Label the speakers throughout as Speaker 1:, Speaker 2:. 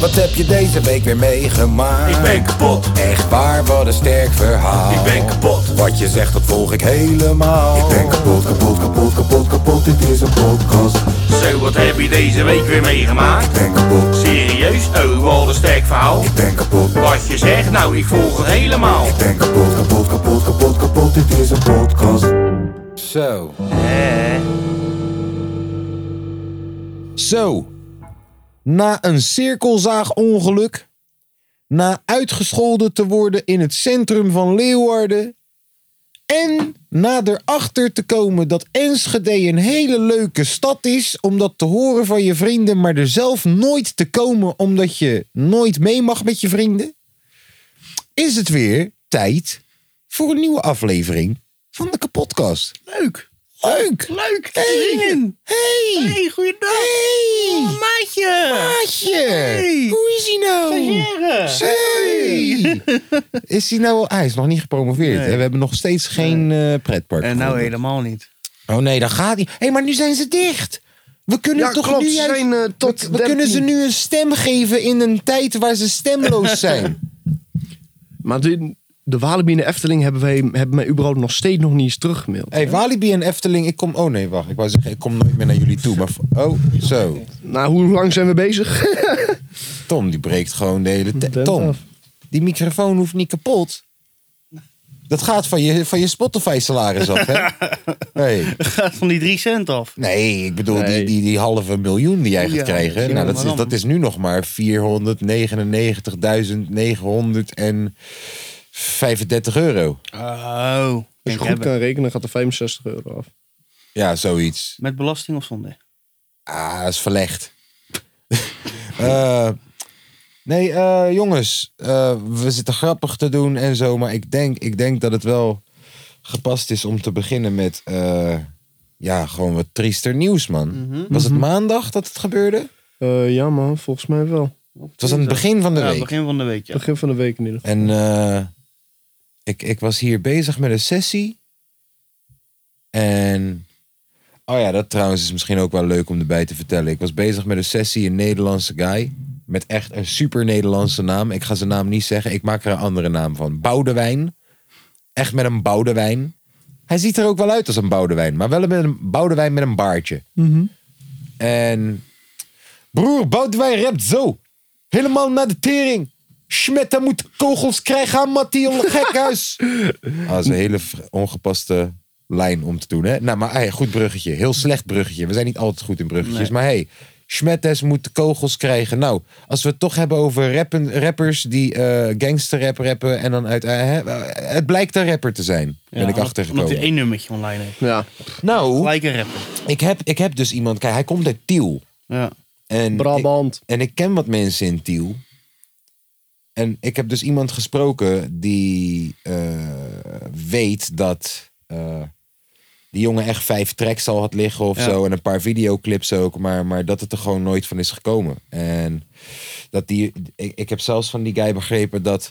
Speaker 1: Wat heb je deze week weer meegemaakt?
Speaker 2: Ik ben kapot.
Speaker 1: Echt waar, wat een sterk verhaal.
Speaker 2: Ik ben kapot.
Speaker 1: Wat je zegt, dat volg ik helemaal.
Speaker 3: Ik ben kapot, kapot, kapot, kapot, kapot, dit is een podcast.
Speaker 2: Zo, wat heb je deze week weer meegemaakt?
Speaker 3: Ik ben kapot,
Speaker 2: Serieus? Oh, wat een sterk verhaal.
Speaker 3: ik ben kapot,
Speaker 2: Wat je zegt, nou, ik volg het helemaal.
Speaker 3: ik ben kapot, kapot, kapot, kapot, kapot, dit is een podcast.
Speaker 1: Zo.
Speaker 4: Zo. Na een cirkelzaagongeluk. Na uitgescholden te worden in het centrum van Leeuwarden. En na erachter te komen dat Enschede een hele leuke stad is. Om dat te horen van je vrienden, maar er zelf nooit te komen omdat je nooit mee mag met je vrienden. Is het weer tijd voor een nieuwe aflevering van de kapotkast.
Speaker 5: Leuk.
Speaker 4: Leuk!
Speaker 5: Leuk.
Speaker 4: Hey!
Speaker 5: Zin.
Speaker 4: Hey!
Speaker 5: Hey, goeiedag.
Speaker 4: Hey!
Speaker 5: Oh, maatje.
Speaker 4: Maatje!
Speaker 5: Hey.
Speaker 4: Hoe is hij nou?
Speaker 5: Stagiaire.
Speaker 4: Hey. Is hij nou al... Hij is nog niet gepromoveerd.
Speaker 5: Nee.
Speaker 4: hè? We hebben nog steeds geen eh, pretpark.
Speaker 5: En nou
Speaker 4: gevonden.
Speaker 5: helemaal niet.
Speaker 4: Oh nee, dan gaat hij. Hé, hey, maar nu zijn ze dicht. We kunnen
Speaker 6: Ja,
Speaker 4: toch
Speaker 6: klopt.
Speaker 4: nu
Speaker 6: Ze
Speaker 4: juist-
Speaker 6: zijn, eh,
Speaker 4: we-
Speaker 6: tot
Speaker 4: we,
Speaker 6: 13.
Speaker 4: kunnen ze nu een stem geven in een tijd waar ze stemloos zijn.
Speaker 6: Maar de, de Walibi en de Efteling hebben, wij, hebben mij überhaupt nog steeds nog niet eens teruggemaild.
Speaker 4: Hé, hey, Walibi en Efteling, ik kom... Oh nee, wacht. Ik wou zeggen, ik kom nooit meer naar jullie toe. Maar... Oh, zo.
Speaker 6: Nou, hoe lang zijn we bezig?
Speaker 4: Tom, die breekt gewoon de hele tijd.
Speaker 6: Tent
Speaker 4: Tom,
Speaker 6: af.
Speaker 4: die microfoon hoeft niet kapot. Dat gaat van je, van je Spotify-salaris af, hè? Hey.
Speaker 5: Gaat van die drie cent af.
Speaker 4: Nee, ik bedoel,
Speaker 6: Nee.
Speaker 4: Die, die, die halve miljoen die jij gaat
Speaker 5: Ja,
Speaker 4: krijgen.
Speaker 5: ja,
Speaker 4: nou, dat,
Speaker 5: maar
Speaker 4: is,
Speaker 5: dan-
Speaker 4: dat is nu nog maar 499.935 euro.
Speaker 5: Oh.
Speaker 6: Als je
Speaker 5: Denk
Speaker 6: goed
Speaker 4: eh,
Speaker 5: hebben.
Speaker 6: kan rekenen, gaat er 65 euro af.
Speaker 4: Ja, zoiets.
Speaker 5: Met belasting of zonder?
Speaker 4: Ah, dat is verlegd. Eh, nee, eh, jongens, eh, we zitten grappig te doen en zo, maar ik denk, ik denk dat het wel gepast is om te beginnen met, eh, ja, gewoon wat triester nieuws, man.
Speaker 5: Mhm.
Speaker 4: Was het maandag dat het gebeurde?
Speaker 6: Eh, ja man, volgens mij wel.
Speaker 4: Het was aan het begin van de
Speaker 5: Ja,
Speaker 4: week.
Speaker 5: begin van de week, ja.
Speaker 6: Begin van de week in ieder geval.
Speaker 4: En eh, ik, ik was hier bezig met een sessie. En. Oh ja, dat trouwens is misschien ook wel leuk om erbij te vertellen. Ik was bezig met een sessie, een Nederlandse guy. Met echt een super Nederlandse naam. Ik ga zijn naam niet zeggen, ik maak er een andere naam van. Boudewijn. Echt met een Boudewijn. Hij ziet er ook wel uit als een Boudewijn, maar wel met een Boudewijn met een baardje. En. Broer, Boudewijn rapt zo. Helemaal naar de tering. Schmetta moet kogels krijgen aan Mattie om het gekhuis. Ah, dat is een hele v- ongepaste lijn om te doen. Hè? Nou, maar hey, goed bruggetje. Heel slecht bruggetje. We zijn niet altijd goed in bruggetjes. Maar hey, Schmettes moet kogels krijgen. Nou, als we het toch hebben over rappen, rappers die eh gangsterrap rappen. En dan uit... eh, hè, het blijkt een rapper te zijn. ben ik achtergekomen.
Speaker 5: Omdat hij één nummertje online heeft.
Speaker 6: Ja,
Speaker 4: Nou,
Speaker 5: Gelijk een rapper.
Speaker 4: ik heb, ik heb dus iemand... Kijk, hij komt uit Tiel.
Speaker 5: Ja.
Speaker 4: En ik-
Speaker 6: Brabant.
Speaker 4: en ik ken wat mensen in Tiel. En ik heb dus iemand gesproken die eh, weet dat eh, die jongen echt vijf tracks al had liggen of
Speaker 5: Ja.
Speaker 4: zo. En een paar videoclips ook. Maar, maar dat het er gewoon nooit van is gekomen. En dat die, ik, ik heb zelfs van die guy begrepen dat.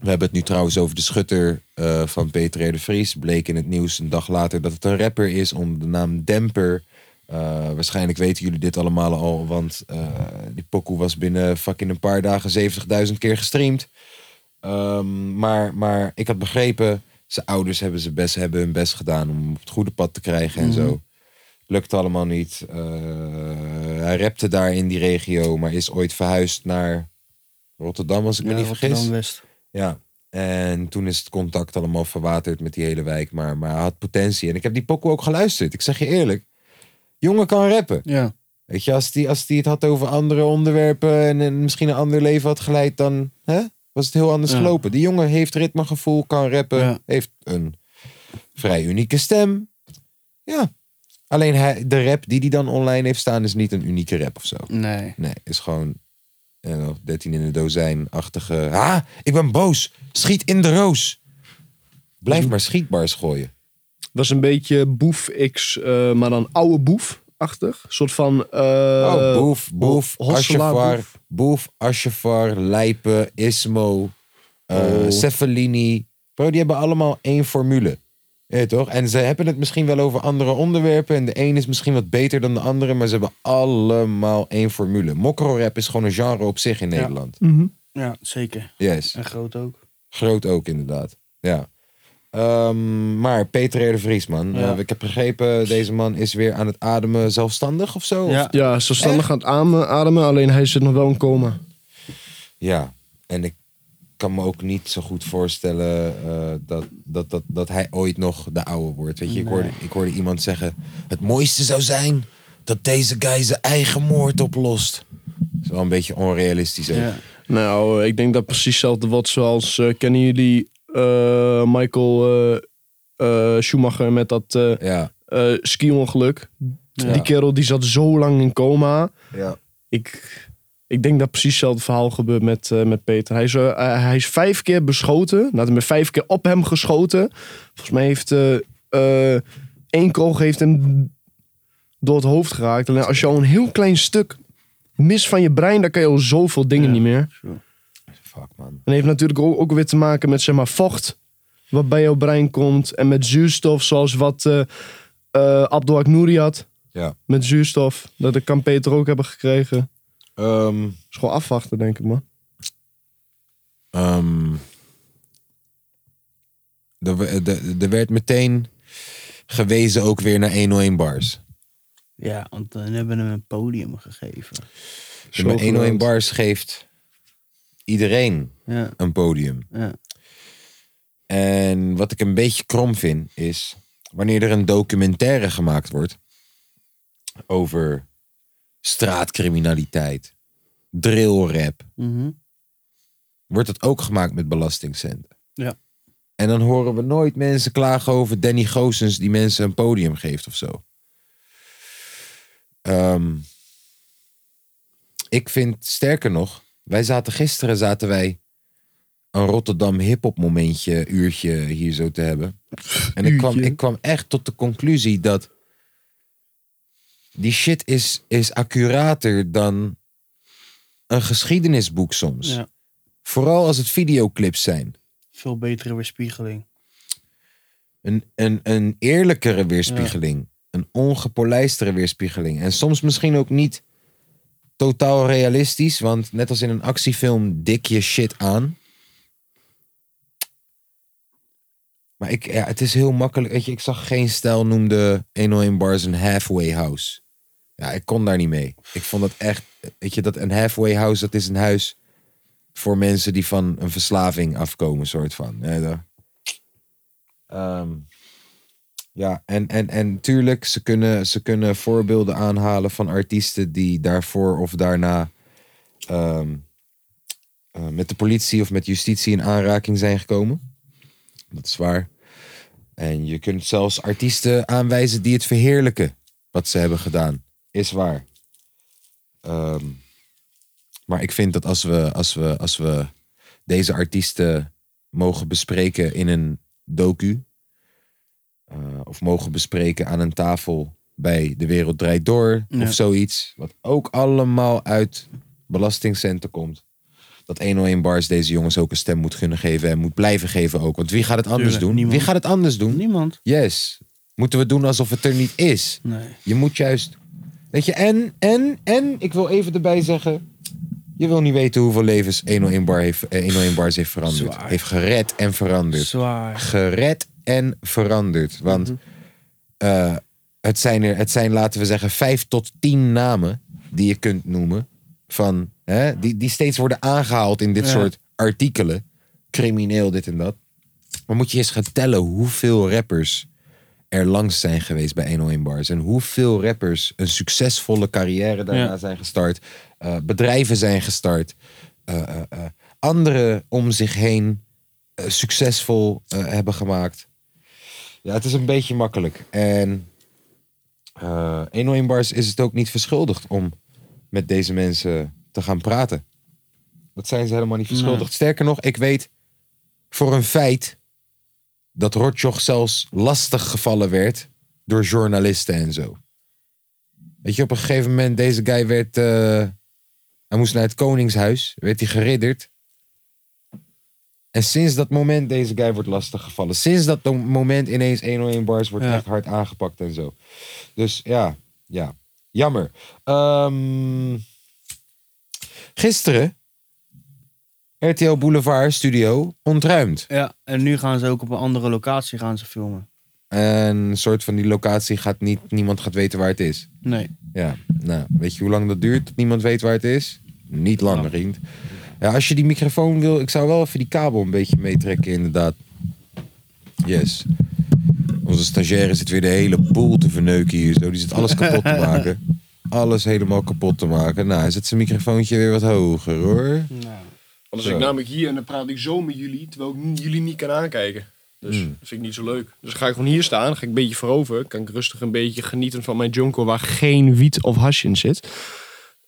Speaker 4: We hebben het nu trouwens over de schutter eh, van Peter R. de Vries. Bleek in het nieuws een dag later dat het een rapper is onder de naam Demper. Eh, waarschijnlijk weten jullie dit allemaal al, want eh, die pokoe was binnen fucking een paar dagen 70.000 keer gestreamd. Ehm, maar, maar ik had begrepen, zijn ouders hebben, ze best, hebben hun best gedaan om hem op het goede pad te krijgen en
Speaker 5: Mhm.
Speaker 4: zo. Lukt allemaal niet. Eh, hij repte daar in die regio, maar is ooit verhuisd naar Rotterdam, als ik me
Speaker 5: Ja,
Speaker 4: niet vergis.
Speaker 5: Rotterdam West.
Speaker 4: Ja. En toen is het contact allemaal verwaterd met die hele wijk. Maar, maar hij had potentie. En ik heb die pokoe ook geluisterd. Ik zeg je eerlijk. Jongen kan rappen.
Speaker 5: Ja.
Speaker 4: Weet je, als die, als die het had over andere onderwerpen. En, en misschien een ander leven had geleid. Dan hè, was het heel anders
Speaker 5: Ja.
Speaker 4: gelopen. Die jongen heeft ritmegevoel. Kan rappen.
Speaker 5: Ja.
Speaker 4: Heeft een vrij unieke stem. Ja. Alleen hij, de rap die hij dan online heeft staan. Is niet een unieke rap of zo.
Speaker 5: Nee.
Speaker 4: Nee, is gewoon eh, 13 in een dozijn-achtige. Ah, ik ben boos. Schiet in de roos. Blijf maar schietbars gooien.
Speaker 6: Dat is een beetje boef X, eh, maar dan oude boef-achtig. Een soort van... eh
Speaker 4: oh, boef, boef,
Speaker 6: Ho- Hosselaar
Speaker 4: Asjefar,
Speaker 6: Boef.
Speaker 4: boef, Asjefar, Lijpen, Ismo, eh
Speaker 6: Oh.
Speaker 4: Cefalini. Bro, die hebben allemaal één formule. Ja, toch? En ze hebben het misschien wel over andere onderwerpen. En de een is misschien wat beter dan de andere. Maar ze hebben allemaal één formule. Mokro-rap is gewoon een genre op zich in
Speaker 5: Ja.
Speaker 4: Nederland.
Speaker 5: Ja, zeker.
Speaker 4: Yes.
Speaker 5: En groot ook.
Speaker 4: Groot ook, inderdaad. Ja. Ehm, maar Peter R. de Vries, man.
Speaker 5: Ja.
Speaker 4: Eh, ik heb begrepen, deze man is weer aan het ademen zelfstandig of zo.
Speaker 5: Ja.
Speaker 4: Of-
Speaker 7: Ja, zelfstandig gaat ademen, ademen, alleen hij zit nog wel in coma.
Speaker 4: ja. En ik kan me ook niet zo goed voorstellen eh, dat, dat, dat, dat hij ooit nog de oude wordt. Weet je, ik, hoorde, ik hoorde iemand zeggen... Het mooiste zou zijn dat deze guy zijn eigen moord oplost. Dat is wel een beetje onrealistisch. ook.
Speaker 5: Ja.
Speaker 7: Nou, ik denk dat precies hetzelfde wat zoals... eh, kennen jullie eh, Michael eh, eh, Schumacher met dat eh
Speaker 4: Ja.
Speaker 7: eh, ski-ongeluk?
Speaker 5: Ja.
Speaker 7: Die kerel die zat zo lang in coma.
Speaker 4: ja.
Speaker 7: Ik, ik denk dat precies hetzelfde verhaal gebeurt met, eh, met Peter. Hij is, eh, eh, hij is vijf keer beschoten. Nou, er vijf keer op hem geschoten. Volgens mij heeft eh, eh, één kogel heeft hem door het hoofd geraakt. Alleen als je al een heel klein stuk mist van je brein, dan kan je al zoveel dingen
Speaker 5: Ja.
Speaker 7: niet meer.
Speaker 4: Fuck, man.
Speaker 7: En heeft natuurlijk ook, ook weer te maken met zeg maar, vocht. Wat bij jouw brein komt. En met zuurstof, zoals wat eh eh Abdul Aknouri had.
Speaker 4: Ja.
Speaker 7: Met zuurstof. Dat kan Peter ook hebben gekregen.
Speaker 4: Ehm,
Speaker 7: Is gewoon afwachten, denk ik, man.
Speaker 4: Ehm, er, we- de- er werd meteen gewezen ook weer naar 101 bars.
Speaker 5: Ja, want dan hebben we hem een podium gegeven.
Speaker 4: Dus maar
Speaker 7: eh,
Speaker 4: 101 bars geeft iedereen
Speaker 5: Ja,
Speaker 4: een podium.
Speaker 5: ja.
Speaker 4: En wat ik een beetje krom vind is wanneer er een documentaire gemaakt wordt over straatcriminaliteit, drillrap,
Speaker 5: Mhm.
Speaker 4: wordt het ook gemaakt met belastingcenten.
Speaker 5: Ja.
Speaker 4: En dan horen we nooit mensen klagen over Danny Goossens die mensen een podium geeft of zo. Ehm, ik vind sterker nog, wij zaten gisteren zaten wij een Rotterdam hip-hop momentje, uurtje hier zo te hebben. En ik kwam,
Speaker 7: Uurtje.
Speaker 4: ik kwam echt tot de conclusie dat die shit is, is accurater dan een geschiedenisboek soms.
Speaker 5: ja.
Speaker 4: Vooral als het videoclips zijn.
Speaker 5: Veel betere weerspiegeling.
Speaker 4: Een, een, een eerlijkere weerspiegeling. Een ongepolijstere weerspiegeling. En soms misschien ook niet totaal realistisch. Want net als in een actiefilm dik je shit aan. Maar ik, ja, het is heel makkelijk. Weet je, ik zag geen stijl noemde 101 Bars een halfway house. Ja, ik kon daar niet mee. Ik vond dat echt... Weet je, dat een halfway house, dat is een huis... voor mensen die van een verslaving afkomen, soort van. Ja, daar- Ehm, ja, en, en, en tuurlijk, ze kunnen, ze kunnen voorbeelden aanhalen van artiesten die daarvoor of daarna ehm, eh, met de politie of met justitie in aanraking zijn gekomen. Dat is waar. En je kunt zelfs artiesten aanwijzen die het verheerlijken wat ze hebben gedaan. Is waar. Ehm, maar ik vind dat als we, als, we, als we deze artiesten mogen bespreken in een docu. eh, of mogen bespreken aan een tafel bij De Wereld Draait Door
Speaker 5: Ja.
Speaker 4: of zoiets. Wat ook allemaal uit belastingcenten komt. Dat 101 Bars deze jongens ook een stem moet kunnen geven en moet blijven geven ook. Want wie gaat het anders
Speaker 5: Tuurlijk,
Speaker 4: doen?
Speaker 5: niemand.
Speaker 4: Wie gaat het anders doen?
Speaker 5: Niemand?
Speaker 4: Yes. Moeten we doen alsof het er niet is.
Speaker 5: Nee.
Speaker 4: Je moet juist. Weet je, en, en, en, ik wil even erbij zeggen. Je wil niet weten hoeveel levens 101, bar heeft, eh, 101 Bars heeft veranderd.
Speaker 5: Zwaar.
Speaker 4: Heeft gered en veranderd.
Speaker 5: Zwaar. Mhm.
Speaker 4: Gered en veranderd. Want eh, het, zijn er, het zijn, laten we zeggen, vijf tot tien namen die je kunt noemen. Van, hè, die, die steeds worden aangehaald in dit
Speaker 5: Ja.
Speaker 4: soort artikelen. Crimineel, dit en dat. Maar moet je eens gaan tellen hoeveel rappers er langs zijn geweest bij 101 Bars. En hoeveel rappers een succesvolle carrière daarna
Speaker 5: Ja.
Speaker 4: zijn gestart. eh, bedrijven zijn gestart. eh, eh, eh, anderen om zich heen eh, succesvol eh, hebben gemaakt. Ja, het is een beetje makkelijk. En eh 101 Bars is het ook niet verschuldigd om met deze mensen te gaan praten. Dat zijn ze helemaal niet verschuldigd. Sterker nog, ik weet voor een feit dat Rotjoch zelfs lastig gevallen werd door journalisten en zo. Weet je, op een gegeven moment, deze guy werd... eh, hij moest naar het koningshuis, werd hij geridderd. En sinds dat moment, deze guy wordt lastiggevallen. Sinds dat do- moment ineens 101 bars wordt
Speaker 6: Ja.
Speaker 4: echt hard aangepakt en zo. Dus ja, ja. Jammer. Ehm, gisteren, RTL Boulevard Studio ontruimd.
Speaker 5: Ja, en nu gaan ze ook op een andere locatie gaan ze filmen.
Speaker 4: En een soort van die locatie gaat niet, niemand gaat weten waar het is.
Speaker 5: Nee.
Speaker 4: Ja, nou, weet je hoe lang dat duurt dat niemand weet waar het is? Niet lang, vriend. Ja, als je die microfoon wil, ik zou wel even die kabel een beetje meetrekken, inderdaad. Yes. Onze stagiaire zit weer de hele boel te verneuken hier zo. Die zit alles kapot te maken. Alles helemaal kapot te maken. Nou, hij zet zijn microfoontje weer wat hoger, hoor.
Speaker 7: Dan
Speaker 4: Zo.
Speaker 7: zit ik namelijk hier en dan praat ik zo met jullie, terwijl ik n- jullie niet kan aankijken. Dus
Speaker 4: Hmm.
Speaker 7: dat vind ik niet zo leuk. Dus dan ga ik gewoon hier staan, dan ga ik een beetje voorover. Kan ik rustig een beetje genieten van mijn jonko waar geen wiet of hash in zit.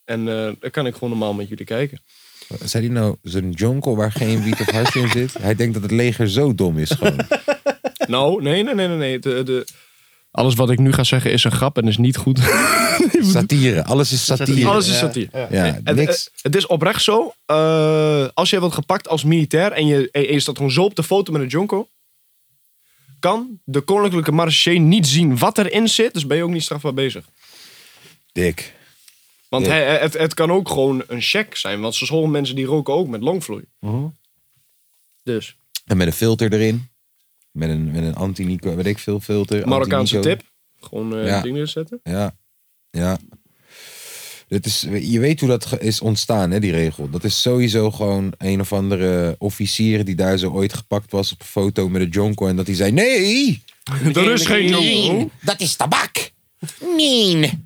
Speaker 7: En eh, dan kan ik gewoon normaal met jullie kijken.
Speaker 4: Zei die nou zo'n jonkel waar geen wiet of hash in zit? Hij denkt dat het leger zo dom is gewoon.
Speaker 7: nou, nee, nee, nee, nee. nee. De, de... Alles wat ik nu ga zeggen is een grap en is niet goed.
Speaker 4: Satire. Alles is satire.
Speaker 7: Alles is eh, satire.
Speaker 4: Ja,
Speaker 7: Het,
Speaker 4: niks.
Speaker 7: het- het is oprecht zo. eh, als jij wordt gepakt als militair en je, en je staat gewoon zo op de foto met een Jonko. Kan de koninklijke marechaussee niet zien wat erin zit. Dus ben je ook niet strafbaar bezig.
Speaker 4: Dik.
Speaker 7: Want
Speaker 4: Ja.
Speaker 7: hij- hij- het, het kan ook gewoon een check zijn. Want sommige mensen die roken ook met longvloei. Dus.
Speaker 4: En met een filter erin. Met een, met een anti-Nico, weet ik veel filter.
Speaker 7: Marokkaanse
Speaker 4: anti-Nico.
Speaker 7: tip. Gewoon eh
Speaker 4: Ja.
Speaker 7: ding neerzetten.
Speaker 4: Ja, ja. Dit is, je weet hoe dat ge- is ontstaan, hè, die regel. Dat is sowieso gewoon een of andere officier die daar zo ooit gepakt was op een foto met een jonko. En dat hij zei, nee, Oh.
Speaker 7: er is geen jonko.
Speaker 4: dat is tabak. Nee.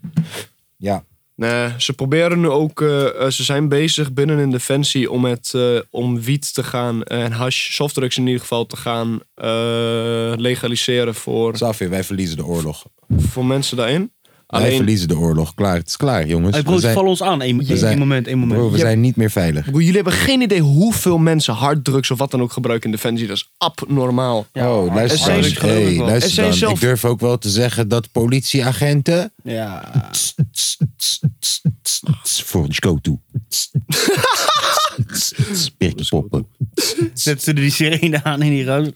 Speaker 4: Ja,
Speaker 7: Nee, ze proberen nu ook, eh, eh, ze zijn bezig binnen in Defensie om, het, eh, om wiet te gaan eh, en hash, softdrugs in ieder geval, te gaan eh, legaliseren voor,
Speaker 4: Safir, wij verliezen de oorlog.
Speaker 7: voor mensen daarin.
Speaker 4: Wij
Speaker 7: Alleen,
Speaker 4: verliezen de oorlog. Klaar, het is klaar, jongens.
Speaker 5: Hey,
Speaker 4: We
Speaker 5: bro,
Speaker 4: zijn-
Speaker 5: val ons aan. Eén één
Speaker 4: zijn-
Speaker 5: moment, één moment.
Speaker 4: bro, we
Speaker 7: Ja.
Speaker 4: zijn niet meer veilig.
Speaker 7: Broer, jullie hebben geen idee hoeveel mensen harddrugs of wat dan ook gebruiken in Defensie. Dat is abnormaal.
Speaker 4: oh, luister
Speaker 7: er
Speaker 4: dan.
Speaker 7: zijn-
Speaker 4: Hey,
Speaker 5: geloof ik wel.
Speaker 4: luister
Speaker 7: Er zijn
Speaker 4: dan.
Speaker 7: zelf-
Speaker 4: Ik durf ook wel te zeggen dat politieagenten...
Speaker 5: Ja.
Speaker 4: Voor ons go toe. Spirkje poppen.
Speaker 5: Zetten ze die sirene aan in die ruimte.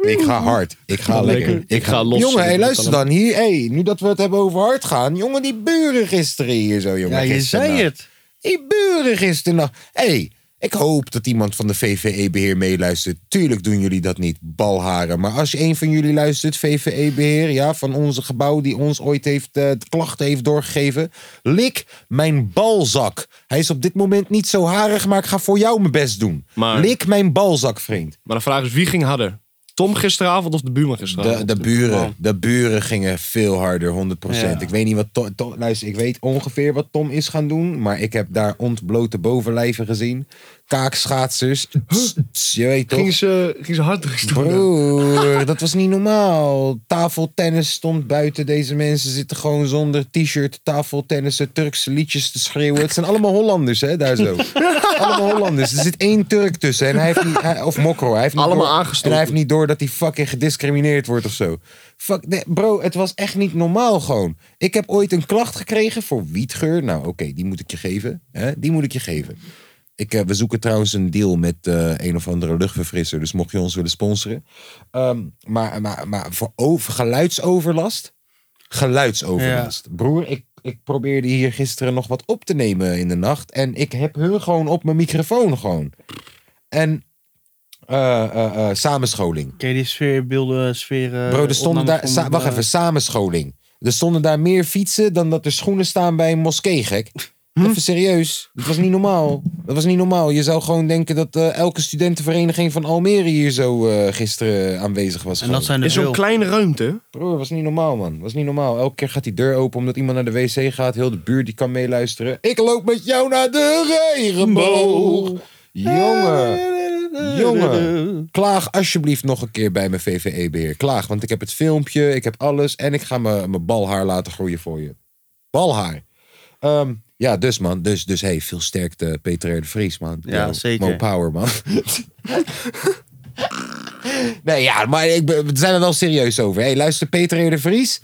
Speaker 4: Ik ga hard. Ik ga lekker. Ik ga
Speaker 7: los.
Speaker 4: Jongen, hey,
Speaker 7: Ik
Speaker 4: luister dan. Hier, hey, nu dat we het hebben over hard gaan. Jongen, die buren gisteren hier zo, jongen.
Speaker 5: Ja, je
Speaker 4: gisternacht.
Speaker 5: zei het.
Speaker 4: Die buren gisteren. hey, ik hoop dat iemand van de VVE-beheer meeluistert. Tuurlijk doen jullie dat niet, balharen. Maar als een van jullie luistert, VVE-beheer, ja, van onze gebouw die ons ooit heeft, eh, de klachten heeft doorgegeven. Lik mijn balzak. Hij is op dit moment niet zo harig, maar ik ga voor jou mijn best doen.
Speaker 7: Maar-
Speaker 4: Lik mijn balzak, vriend.
Speaker 7: Maar de vraag is, wie ging harder? Tom gisteravond of de buurman
Speaker 4: De,
Speaker 7: gisteravond?
Speaker 4: de, buren, de buren gingen veel harder, 100%.
Speaker 5: Ja.
Speaker 4: Ik weet niet wat Tom, Tom- Luister, ik weet ongeveer wat Tom is gaan doen. Maar ik heb daar ontblote bovenlijven gezien. Kaakschaatsers. Je weet toch?
Speaker 7: Ging ze, ging ze harddrugs doen?
Speaker 4: Broer, dat was niet normaal. Tafeltennis stond buiten. Deze mensen zitten gewoon zonder t-shirt tafeltennissen, Turkse liedjes te schreeuwen. Het zijn allemaal Hollanders, hè, daar zo. allemaal Hollanders. Er zit één Turk tussen. En hij heeft niet, hij- of Mokro. Hij heeft niet
Speaker 7: Allemaal
Speaker 4: door-
Speaker 7: aangestoken.
Speaker 4: En hij heeft niet door dat hij fucking gediscrimineerd wordt of zo. Fuck, nee, bro, het was echt niet normaal gewoon. Ik heb ooit een klacht gekregen voor wietgeur. Nou, oké, die moet ik je geven. Hè? Die moet ik je geven. Ik, eh, we zoeken trouwens een deal met eh, een of andere luchtverfrisser. Dus mocht je ons willen sponsoren. Ehm, maar, maar, maar voor over, geluidsoverlast. Geluidsoverlast. Broer, ik, ik probeerde hier gisteren nog wat op te nemen in de nacht. En ik heb hun gewoon op mijn microfoon gewoon. En eh, eh, eh, samenscholing.
Speaker 5: Ken je die sfeerbeelden, sfeer... eh,
Speaker 4: Bro, er stonden
Speaker 5: opnames
Speaker 4: daar.
Speaker 5: van,
Speaker 4: sa- wacht
Speaker 5: eh,
Speaker 4: even, samenscholing. Er stonden daar meer fietsen dan dat er schoenen staan bij een moskee, gek.
Speaker 5: Hm?
Speaker 4: Even serieus. Dat was niet normaal. Dat was niet normaal. Je zou gewoon denken dat eh, elke studentenvereniging van Almere hier zo eh, gisteren aanwezig was.
Speaker 5: En dat
Speaker 4: gewoon.
Speaker 5: zijn er
Speaker 7: In zo'n
Speaker 5: veel.
Speaker 7: kleine ruimte.
Speaker 4: Broer, was niet normaal, man. Was niet normaal. Elke keer gaat die deur open omdat iemand naar de wc gaat. Heel de buurt die kan meeluisteren. Ik loop met jou naar de regenboog. Jongen. Jongen. Klaag alsjeblieft nog een keer bij mijn VVE-beheer. Klaag, want ik heb het filmpje, ik heb alles. En ik ga mijn mijn balhaar laten groeien voor je. Balhaar. Ehm, ja, dus man. Dus, dus hey, veel sterkte Peter R. de Vries, man.
Speaker 5: Ja,
Speaker 4: Yo,
Speaker 5: zeker.
Speaker 4: Mo Power, man. nee, ja, maar ik ben, we zijn er wel serieus over. Hey, luister, Peter R. de Vries.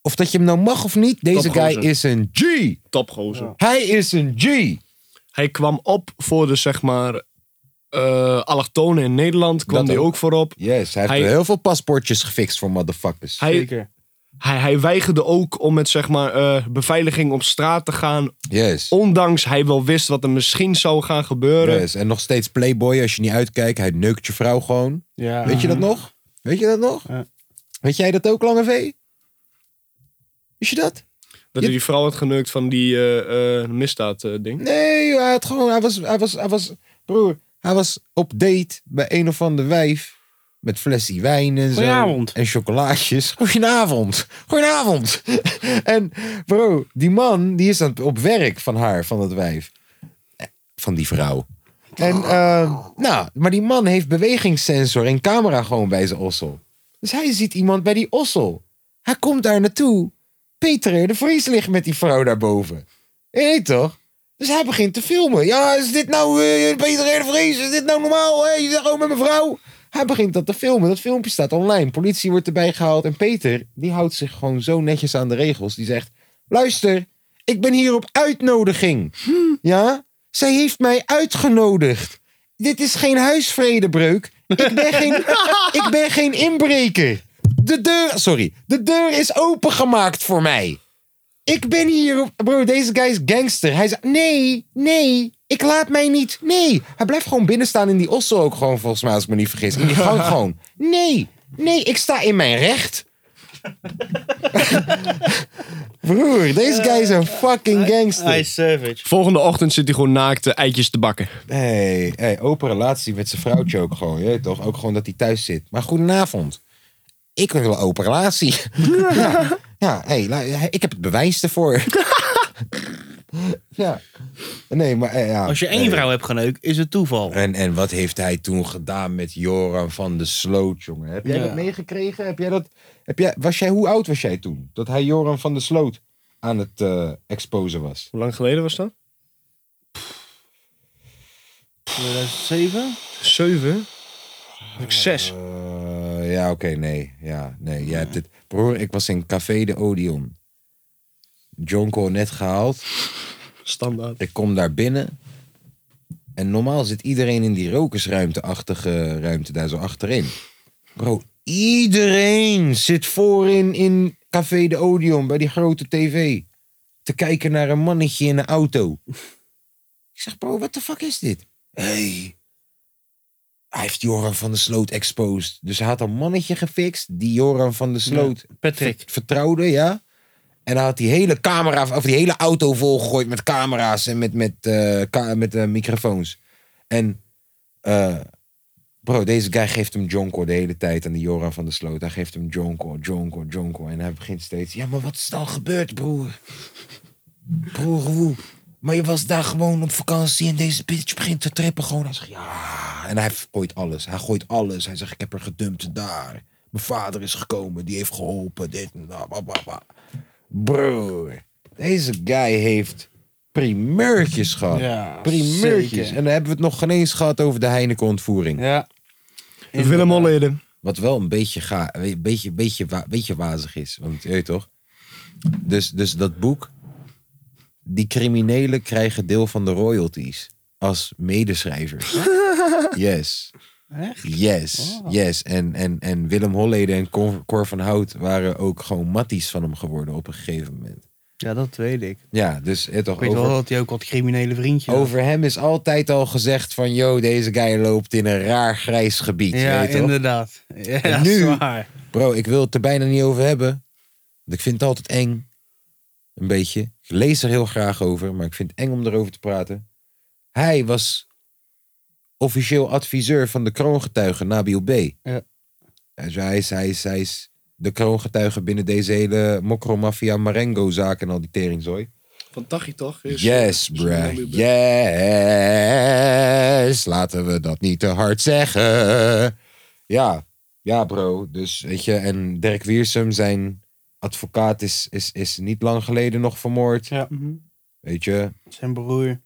Speaker 4: Of dat je hem nou mag of niet, deze guy
Speaker 7: Topgozer.
Speaker 4: is een G.
Speaker 7: Topgozer.
Speaker 4: Hij is een G.
Speaker 7: Hij kwam op voor de, zeg maar, eh allochtonen in Nederland kwam
Speaker 4: Dat
Speaker 7: die
Speaker 4: ook.
Speaker 7: ook voorop.
Speaker 4: Yes, hij heeft
Speaker 7: Hij-
Speaker 4: heel veel paspoortjes gefixt voor motherfuckers.
Speaker 7: Hij, hij, hij weigerde ook om met zeg maar, eh, beveiliging op straat te gaan.
Speaker 4: Yes.
Speaker 7: Ondanks hij wel wist wat er misschien zou gaan gebeuren.
Speaker 4: Yes, En nog steeds playboy, als je niet uitkijkt, hij neukt je vrouw gewoon.
Speaker 6: Ja.
Speaker 4: Weet je dat nog? Weet je dat nog?
Speaker 5: Ja.
Speaker 4: Weet jij dat ook, Lange V? Wist je dat?
Speaker 7: Dat hij die vrouw had geneukt van die eh, eh, misdaad eh, ding.
Speaker 4: Nee, hij had gewoon, hij was, hij was, hij was, broer, hij was op date bij een of ander wijf. Met flesje wijn en zo.
Speaker 5: Goedenavond.
Speaker 4: En chocolaatjes. Goedenavond. Goedenavond. en bro, die man, die is aan het, op werk van haar, van dat wijf. Eh, Van die vrouw. En, eh, nou, maar die man heeft bewegingssensor en camera gewoon bij zijn ossel. Dus hij ziet iemand bij die ossel. Hij komt daar naartoe. Peter R. de Vries ligt met die vrouw daarboven. Je weet toch? Dus hij begint te filmen. Ja, is dit nou eh, Peter R. de Vries? Is dit nou normaal? Hè? Je zegt gewoon met mijn vrouw. Hij begint dat te filmen. Dat filmpje staat online. Politie wordt erbij gehaald. En Peter, die houdt zich gewoon zo netjes aan de regels. Die zegt, luister, ik ben hier op uitnodiging. Ja? Zij heeft mij uitgenodigd. Dit is geen huisvredebreuk. Ik ben geen, ik ben geen inbreker. De deur, sorry, de deur is opengemaakt voor mij. Ik ben hier op. Bro, deze guy is gangster. Hij zei: Nee, nee, ik laat mij niet. Nee. Hij blijft gewoon binnen staan in die ossel ook gewoon, volgens mij, als ik me niet vergis. In die gang gewoon. Nee, nee, ik sta in mijn recht. Broer, deze guy is een fucking
Speaker 5: Hij
Speaker 4: gangster.
Speaker 5: is savage.
Speaker 7: Volgende ochtend zit hij gewoon naakt eh, eitjes te bakken.
Speaker 4: Hey, hey, open relatie met zijn vrouwtje ook gewoon. Je weet toch? Ook gewoon dat hij thuis zit. Maar goedenavond. Ik wil een open relatie. ja, ja hey, la- ik heb het bewijs ervoor. ja. Nee, maar eh, ja.
Speaker 5: Als je
Speaker 4: Nee.
Speaker 5: één vrouw hebt geneukt, is het toeval.
Speaker 4: En, en wat heeft hij toen gedaan met Joran van de Sloot, jongen? Heb jij
Speaker 5: Ja.
Speaker 4: dat meegekregen? Heb jij dat, heb jij, was jij, hoe oud was jij toen? Dat hij Joran van de Sloot aan het eh, exposen was.
Speaker 7: Hoe lang geleden was dat?
Speaker 5: 2007?
Speaker 7: Zeven? Was ik zes.
Speaker 4: Eh, ja, oké, nee. Ja, nee. Jij hebt dit. Broer, ik was in Café de Odeon. Jonko net gehaald.
Speaker 7: Standaard.
Speaker 4: Ik kom daar binnen. En normaal zit iedereen in die rokersruimteachtige ruimte daar zo achterin. Bro, iedereen zit voorin in Café de Odeon bij die grote tv. Te kijken naar een mannetje in een auto. Ik zeg, bro, wat de fuck is dit? Hé. Hey. Hij heeft Joran van der Sloot exposed. Dus hij had een mannetje gefixt die Joran van der Sloot
Speaker 5: Patrick.
Speaker 4: vertrouwde, ja. En hij had die hele camera, of die hele auto volgegooid met camera's en met, met, eh, ka- met eh, microfoons. En eh, bro, deze guy geeft hem Jonko de hele tijd aan die Joran van der Sloot. Hij geeft hem Jonko, Jonko, Jonko. En hij begint steeds, ja, maar wat is er al gebeurd, broer? Broer, hoe? Maar je was daar gewoon op vakantie en deze bitch begint te trippen gewoon. Hij zegt, ja. En hij gooit alles. Hij gooit alles. Hij zegt, ik heb er gedumpt daar. Mijn vader is gekomen, die heeft geholpen, dit en dat. bla, bla, bla. Broer, deze guy heeft primeurtjes gehad.
Speaker 5: Ja,
Speaker 4: primeurtjes.
Speaker 5: zeker.
Speaker 4: En dan hebben we het nog geen eens gehad over de Heineken-ontvoering.
Speaker 5: Ja.
Speaker 7: Willem Holleden.
Speaker 4: Wat wel een beetje, ga, een beetje, een beetje, wa- een beetje wazig is. Want je weet toch? Dus, dus dat boek. Die criminelen krijgen deel van de royalties. Als medeschrijvers. Yes. Yes.
Speaker 5: Oh.
Speaker 4: Yes. En, en, en Willem Holleden en Cor, Cor van Hout waren ook gewoon matties van hem geworden op een gegeven moment.
Speaker 5: Ja, dat weet ik.
Speaker 4: Ja, dus je weet toch?
Speaker 5: Ik weet
Speaker 4: over-
Speaker 5: wel dat hij ook wat criminele vriendjes had.
Speaker 4: over hem is altijd al gezegd van... Yo, deze guy loopt in een raar grijs gebied.
Speaker 5: Ja,
Speaker 4: weet je toch?
Speaker 5: inderdaad. Ja,
Speaker 4: En nu-
Speaker 5: zwaar.
Speaker 4: Bro, ik wil het er bijna niet over hebben. Want ik vind het altijd eng. Een beetje. Ik lees er heel graag over, maar ik vind het eng om erover te praten. Hij was officieel adviseur van de kroongetuige Nabil B.
Speaker 5: Ja.
Speaker 4: Dus hij, is, hij, is, hij is de kroongetuige binnen deze hele Mokromafia Marengo-zaak en al die teringzooi.
Speaker 7: Van Tachi toch? Is- eh,
Speaker 4: Yes,
Speaker 7: is-
Speaker 4: bruh.
Speaker 7: is-
Speaker 4: Yes. Laten we dat niet te hard zeggen. Ja, ja, bro. Dus weet je, en Dirk Wiersum, zijn advocaat, is, is, is niet lang geleden nog vermoord.
Speaker 5: Ja.
Speaker 4: Weet je,
Speaker 5: Zijn broer.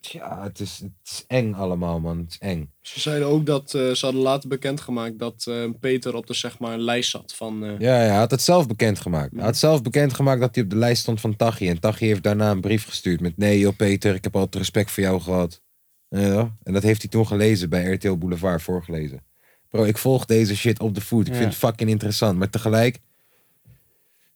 Speaker 4: ja, het is, het is eng allemaal, man. Het is eng.
Speaker 7: Ze zeiden ook dat eh, ze hadden later bekendgemaakt dat eh, Peter op de zeg maar, lijst zat van. eh,
Speaker 4: Ja, ja, hij had het zelf bekendgemaakt. Hij had zelf bekendgemaakt dat hij op de lijst stond van Tachi. En Tachi heeft daarna een brief gestuurd met... Nee joh Peter, ik heb altijd respect voor jou gehad. Ja, en dat heeft hij toen gelezen bij RTL Boulevard, voorgelezen. Bro, ik volg deze shit op de voet. Ik vind het fucking interessant. Maar tegelijk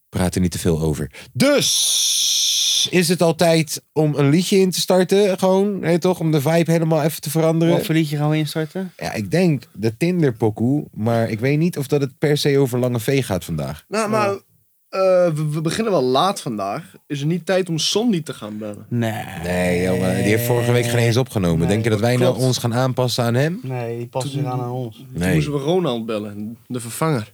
Speaker 4: praat er niet te veel over. Dus is het al tijd om een liedje in te starten? Gewoon, hè, toch? Om de vibe helemaal even te veranderen.
Speaker 5: Wat voor liedje gaan we instarten?
Speaker 4: Ja, ik denk de Tinder pokoe. Maar ik weet niet of dat het per se over Lange V gaat vandaag.
Speaker 7: Nou, maar eh, we, we beginnen wel laat vandaag. Is het niet tijd om Sandy te gaan bellen?
Speaker 5: Nee.
Speaker 4: Nee, jongen, die heeft vorige week geen eens opgenomen.
Speaker 5: Nee,
Speaker 4: denk je dat wij nou
Speaker 7: klopt.
Speaker 4: ons gaan aanpassen aan hem?
Speaker 5: Nee, die past weer aan aan ons.
Speaker 7: Toen
Speaker 4: Nee.
Speaker 7: moesten we Ronald bellen, de vervanger.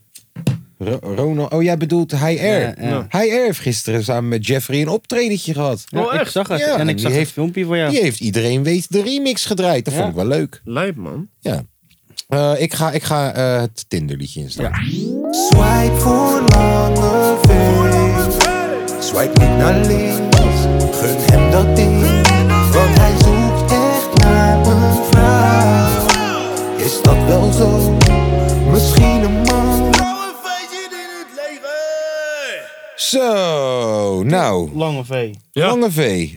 Speaker 4: Ro- Ronald, oh jij bedoelt High Air.
Speaker 5: Ja, ja.
Speaker 4: High Air heeft gisteren samen met Jeffrey een optredentje gehad.
Speaker 5: Oh, Ja, Ik zag het.
Speaker 4: Ja,
Speaker 5: en
Speaker 4: die
Speaker 5: ik zag
Speaker 4: heeft-
Speaker 5: het filmpje voor jou.
Speaker 4: Die heeft iedereen weet de remix gedraaid. Dat
Speaker 5: Ja.
Speaker 4: vond ik wel leuk.
Speaker 7: Lijp, man.
Speaker 4: Eh, ik ga, ik ga eh, het Tinderliedje instarten.
Speaker 1: Swipe voor lange V. Swipe niet naar links. Gun hem dat ding. Want hij zoekt echt naar een vrouw. Is dat wel zo? Misschien een man.
Speaker 4: Zo, nou.
Speaker 5: Lange V.
Speaker 7: Ja.
Speaker 4: Lange V.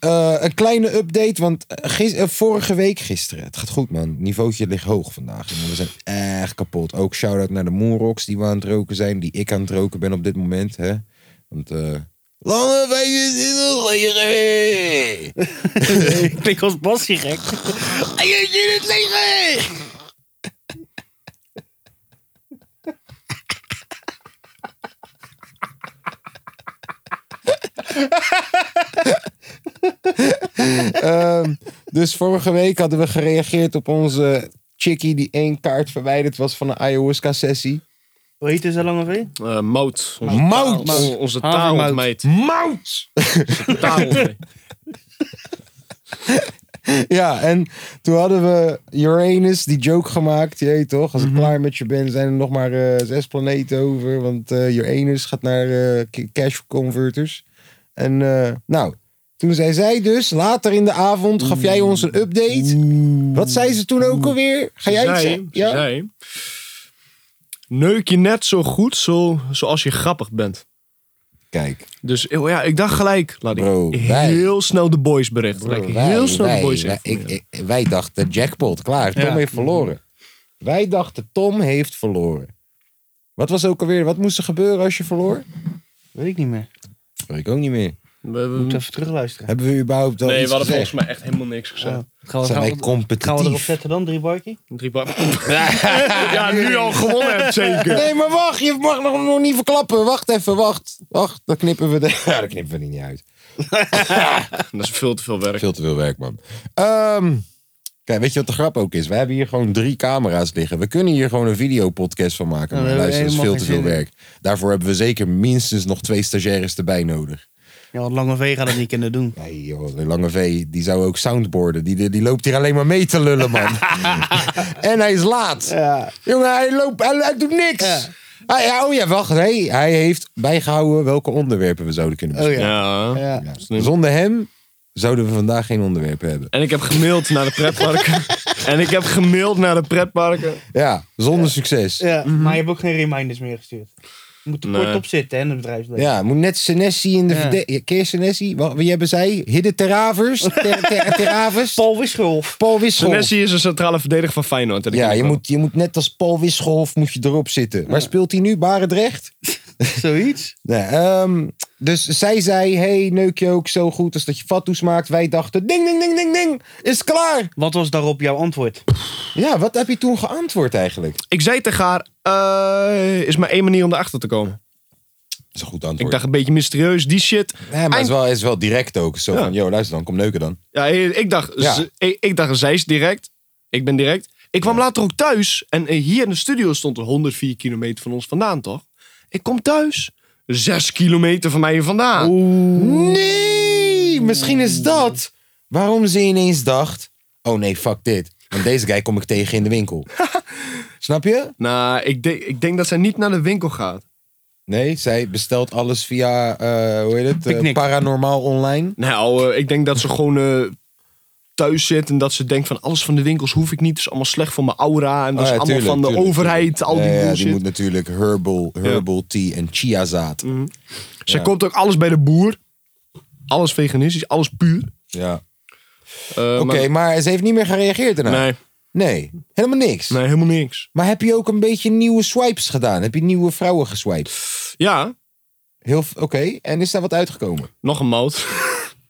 Speaker 4: Eh, een kleine update, want gis- eh, vorige week gisteren. Het gaat goed, man. Het niveautje ligt hoog vandaag. jongen. We zijn echt kapot. Ook shout-out naar de Moonrocks die we aan het roken zijn. Die ik aan het roken ben op dit moment. Hè? Want, eh Lange V is in het leger.
Speaker 5: Klinkt als Bassie gek. Je in het leger!
Speaker 4: Ehm, dus vorige week hadden we gereageerd op onze chickie die één kaart verwijderd was van een ayahuasca-sessie.
Speaker 5: Hoe heet ze Lange V?
Speaker 7: Eh Mout. Onze
Speaker 4: Mout.
Speaker 7: taal- on- Onze
Speaker 5: Havermout.
Speaker 7: taalontmeid.
Speaker 4: Mout!
Speaker 7: Taalontmeid.
Speaker 4: Ja, en toen hadden we Uranus die joke gemaakt. Je weet toch, als
Speaker 7: Mhm.
Speaker 4: ik klaar met je ben, zijn er nog maar eh, zes planeten over. Want eh, Uranus gaat naar eh, ca- cash converters. En eh, nou, toen zei zij dus, later in de avond gaf jij ons een update. Wat zei ze toen ook alweer? Ga jij iets
Speaker 7: Zij-
Speaker 4: zeggen?
Speaker 7: ze zei, Neuk je net zo goed zo, zoals je grappig bent.
Speaker 4: Kijk,
Speaker 7: Dus oh ja, ik dacht gelijk, laat ik
Speaker 4: Bro, wij-
Speaker 7: heel snel de boys berichten. Laat ik heel snel de boys
Speaker 4: wij,
Speaker 7: even-
Speaker 4: ik, ik- wij dachten, jackpot, klaar. Tom heeft verloren. Wij dachten, Tom heeft verloren. Wat was ook alweer, wat moest er gebeuren als je verloor?
Speaker 5: Weet ik niet meer.
Speaker 4: Weet ik ook niet meer.
Speaker 7: We- we-
Speaker 5: Moet even terugluisteren.
Speaker 4: Hebben we überhaupt al
Speaker 7: nee, we
Speaker 4: iets
Speaker 7: hadden
Speaker 4: gezegd?
Speaker 7: volgens mij echt helemaal niks gezegd.
Speaker 5: Gaan
Speaker 4: Zijn wij
Speaker 5: we, gaan we- gaan we erop
Speaker 4: competitief?
Speaker 5: zetten dan, drie barkie?
Speaker 7: Drie bar. ja, nu al gewonnen hebt zeker.
Speaker 4: Nee, maar wacht, je mag nog, nog niet verklappen. Wacht even, wacht. Wacht, dan knippen we de... Ja, dan knippen we die niet uit.
Speaker 7: Dat is veel te veel werk.
Speaker 4: Veel te veel werk, man. Ehm, kijk, weet je wat de grap ook is? We hebben hier gewoon drie camera's liggen. We kunnen hier gewoon een videopodcast van maken.
Speaker 5: Ja,
Speaker 4: Maar
Speaker 5: we
Speaker 4: luister, dat is veel
Speaker 5: hebben
Speaker 4: te veel
Speaker 5: helemaal geen
Speaker 4: werk. Daarvoor hebben we zeker minstens nog twee stagiaires erbij nodig.
Speaker 5: Ja, want Lange V gaat het niet kunnen doen.
Speaker 4: Nee joh, de lange V, die zou ook soundboarden. Die, die loopt hier alleen maar mee te lullen, man. en hij is laat.
Speaker 5: Ja.
Speaker 4: Jongen, hij loopt, hij, hij doet niks.
Speaker 5: Ja.
Speaker 4: Hij, ja, oh ja, wacht. Nee, hij heeft bijgehouden welke onderwerpen we zouden kunnen
Speaker 5: Oh
Speaker 4: bespreken.
Speaker 5: ja.
Speaker 7: Ja.
Speaker 5: Ja.
Speaker 4: Zonder hem zouden we vandaag geen onderwerpen hebben.
Speaker 7: En ik heb gemaild naar de pretparken. en ik heb gemaild naar de pretparken.
Speaker 4: Ja, zonder succes. Ja,
Speaker 5: Ja, Maar je hebt ook geen reminders meer gestuurd. Je moet er
Speaker 7: Nee.
Speaker 5: kort op zitten, hè, in het bedrijfsleven.
Speaker 4: moet net Senesi in de...
Speaker 5: Ja.
Speaker 4: verde- Ja. Keer Senesi, Wa- wie hebben zij? Hidde Teravers? Ter, ter, teravers?
Speaker 5: Paul Wischolf.
Speaker 4: Paul Wissel.
Speaker 7: Senesi is een centrale verdediger van Feyenoord. hè, dat
Speaker 4: Ja,
Speaker 7: kan
Speaker 4: je
Speaker 7: wel.
Speaker 4: moet, je moet net als Paul Wisselhof moet je erop zitten. Waar speelt hij nu? Barendrecht?
Speaker 5: Zoiets.
Speaker 4: Nee, ehm, dus zij zei, hey, neuk je ook zo goed als dat je fatsoes maakt. Wij dachten, ding, ding, ding, ding, ding, is klaar.
Speaker 5: Wat was daarop jouw antwoord?
Speaker 4: Ja, wat heb je toen geantwoord eigenlijk?
Speaker 7: Ik zei tegen haar, eh, is maar één manier om erachter te komen.
Speaker 4: Dat is een goed
Speaker 7: Ik
Speaker 4: antwoord.
Speaker 7: dacht een beetje mysterieus, die shit.
Speaker 4: nee, maar het is wel, is wel direct ook. Zo
Speaker 7: Ja.
Speaker 4: van, yo, luister dan, kom neuken dan.
Speaker 7: Ja, ik dacht,
Speaker 4: Ja.
Speaker 7: ze- ik, ik dacht, zij is direct. Ik ben direct. Ik kwam later ook thuis. En eh, hier in de studio stond er 104 kilometer van ons vandaan, toch? Ik kom thuis. Zes kilometer van mij vandaan.
Speaker 4: Nee, misschien is dat waarom ze ineens dacht, oh nee, fuck dit. Want deze guy kom ik tegen in de winkel. Snap je?
Speaker 7: Nou, ik, denk- ik denk dat zij niet naar de winkel gaat.
Speaker 4: Nee, zij bestelt alles via, eh, hoe heet het, eh,
Speaker 5: Picnic.
Speaker 4: Paranormaal Online.
Speaker 7: Nou, eh, ik denk dat ze gewoon eh, thuis zit. En dat ze denkt van alles van de winkels hoef ik niet. Het is allemaal slecht voor mijn aura. En dat
Speaker 4: Ah, ja,
Speaker 7: is allemaal
Speaker 4: tuurlijk,
Speaker 7: van de
Speaker 4: tuurlijk,
Speaker 7: overheid. Al die
Speaker 4: Ja, ja, die
Speaker 7: bullshit.
Speaker 4: moet natuurlijk herbal, herbal tea en chiazaad.
Speaker 7: Zij koopt ook alles bij de boer. Alles veganistisch, alles puur.
Speaker 4: Ja.
Speaker 7: Eh,
Speaker 4: Oké, nou.
Speaker 7: maar-
Speaker 4: maar ze heeft niet meer gereageerd daarna.
Speaker 7: nee,
Speaker 4: Nee, helemaal niks.
Speaker 7: nee, helemaal niks.
Speaker 4: Maar heb je ook een beetje nieuwe swipes gedaan? Heb je nieuwe vrouwen geswiped?
Speaker 7: Ja,
Speaker 4: Heel, f- oké, en is daar wat uitgekomen?
Speaker 7: nog een mout.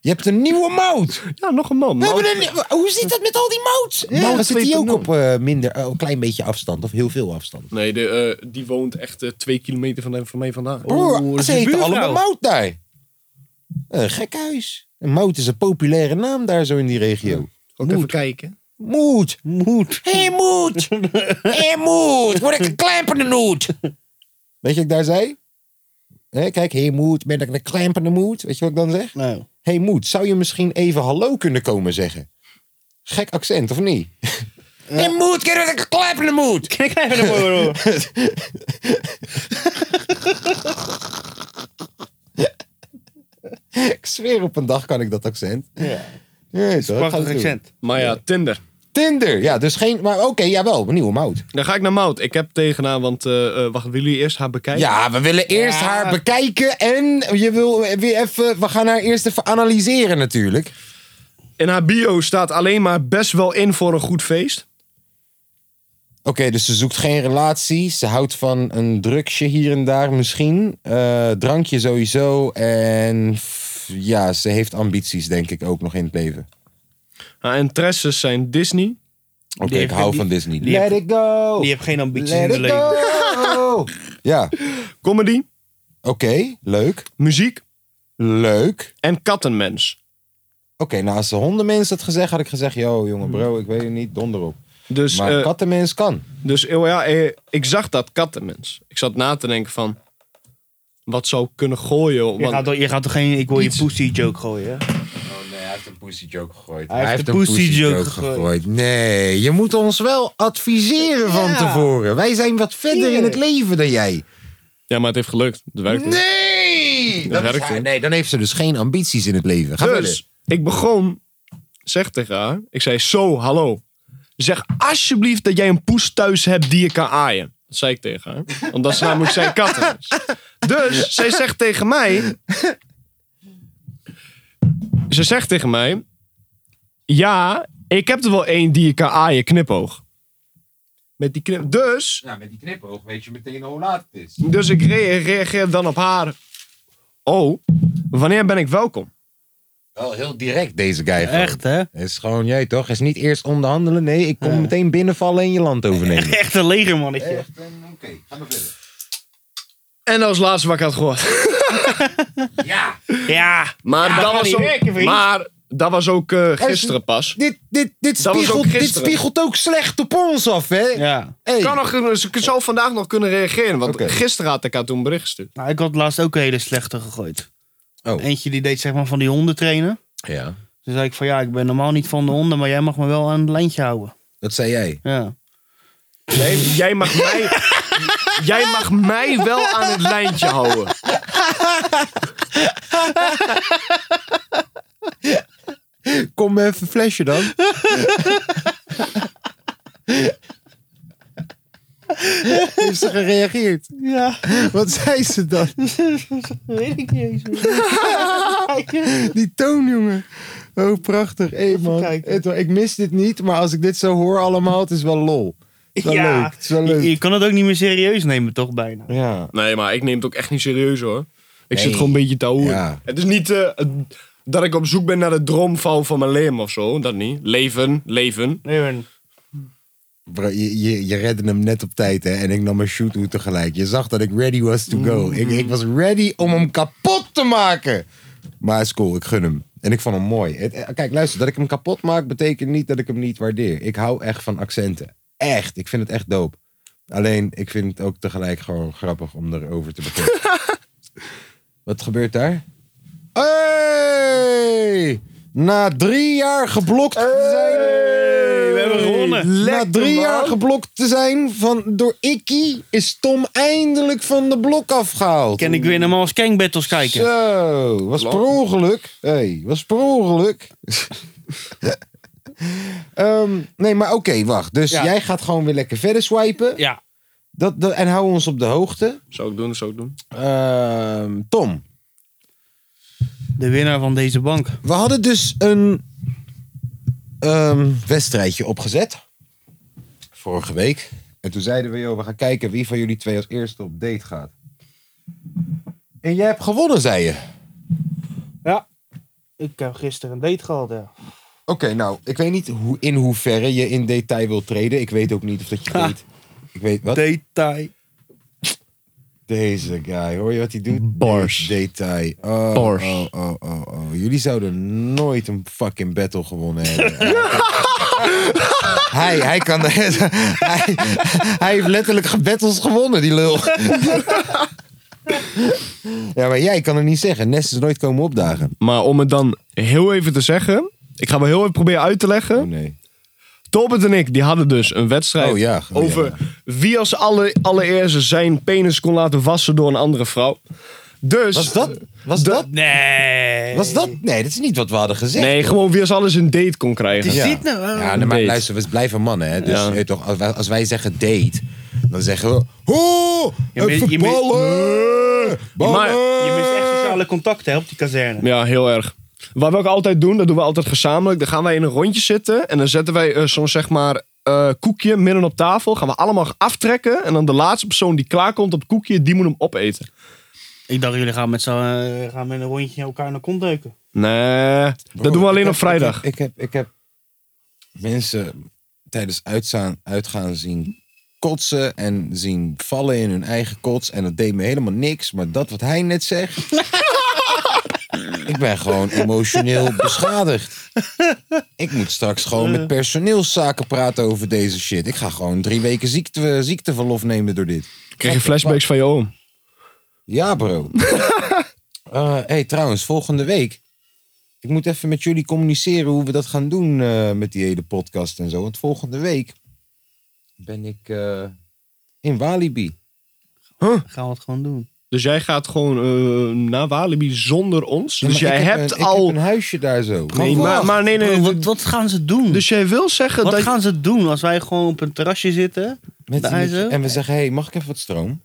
Speaker 4: Je hebt een nieuwe mout.
Speaker 7: ja, nog een man.
Speaker 4: We
Speaker 7: Mout.
Speaker 4: hebben een- hoe zit dat met al die mouts? Ja,
Speaker 7: Mout
Speaker 4: zit die ook
Speaker 7: 2.0.
Speaker 4: op eh, minder, eh, een klein beetje afstand of heel veel afstand?
Speaker 7: Nee, de, eh, die woont echt eh, twee kilometer van, van mij vandaan.
Speaker 4: Broer,
Speaker 5: dat is
Speaker 4: ze
Speaker 5: een
Speaker 4: heten
Speaker 5: buurvrouw.
Speaker 4: allemaal mout daar. Een gek huis. Een mout is een populaire naam daar zo in die regio.
Speaker 7: Ook even kijken.
Speaker 4: Moed. Moed. Hé, hey, moed. Hé, hey, moed. Word ik een klempende moed. Weet je wat ik daar zei? Hè, kijk, hé, hey, moed. Ben ik een klempende moed? Weet je wat ik dan zeg?
Speaker 5: Nou,
Speaker 4: Hé hey Moed, zou je misschien even hallo kunnen komen zeggen? Gek accent, of niet? Hé hey Moed, kijk wat ik klap in de Moed!
Speaker 5: ik krijg er nog wel door.
Speaker 4: Ik zweer op een dag kan ik dat accent.
Speaker 5: Ja.
Speaker 4: Ja, dat gaat
Speaker 5: Prachtig
Speaker 4: doen.
Speaker 5: accent.
Speaker 7: Maar ja, Tinder.
Speaker 4: Tinder, ja, dus geen... Maar oké, jawel, een nieuwe mout.
Speaker 7: Dan ga ik naar Mout. Ik heb tegenaan, want eh, eh, wacht, willen jullie eerst haar bekijken?
Speaker 4: Ja, we willen eerst
Speaker 5: Ja.
Speaker 4: haar bekijken en je wil weer even... We gaan haar eerst even analyseren natuurlijk.
Speaker 7: In haar bio staat alleen maar best wel in voor een goed feest.
Speaker 4: Oké, dus ze zoekt geen relatie. Ze houdt van een drugsje hier en daar misschien. Eh, drankje sowieso. En f- ja, ze heeft ambities denk ik ook nog in het leven.
Speaker 7: Haar interesses zijn Disney.
Speaker 4: Oké,
Speaker 5: Die
Speaker 4: ik
Speaker 5: heeft-
Speaker 4: hou
Speaker 5: die-
Speaker 4: van Disney.
Speaker 5: die heeft-
Speaker 4: it go!
Speaker 5: Die heeft geen ambities in het leven.
Speaker 4: go! ja, oké,
Speaker 7: Comedy,
Speaker 4: leuk.
Speaker 7: muziek
Speaker 4: Leuk.
Speaker 7: en kattenmens.
Speaker 4: Oké, nou als de hondenmens had gezegd, had ik gezegd... Yo, jongen bro, ik weet het niet, donder op.
Speaker 7: Dus,
Speaker 4: Maar
Speaker 7: eh,
Speaker 4: kattenmens kan.
Speaker 7: dus eh, ja, eh, ik zag dat kattenmens. Ik zat na te denken van, wat zou ik kunnen gooien?
Speaker 5: Je
Speaker 7: want-
Speaker 5: gaat, toch- je gaat toch geen ik wil je pussy joke gooien? hè?
Speaker 4: Oh nee, hij heeft een pussy joke gegooid.
Speaker 5: Hij heeft een pussy joke
Speaker 4: Nee, je moet ons wel adviseren van tevoren. Wij zijn wat verder in het leven dan jij.
Speaker 7: Ja, maar het heeft gelukt. Het werkt niet.
Speaker 4: Nee! Dat is
Speaker 7: werkt
Speaker 4: haar-
Speaker 7: niet.
Speaker 4: nee, dan heeft ze dus geen ambities in het leven. Ga verder.
Speaker 7: Dus ik begon, zeg tegen haar, ik zei zo, hallo. Zeg alsjeblieft dat jij een poes thuis hebt die je kan aaien. Dat zei ik tegen haar. Want dat is namelijk zijn katten. Dus zij zegt tegen mij... Ze zegt tegen mij... Ja, ik heb er wel één die je kan aaien, knipoog. Met die knip... Dus,
Speaker 4: Ja, met die knipoog weet je meteen hoe laat het is.
Speaker 7: dus ik re- reageer dan op haar... Oh, wanneer ben ik welkom?
Speaker 4: Wel heel direct deze guy. gewoon.
Speaker 5: Echt hè?
Speaker 4: Het is gewoon jij toch? Het is niet eerst onderhandelen. Nee, ik kom meteen binnenvallen en je land overnemen.
Speaker 5: Echt een legermannetje.
Speaker 4: Echt, en oké, ga maar verder.
Speaker 7: En als laatste wat ik had gehoord.
Speaker 4: Ja!
Speaker 5: Ja.
Speaker 7: Maar, dat,
Speaker 5: gaat
Speaker 7: was
Speaker 5: niet
Speaker 7: ook,
Speaker 5: werken, vriend.
Speaker 7: maar dat was ook eh, gisteren pas.
Speaker 4: Dit, dit, dit,
Speaker 7: Dat was ook
Speaker 4: spiegelt, dit
Speaker 7: gisteren.
Speaker 4: spiegelt ook slecht op ons af, hè?
Speaker 5: Ja.
Speaker 4: Hey.
Speaker 7: Kan nog, ze zou vandaag nog kunnen reageren, want
Speaker 4: Oké.
Speaker 7: gisteren had ik haar toen een bericht gestuurd.
Speaker 5: Nou, ik had laatst ook een hele slechte gegooid.
Speaker 4: Oh.
Speaker 5: Eentje die deed zeg maar van die honden trainen.
Speaker 4: Ja,
Speaker 5: Toen zei ik van ja, ik ben normaal niet van de honden, maar jij mag me wel aan het lijntje houden.
Speaker 4: dat zei jij.
Speaker 5: Ja.
Speaker 7: Nee, jij mag mij, jij mag mij wel aan het lijntje houden.
Speaker 4: Kom even een flesje dan. Heeft ze gereageerd?
Speaker 5: Ja,
Speaker 4: Wat zei ze dan?
Speaker 5: weet ik niet eens
Speaker 4: Die toon, jongen. Oh, prachtig. Hé, man.
Speaker 5: kijken.
Speaker 4: Edward, ik mis dit niet, maar als ik dit zo hoor allemaal, het is wel lol. Het is wel
Speaker 5: Ja.
Speaker 4: leuk. Het is wel
Speaker 5: Je,
Speaker 4: leuk.
Speaker 5: je kan het ook niet meer serieus nemen toch bijna.
Speaker 4: Ja.
Speaker 7: Nee, maar ik neem het ook echt niet serieus hoor. Ik
Speaker 4: Nee.
Speaker 7: zit gewoon een beetje te hoeren.
Speaker 4: Ja.
Speaker 7: Het is niet eh, dat ik op zoek ben naar de droomvouw van mijn leven of zo. Dat niet. Leven, leven.
Speaker 5: Nee, man.
Speaker 4: Bro, je, je, je redde hem net op tijd, hè? En ik nam mijn shoot tegelijk. Je zag dat ik ready was to go.
Speaker 5: Mm-hmm.
Speaker 4: Ik, ik was ready om hem kapot te maken. Maar is cool, ik gun hem. En ik vond hem mooi. Het- eh, kijk, luister, dat ik hem kapot maak betekent niet dat ik hem niet waardeer. Ik hou echt van accenten. Echt. Ik vind het echt dope. Alleen, ik vind het ook tegelijk gewoon grappig om erover te beginnen. Wat gebeurt daar? Hey! Na drie jaar geblokt te zijn.
Speaker 5: we hebben gewonnen.
Speaker 4: Na drie jaar geblokt te zijn van, door Ikkie is Tom eindelijk van de blok afgehaald.
Speaker 5: Kan ik weer normaal als Kang Battles kijken?
Speaker 4: Zo, was per ongeluk. hey, was per ongeluk. Ehm, nee, maar oké, wacht. Dus
Speaker 5: Ja.
Speaker 4: jij gaat gewoon weer lekker verder swipen.
Speaker 5: Ja.
Speaker 4: Dat, dat, en hou ons op de hoogte.
Speaker 7: Zou ik doen, zou ik doen.
Speaker 4: Ehm, Tom,
Speaker 5: De winnaar van deze bank.
Speaker 4: we hadden dus een ehm, wedstrijdje opgezet. Vorige week. En toen zeiden we, joh, we gaan kijken wie van jullie twee als eerste op date gaat. En jij hebt gewonnen, zei je.
Speaker 5: Ik heb gisteren een date gehad, ja.
Speaker 4: Oké, nou, ik weet niet hoe, in hoeverre je in detail wilt treden. Ik weet ook niet of dat je weet. Ik weet wat?
Speaker 5: Detail.
Speaker 4: Deze guy, hoor je wat hij doet?
Speaker 7: Bars.
Speaker 4: Detail. Oh,
Speaker 7: Bars.
Speaker 4: oh, oh, oh, oh. Jullie zouden nooit een fucking battle gewonnen hebben. hij, hij kan... hij, hij heeft letterlijk battles gewonnen, die lul. ja, maar jij kan het niet zeggen. Nest is nooit komen opdagen.
Speaker 7: Maar om het dan heel even te zeggen. Ik ga wel heel even proberen uit te leggen.
Speaker 4: Oh, nee.
Speaker 7: Tobit en ik die hadden dus een wedstrijd
Speaker 4: Oh, ja. Oh,
Speaker 7: over wie als alle, allereerste zijn penis kon laten wassen door een andere vrouw. Dus.
Speaker 4: Was dat? Was
Speaker 7: De-
Speaker 4: dat?
Speaker 5: Nee.
Speaker 4: Was dat? Nee, dat is niet wat we hadden gezegd.
Speaker 7: Nee, gewoon wie als alles een date kon krijgen.
Speaker 5: Is
Speaker 4: Ja.
Speaker 5: dit nou?
Speaker 4: Ja, nou, maar
Speaker 7: date.
Speaker 4: luister, we blijven mannen, hè. Dus
Speaker 7: Ja.
Speaker 4: je weet toch, als wij, als wij zeggen date, dan zeggen we... Ho!
Speaker 5: Je mi-
Speaker 4: even
Speaker 5: je mi-
Speaker 4: ballen! Ballen!
Speaker 7: Maar
Speaker 5: Je mist echt sociale contacten hè, op die kazerne.
Speaker 7: Ja, heel erg. Wat we ook altijd doen, dat doen we altijd gezamenlijk. Dan gaan wij in een rondje zitten en dan zetten wij eh, zo'n zeg maar eh, koekje midden op tafel. Gaan we allemaal aftrekken en dan de laatste persoon die klaarkomt op het koekje, die moet hem opeten.
Speaker 5: Ik dacht, jullie gaan met, z'n, eh, gaan met een rondje elkaar naar kont deuken.
Speaker 7: Nee, dat doen we alleen op vrijdag.
Speaker 4: Ik heb, ik heb mensen tijdens uitzaan, uitgaan zien kotsen en zien vallen in hun eigen kots. En dat deed me helemaal niks. Maar dat wat hij net zegt... ik ben gewoon emotioneel beschadigd. Ik moet straks gewoon
Speaker 7: Eh.
Speaker 4: met personeelszaken praten over deze shit. Ik ga gewoon drie weken ziekte, ziekteverlof nemen door dit.
Speaker 7: Krijg je flashbacks van je oom?
Speaker 4: Ja, bro. Eh hey, trouwens, volgende week. Ik moet even met jullie communiceren hoe we dat gaan doen eh, met die hele podcast en zo. Want volgende week ben ik eh, in Walibi.
Speaker 5: Dan gaan we het gewoon doen.
Speaker 7: Dus jij gaat gewoon eh, naar Walibi zonder ons.
Speaker 4: Ja,
Speaker 7: dus
Speaker 4: maar
Speaker 7: jij
Speaker 4: ik heb
Speaker 7: hebt
Speaker 4: een, Ik
Speaker 7: al.
Speaker 4: heb een huisje daar zo.
Speaker 7: Nee,
Speaker 4: Gewoon
Speaker 7: maar,
Speaker 4: wacht.
Speaker 7: maar nee, nee.
Speaker 5: Bro, wat, wat gaan ze doen?
Speaker 7: Dus jij wil zeggen
Speaker 5: wat
Speaker 7: dat.
Speaker 5: gaan ze doen als wij gewoon op een terrasje zitten?
Speaker 4: Met-
Speaker 5: daar
Speaker 4: met-
Speaker 5: zo?
Speaker 4: en we zeggen, hey, mag ik even wat stroom?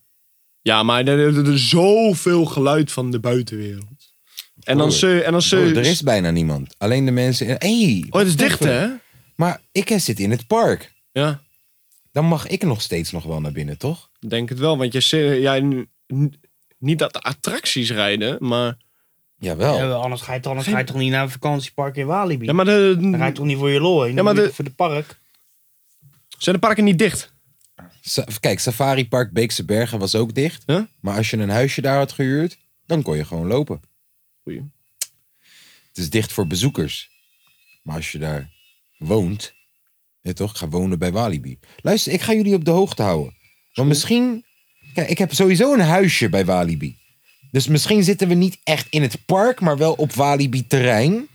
Speaker 7: Ja, maar er er- er is zoveel geluid van de buitenwereld. En dan
Speaker 4: Broer,
Speaker 7: ze. En dan ze
Speaker 4: Broer, Oh, er is bijna niemand. Alleen de mensen... In... Hey,
Speaker 7: Oh, het is dicht, hè?
Speaker 4: Maar ik eh, zit in het park.
Speaker 7: Ja,
Speaker 4: Dan mag ik nog steeds nog wel naar binnen, toch?
Speaker 7: denk het wel. Want je, zit- jij. n- Niet dat de attracties rijden, maar.
Speaker 4: Jawel.
Speaker 5: Ja, anders ga je, toch- anders ga je toch niet naar een vakantiepark in Walibi?
Speaker 7: Ja, maar de,
Speaker 5: Dan ga je toch niet voor je lol heen?
Speaker 7: Ja, maar
Speaker 5: Dan moet je
Speaker 7: de-
Speaker 5: toch voor de park.
Speaker 7: zijn de parken niet dicht?
Speaker 4: Sa- Kijk, Safari Park Beekse Bergen was ook dicht.
Speaker 7: Ja?
Speaker 4: Maar als je een huisje daar had gehuurd, dan kon je gewoon lopen.
Speaker 7: Goeie.
Speaker 4: Het is dicht voor bezoekers. Maar als je daar woont, weet je toch, ga wonen bij Walibi. Luister, ik ga jullie op de hoogte houden. Want misschien, kijk, ik heb sowieso een huisje bij Walibi. Dus misschien zitten we niet echt in het park, maar wel op Walibi-terrein.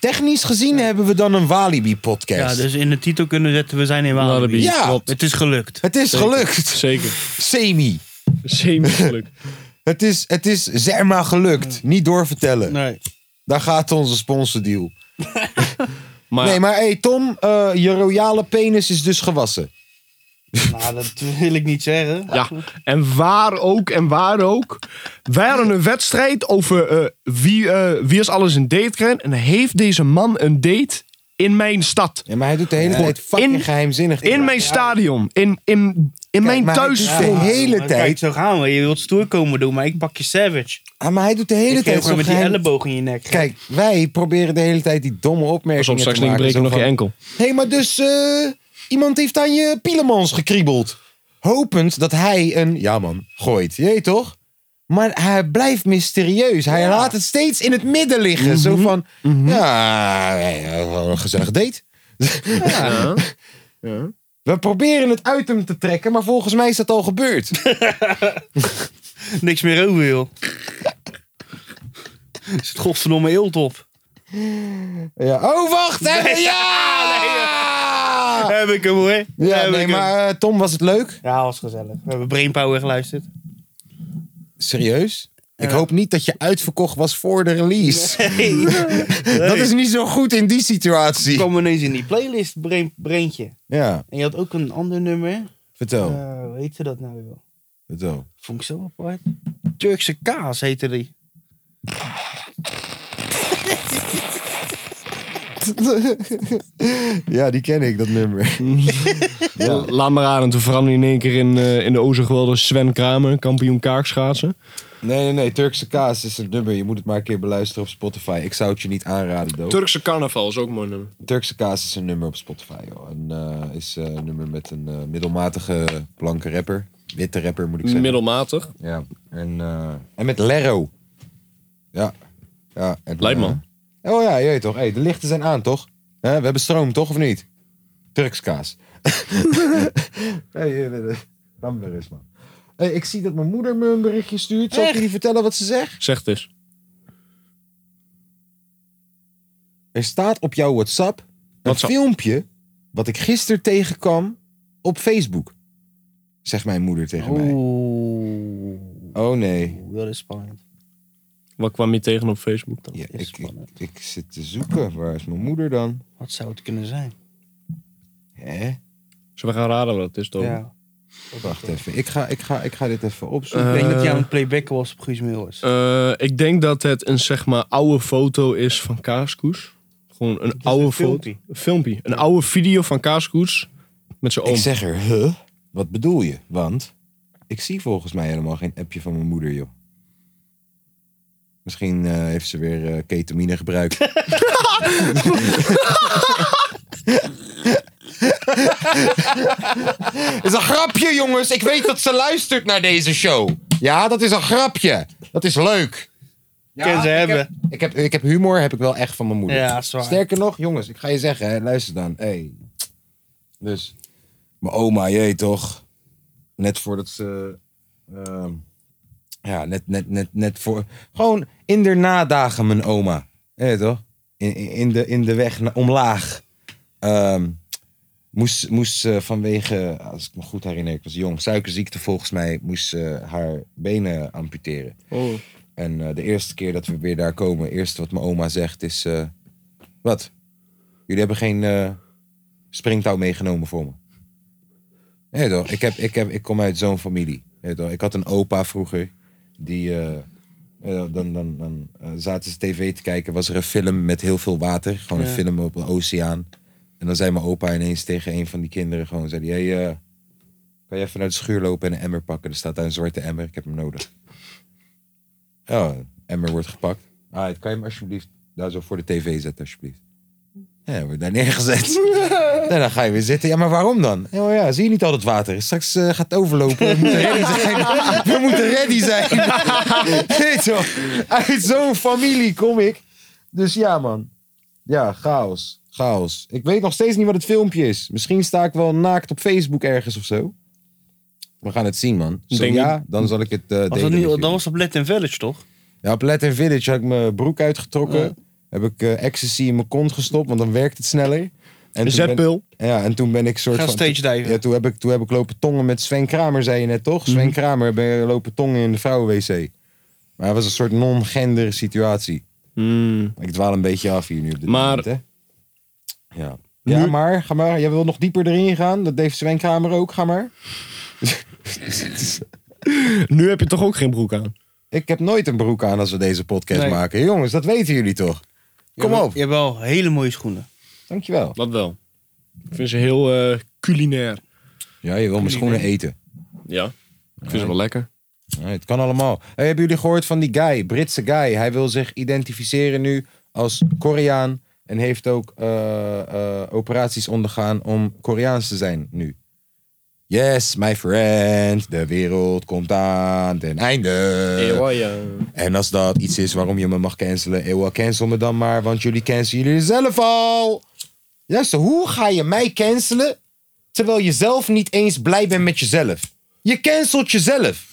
Speaker 4: Technisch gezien hebben we dan een
Speaker 5: Ja,
Speaker 4: Walibi-podcast.
Speaker 5: dus in de titel kunnen zetten we zijn in Walibi.
Speaker 7: Walibi,
Speaker 4: Ja. klopt.
Speaker 5: Het is gelukt.
Speaker 4: Het is gelukt.
Speaker 7: Zeker.
Speaker 4: Semi.
Speaker 7: Semi-geluk.
Speaker 4: Het is, het is zeg maar gelukt. Niet doorvertellen.
Speaker 5: Nee.
Speaker 4: Daar gaat onze sponsordeal.
Speaker 7: Maar,
Speaker 4: Nee, maar hey, Tom, eh, je royale penis is dus gewassen.
Speaker 5: Nou, dat wil ik niet zeggen.
Speaker 7: Ja, en waar ook, en waar ook. Wij hadden een wedstrijd over eh, wie, eh, wie is alles een date krijgt. En heeft deze man een date in mijn stad.
Speaker 4: Ja, maar hij doet de hele tijd fucking
Speaker 7: In-
Speaker 4: geheimzinnig.
Speaker 7: In mijn stadion. In, in, in mijn
Speaker 4: maar hij doet
Speaker 7: thuisfront.
Speaker 4: de hele
Speaker 5: Maar Kijk,
Speaker 4: tijd.
Speaker 5: zo gaan we. Je wilt stoer komen doen, maar ik pak je savage.
Speaker 4: Ah, maar hij doet de hele
Speaker 5: ik geef
Speaker 4: tijd
Speaker 5: gewoon
Speaker 4: zo
Speaker 5: met die
Speaker 4: geheim-
Speaker 5: elleboog in je nek.
Speaker 4: Kijk, wij proberen de hele tijd die domme opmerkingen
Speaker 7: Soms straks
Speaker 4: te maken.
Speaker 7: breek je
Speaker 4: zo
Speaker 7: nog je
Speaker 4: van,
Speaker 7: enkel.
Speaker 4: Hé, maar dus eh, iemand heeft aan je pielemans gekriebeld. Hopend dat hij een ja man gooit. Je weet toch? Maar hij blijft mysterieus. Hij laat het steeds in het midden liggen.
Speaker 7: Mhm.
Speaker 4: Zo van, ja, eh, een gezellig date.
Speaker 7: Ja.
Speaker 4: We proberen het uit hem te trekken, maar volgens mij is dat al gebeurd.
Speaker 5: Niks meer over, joh. Is het godverdomme eelt op.
Speaker 4: ja. Oh, wacht! hè. Ja!
Speaker 5: Heb ik hem, hoor.
Speaker 4: Ja, nee,
Speaker 5: Heb ik hem.
Speaker 4: maar eh, Tom, was het leuk?
Speaker 5: Ja, was gezellig. We hebben Brainpower geluisterd.
Speaker 4: Serieus? Ik hoop niet dat je uitverkocht was voor de release. Dat is niet zo goed in die
Speaker 5: Ik
Speaker 4: situatie.
Speaker 5: kwam ineens in die playlist, Brain, Braintje.
Speaker 4: Ja,
Speaker 5: En je had ook een ander nummer.
Speaker 4: vertel.
Speaker 5: Eh, hoe heette dat nou, joh?
Speaker 4: vertel.
Speaker 5: Vond ik zo apart. Turkse kaas heette die.
Speaker 4: ja, die ken ik, dat nummer.
Speaker 7: Ja. Laat maar aan, en toen veranderde hij in één keer in, eh, in de ozengeweldige Sven Kramer, kampioen kaakschaatsen.
Speaker 4: Nee, nee, nee. Turkse kaas is een nummer. Je moet het maar een keer beluisteren op Spotify. Ik zou het je niet aanraden, dood.
Speaker 7: Turkse carnaval is ook mooi nummer.
Speaker 4: Turkse kaas is een nummer op Spotify, joh. En eh, is eh, een nummer met een eh, middelmatige blanke rapper. Witte rapper, moet ik zeggen.
Speaker 7: Middelmatig.
Speaker 4: Ja. En, eh, en met Lero. Ja. ja en,
Speaker 7: Leidman.
Speaker 4: eh, oh ja, je weet toch. Hey, de lichten zijn aan, toch? Hè, we hebben stroom, toch? Of niet? Turkse kaas. hey, je bent een rammer is, man. Hey, ik zie dat mijn moeder me een berichtje stuurt. Zal ik jullie vertellen wat ze zegt?
Speaker 7: Zeg het eens.
Speaker 4: Er staat op jouw WhatsApp een
Speaker 7: WhatsApp.
Speaker 4: filmpje wat ik gisteren tegenkwam op Facebook. Zegt mijn moeder tegen mij.
Speaker 5: Oeh,
Speaker 4: Oh nee,
Speaker 5: dat is spannend.
Speaker 7: Wat kwam je tegen op Facebook dan?
Speaker 4: Ja,
Speaker 5: is
Speaker 4: ik, ik,
Speaker 5: spannend.
Speaker 4: ik zit te zoeken. Waar is mijn moeder dan?
Speaker 5: Wat zou het kunnen zijn?
Speaker 4: Hè?
Speaker 7: Zullen we gaan raden wat het is, toch?
Speaker 5: Ja.
Speaker 4: Wacht even, ik ga, ik, ga, ik ga dit even opzoeken.
Speaker 5: Ik denk dat jij
Speaker 7: Eh.
Speaker 5: aan het playbacken was op Guus Meeuwis.
Speaker 7: Eh, ik denk dat het een zeg maar oude foto is van Kaaskoes. Gewoon een
Speaker 5: een
Speaker 7: oude foto.
Speaker 5: filmpje.
Speaker 7: Een filmpje. Een oude video van Kaaskoes met zijn oom.
Speaker 4: Ik zeg er, huh? Wat bedoel je? Want ik zie volgens mij helemaal geen appje van mijn moeder, joh. Misschien eh, heeft ze weer eh, ketamine gebruikt. is een grapje, jongens. Ik weet dat ze luistert naar deze show. Ja, dat is een grapje. Dat is leuk. Ja,
Speaker 5: Kan ze
Speaker 4: ik
Speaker 5: hebben.
Speaker 4: Heb, ik, heb, ik heb humor, heb ik wel echt van mijn moeder.
Speaker 5: Ja, is waar.
Speaker 4: Sterker nog, jongens, ik ga je zeggen, hè, luister dan. Hey. Dus, mijn oma, jee toch. Net voordat ze... ehm, ja, net, net, net, net voor... Gewoon in de nadagen, mijn oma. Je weet toch? In, in- in, de, in de weg na- omlaag. Ehm, moest, moest ze vanwege, als ik me goed herinner, ik was jong, suikerziekte volgens mij, moest ze haar benen amputeren.
Speaker 7: Oh.
Speaker 4: En eh, de eerste keer dat we weer daar komen, eerste wat mijn oma zegt is: eh, Wat? Jullie hebben geen eh, springtouw meegenomen voor me. Nee toch? Ik, heb, ik, heb, ik kom uit zo'n familie. Nee toch? Ik had een opa vroeger die. eh, eh, dan dan, dan eh, zaten ze tv te kijken, was er een film met heel veel water. Gewoon een
Speaker 5: Ja.
Speaker 4: film op een oceaan. En dan zei mijn opa ineens tegen een van die kinderen gewoon, zei hij, hey, eh, kan je even naar de schuur lopen en een emmer pakken? Er staat daar een zwarte emmer, ik heb hem nodig. Ja, een emmer Oh, wordt gepakt. Ah, kan je hem alsjeblieft daar zo voor de tv zetten, alsjeblieft. Ja, wordt daar neergezet. en dan ga je weer zitten. Ja, maar waarom dan? Oh ja, zie je niet al dat water? Straks eh, gaat het overlopen. We moeten ready zijn. We moeten ready zijn. Weet je wel, Uit zo'n familie kom ik. Dus ja, man. Ja, chaos. Chaos. Ik weet nog steeds niet wat het filmpje is. Misschien sta ik wel naakt op Facebook ergens of zo. We gaan het zien, man. Zo
Speaker 7: Denk-
Speaker 4: ja, dan zal ik het eh
Speaker 5: was
Speaker 4: delen
Speaker 5: dat,
Speaker 4: met
Speaker 5: niet,
Speaker 4: jullie.
Speaker 5: dat was op Let in Village, toch?
Speaker 4: Ja, op Latin Village had ik mijn broek uitgetrokken.
Speaker 5: Ja.
Speaker 4: Heb ik eh, ecstasy in mijn kont gestopt, want dan werkt het sneller. En toen ben,
Speaker 7: Zetpil.
Speaker 4: ja, en toen ben ik soort
Speaker 5: Ga
Speaker 4: van...
Speaker 5: stage diven.
Speaker 4: Ja, toen heb, ik, toen heb ik lopen tongen met Sven Kramer, zei je net toch? Sven Kramer ben je lopen tongen in de vrouwenwc. Maar het was een soort non-gender situatie.
Speaker 7: Hmm.
Speaker 4: Ik dwaal een beetje af hier nu op dit
Speaker 7: Maar-
Speaker 4: moment, hè? Ja. Ja,
Speaker 7: Nu-
Speaker 4: maar, ga maar. Jij wil nog dieper erin gaan. Dat deed Sven Kramer ook, ga maar.
Speaker 7: Nu heb je toch ook geen broek aan?
Speaker 4: Ik heb nooit een broek aan als we deze podcast
Speaker 5: Nee.
Speaker 4: maken. Jongens, dat weten jullie toch? Kom
Speaker 5: Je hebt-
Speaker 4: op.
Speaker 5: Je hebt wel hele mooie schoenen.
Speaker 4: Dankjewel.
Speaker 7: Dat wel. Ik vind ze heel eh, culinair.
Speaker 4: Ja, je wil mijn schoenen eten.
Speaker 7: Ja. Ik vind ze wel lekker.
Speaker 4: Nee, het kan allemaal. Hey, hebben jullie gehoord van die guy, Britse guy? Hij wil zich identificeren nu als Koreaan. En heeft ook eh, eh, operaties ondergaan om Koreaans te zijn nu. Yes, my friend, de wereld komt aan ten einde.
Speaker 7: Ewa, ja.
Speaker 4: En als dat iets is waarom je me mag cancelen, eeuw, cancel me dan maar, want jullie cancelen jullie zelf al. Luister, hoe ga je mij cancelen terwijl je zelf niet eens blij bent met jezelf? Je cancelt jezelf.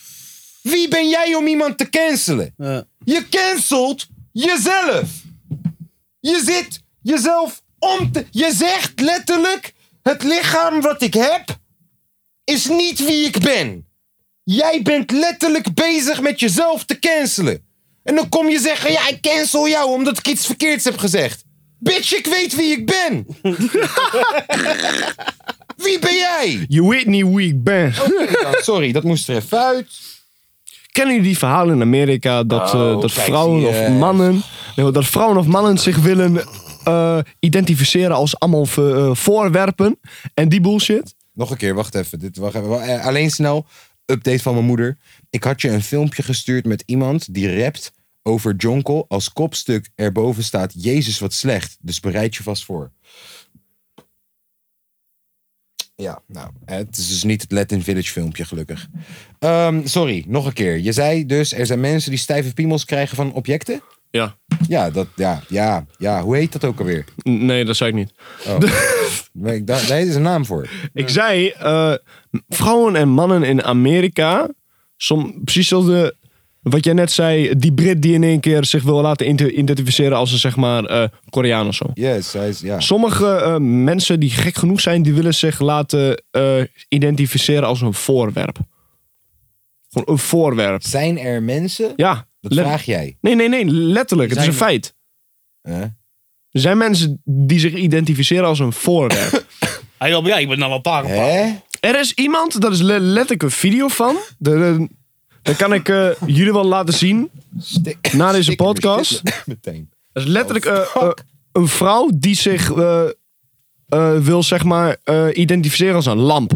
Speaker 4: Wie ben jij om iemand te cancelen?
Speaker 5: Ja.
Speaker 4: Je cancelt jezelf. Je zit jezelf om te. Je zegt letterlijk: het lichaam wat ik heb is niet wie ik ben. Jij bent letterlijk bezig met jezelf te cancelen. En dan kom je zeggen: ja, ik cancel jou omdat ik iets verkeerds heb gezegd. Bitch, ik weet wie ik ben. wie ben jij?
Speaker 7: Je Whitney Week Band.
Speaker 4: Oh. Sorry, dat moest er even uit.
Speaker 7: Kennen jullie die verhalen in Amerika dat, eh,
Speaker 4: Oh,
Speaker 7: dat
Speaker 4: kijk,
Speaker 7: vrouwen
Speaker 4: zie je.
Speaker 7: of mannen. nee, dat vrouwen of mannen zich willen eh, identificeren als allemaal ver- eh, voorwerpen en die bullshit.
Speaker 4: Nog een keer, wacht even. Dit, wacht even. Wa- eh, Alleen snel, update van mijn moeder. Ik had je een filmpje gestuurd met iemand die rapt over Jonkel. Als kopstuk erboven staat, Jezus wat slecht. Dus bereid je vast voor. Ja, nou, hè, het is dus niet het Latin Village filmpje, gelukkig. Ehm, sorry, nog een keer. Je zei dus, er zijn mensen die stijve piemels krijgen van objecten?
Speaker 8: Ja.
Speaker 4: Ja, dat, ja, ja, ja. Hoe heet dat ook alweer?
Speaker 8: N- Nee, dat zei ik niet.
Speaker 4: Maar ik dacht- Daar is een naam voor.
Speaker 8: Ik zei, eh,
Speaker 7: Vrouwen en mannen in Amerika, som, precies zoals de, wat jij net zei, die Brit die in één keer zich wil laten inte- identificeren als een zeg maar eh, Koreaan of zo.
Speaker 4: Yes, hij is, ja.
Speaker 7: Sommige eh, mensen die gek genoeg zijn, die willen zich laten eh, identificeren als een voorwerp. Gewoon een voorwerp.
Speaker 4: Zijn er mensen
Speaker 7: Ja.
Speaker 4: Dat
Speaker 7: let-
Speaker 4: vraag jij.
Speaker 7: Nee, nee, nee. Letterlijk. Het is een
Speaker 4: Zijn-
Speaker 7: feit.
Speaker 4: Hè?
Speaker 7: Er zijn mensen die zich identificeren als een voorwerp.
Speaker 5: Hij dacht, ja, ik ben nou wel paar.
Speaker 4: Hè?
Speaker 7: er is iemand, daar is le- letterlijk een video van. De, de- dat kan ik eh, jullie wel laten zien.
Speaker 4: Stik-
Speaker 7: Na deze
Speaker 4: stik in mijn
Speaker 7: podcast?
Speaker 4: shit Meteen.
Speaker 7: Dat is letterlijk eh, eh, een vrouw die zich eh, eh, wil, zeg maar, eh, identificeren als een lamp.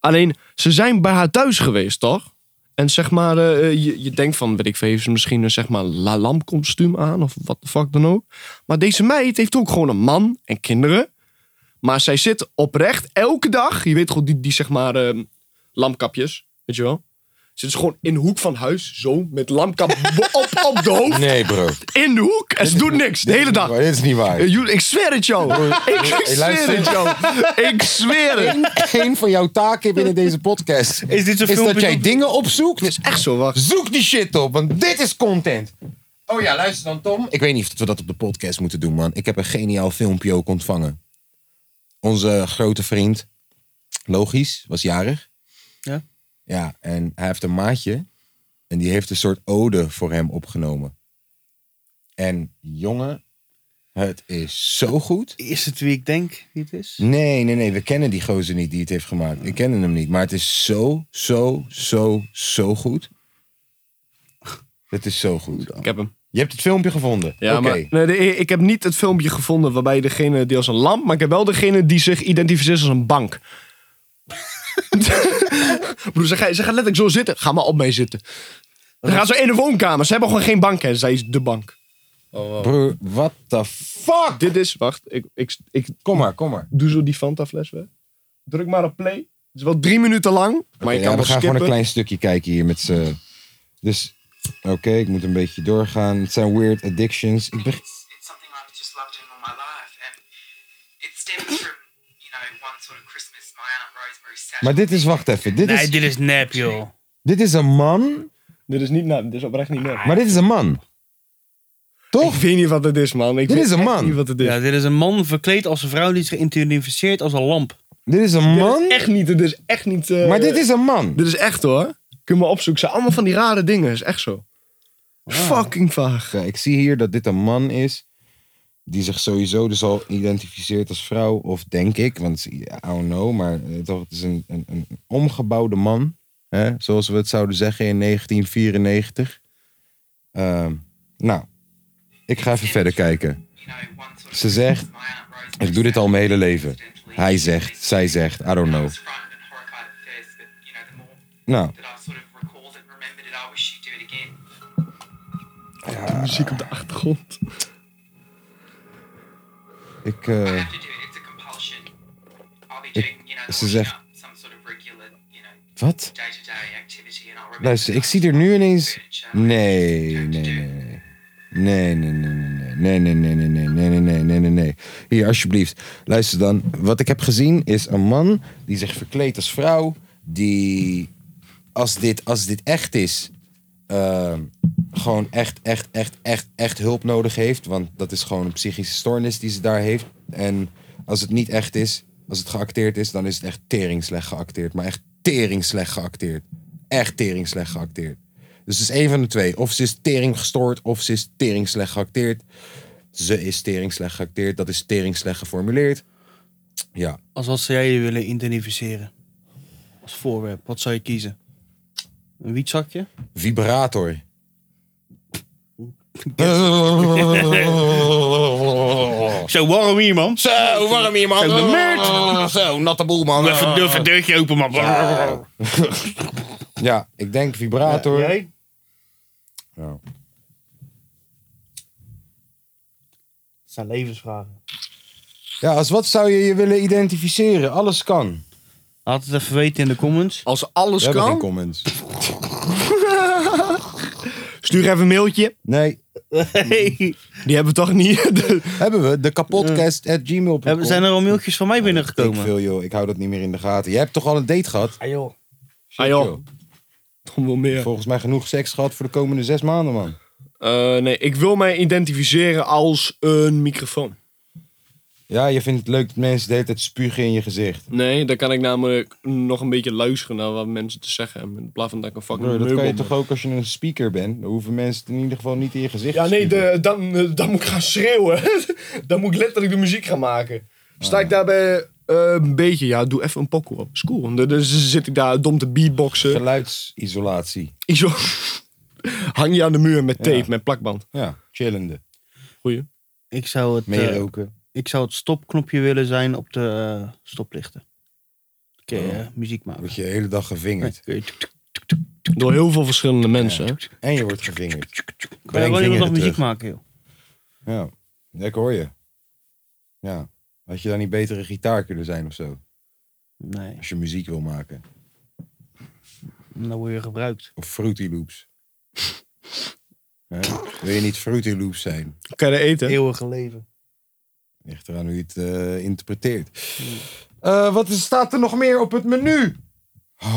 Speaker 7: Alleen, ze zijn bij haar thuis geweest, toch? En zeg maar, eh, eh, je, je denkt van, weet ik veel, heeft ze misschien een zeg maar, la- lampkostuum aan of wat de fuck dan ook. Maar deze meid heeft ook gewoon een man en kinderen. Maar zij zit oprecht elke dag, je weet gewoon, die, die zeg maar eh, lampkapjes, weet je wel. Zit ze gewoon in de hoek van huis, zo, met lampkap op, op de hoofd
Speaker 4: Nee, bro.
Speaker 7: in de hoek en ze doet niks de hele dag.
Speaker 4: Maar dit is niet waar.
Speaker 7: Eh, Joel, Ik zweer het jou. Ik
Speaker 4: luister.
Speaker 7: zweer het jou. Ik zweer het.
Speaker 4: Geen van jouw taken binnen deze podcast
Speaker 5: Is dit zo'n
Speaker 4: is dat
Speaker 5: filmpje
Speaker 4: jij
Speaker 5: dat-
Speaker 4: dingen opzoekt.
Speaker 7: Echt zo, wacht.
Speaker 4: Zoek die shit op, want dit is content. Oh ja, luister dan, Tom. Ik weet niet of we dat op de podcast moeten doen, man. Ik heb een geniaal filmpje ook ontvangen. Onze grote vriend, logisch, was jarig.
Speaker 5: Ja.
Speaker 4: Ja, en hij heeft een maatje. En die heeft een soort ode voor hem opgenomen. En jongen, het is zo goed.
Speaker 5: Is het wie ik denk wie het is?
Speaker 4: Nee, nee, nee. We kennen die gozer niet die het heeft gemaakt. Ik ken hem niet. Maar het is zo, zo, zo, zo goed. Het is zo goed.
Speaker 8: ik heb hem.
Speaker 4: Je hebt het filmpje gevonden.
Speaker 8: Ja,
Speaker 4: Oké.
Speaker 8: maar-
Speaker 7: Nee, de- ik heb niet het filmpje gevonden waarbij degene die als een lamp, maar ik heb wel degene die zich identificeert als een bank. Broer, ze gaat, ze gaat letterlijk zo zitten. Ga maar op mee zitten. Dan gaat ze in de woonkamer. Ze hebben gewoon geen bank en zij is de bank.
Speaker 4: Broer, what the fuck?
Speaker 7: Dit is, wacht, ik, ik, ik
Speaker 4: Kom maar, kom maar.
Speaker 7: doe zo die Fanta fles weg. Druk maar op play. Het is wel drie minuten lang, maar
Speaker 4: Oké, ja,
Speaker 7: je kan
Speaker 4: we
Speaker 7: wel
Speaker 4: gaan
Speaker 7: skippen.
Speaker 4: gewoon een klein stukje kijken hier met z'n... Dus, oké, ik moet een beetje doorgaan. Het zijn weird addictions. Ik beg-
Speaker 9: it's, it's something I've just loved in all my life. And it stems from, you know, one sort of Christmas, my Aunt Rosemary sat.
Speaker 4: Maar dit is, wacht even. Dit
Speaker 5: Nee,
Speaker 4: is,
Speaker 5: dit is nep, joh.
Speaker 4: dit is een man.
Speaker 7: Dit is niet, nou, dit is oprecht niet meer.
Speaker 4: Maar dit is een man.
Speaker 7: Ik weet niet wat het is, man. Ik
Speaker 4: Dit
Speaker 7: weet
Speaker 4: is een
Speaker 7: echt
Speaker 4: man.
Speaker 7: niet wat het is.
Speaker 5: Ja, dit is een man verkleed als een vrouw die zich identificeert als een lamp.
Speaker 4: Dit is een
Speaker 7: Dit
Speaker 4: man.
Speaker 7: is echt niet, dit is echt niet... eh,
Speaker 4: Maar dit is een man.
Speaker 7: Dit is echt, hoor. Kun je me opzoeken. Ze allemaal van die rare dingen. is echt zo. Ah. Fucking vaag.
Speaker 4: Ja, ik zie hier dat dit een man is. Die zich sowieso dus al identificeert als vrouw. Of denk ik, want I don't know. Maar eh, toch, het is een, een, een omgebouwde man. Hè? Zoals we het zouden zeggen in 1994. Ehm, nou, ik ga even verder kijken.
Speaker 9: you know, one sort of
Speaker 4: Ze zegt,
Speaker 9: Christmas, my Aunt Rosemary
Speaker 4: ik doe dit al mijn hele leven. Hij zegt, zij zegt, I don't
Speaker 9: I
Speaker 4: know.
Speaker 9: was frightened and horrified at first, but, you know, the more
Speaker 4: Nou,
Speaker 9: that I sort of recalled it, remembered it, I wish she'd do it again.
Speaker 7: De muziek op de achtergrond.
Speaker 4: ik...
Speaker 9: I
Speaker 4: eh,
Speaker 9: have to do it, it's a compulsion. I'll be
Speaker 4: Ik-
Speaker 9: doing, you know, the
Speaker 4: ze
Speaker 9: washing
Speaker 4: zegt-
Speaker 9: up, some sort of regular, you know,
Speaker 4: wat?
Speaker 9: day-to-day activity, and I'll remember
Speaker 4: Luister,
Speaker 9: that
Speaker 4: ik
Speaker 9: I
Speaker 4: zie er nu ineens.
Speaker 9: furniture.
Speaker 4: Nee, nee, nee. Nee, nee, nee, nee, nee, nee, nee, nee, nee, nee, nee, nee, nee, nee, nee. Hier, alsjeblieft. Luister dan. Wat ik heb gezien is een man die zich verkleedt als vrouw. Die, als dit, als dit echt is, ehm, gewoon echt, echt, echt, echt, echt hulp nodig heeft. Want dat is gewoon een psychische stoornis die ze daar heeft. En als het niet echt is, als het geacteerd is, dan is het echt tering slecht geacteerd. Maar echt tering slecht geacteerd. Echt tering slecht geacteerd. Dus het is één van de twee. Of ze is tering gestoord, of ze is tering slecht geacteerd. Ze is tering slecht geacteerd, dat is tering slecht geformuleerd. Ja,
Speaker 5: Als wat zou jij je willen identificeren? Als voorwerp, wat zou je kiezen? Een wietzakje?
Speaker 4: vibrator. vertellen.
Speaker 5: Zo warm hier, man.
Speaker 4: Zo, warm hier, man.
Speaker 5: Zo, de meurt.
Speaker 4: Zo, natte boel, man.
Speaker 5: Even even een deurtje open, man.
Speaker 4: Ja, ik denk vibrator.
Speaker 5: Jij?
Speaker 4: Ja.
Speaker 5: Het zijn levensvragen.
Speaker 4: Ja, als wat zou je je willen identificeren? Alles kan.
Speaker 5: Laat het even weten in de comments.
Speaker 7: Als alles
Speaker 4: We hebben geen
Speaker 7: kan,
Speaker 4: comments.
Speaker 7: stuur even een mailtje.
Speaker 4: Nee,
Speaker 5: Hey,
Speaker 7: Die hebben we toch niet. Dus-
Speaker 4: hebben we. De kapotkast at gmail.com.
Speaker 5: hebben- zijn er al mailtjes van mij
Speaker 4: Ik
Speaker 5: binnengekomen?
Speaker 4: veel, joh. Ik hou dat niet meer in de gaten. Je hebt toch al een date gehad?
Speaker 5: Ah, joh.
Speaker 7: ah joh, toch wel meer.
Speaker 4: Volgens mij genoeg seks gehad voor de komende zes maanden, man.
Speaker 7: Eh, nee, ik wil mij identificeren als een microfoon.
Speaker 4: Ja, je vindt het leuk dat mensen de hele tijd spugen in je gezicht.
Speaker 7: Nee, dan kan ik namelijk nog een beetje luisteren naar wat mensen te zeggen hebben. In plaats van dat ik een fucking
Speaker 4: Broer, dat kan je
Speaker 7: meubel
Speaker 4: toch ook als je een speaker bent? Dan hoeven mensen het in ieder geval niet in je gezicht
Speaker 7: Ja,
Speaker 4: te
Speaker 7: nee,
Speaker 4: spugen.
Speaker 7: de, dan, eh, dan moet ik gaan schreeuwen. dan moet ik letterlijk de muziek gaan maken. Sta ik daarbij eh, een beetje, ja, doe even een pokoe op. Is cool. En Dan dan zit ik daar dom te beatboxen.
Speaker 4: Geluidsisolatie.
Speaker 7: Ik zo- Hang je aan de muur met tape,
Speaker 4: Ja.
Speaker 7: met plakband.
Speaker 4: Ja, chillende.
Speaker 7: Goeie.
Speaker 5: Ik zou het,
Speaker 4: Meer
Speaker 5: eh,
Speaker 4: roken.
Speaker 5: ik zou het stopknopje willen zijn op de eh, stoplichten. Oké, eh, muziek maken.
Speaker 4: Word je de hele dag gevingerd.
Speaker 5: Kun je- tuk, tuk,
Speaker 7: Door heel veel verschillende mensen.
Speaker 4: En je wordt gevingerd.
Speaker 5: tuk, tuk. Kan
Speaker 4: Breng
Speaker 5: je wel
Speaker 4: vingeren
Speaker 5: iemand nog muziek
Speaker 4: terug.
Speaker 5: maken, joh.
Speaker 4: Ja, Ja, ik hoor je. Ja. Had je dan niet betere gitaar kunnen zijn of zo?
Speaker 5: Nee,
Speaker 4: Als je muziek wil maken.
Speaker 5: dan word je gebruikt.
Speaker 4: Of Fruity Loops. Hè? Wil je niet Fruity Loops zijn?
Speaker 7: Kan je dat eten?
Speaker 5: Eeuwige leven.
Speaker 4: Ligt eraan hoe je het eh, interpreteert. Eh, wat is- staat er nog meer op het menu?
Speaker 5: Zo,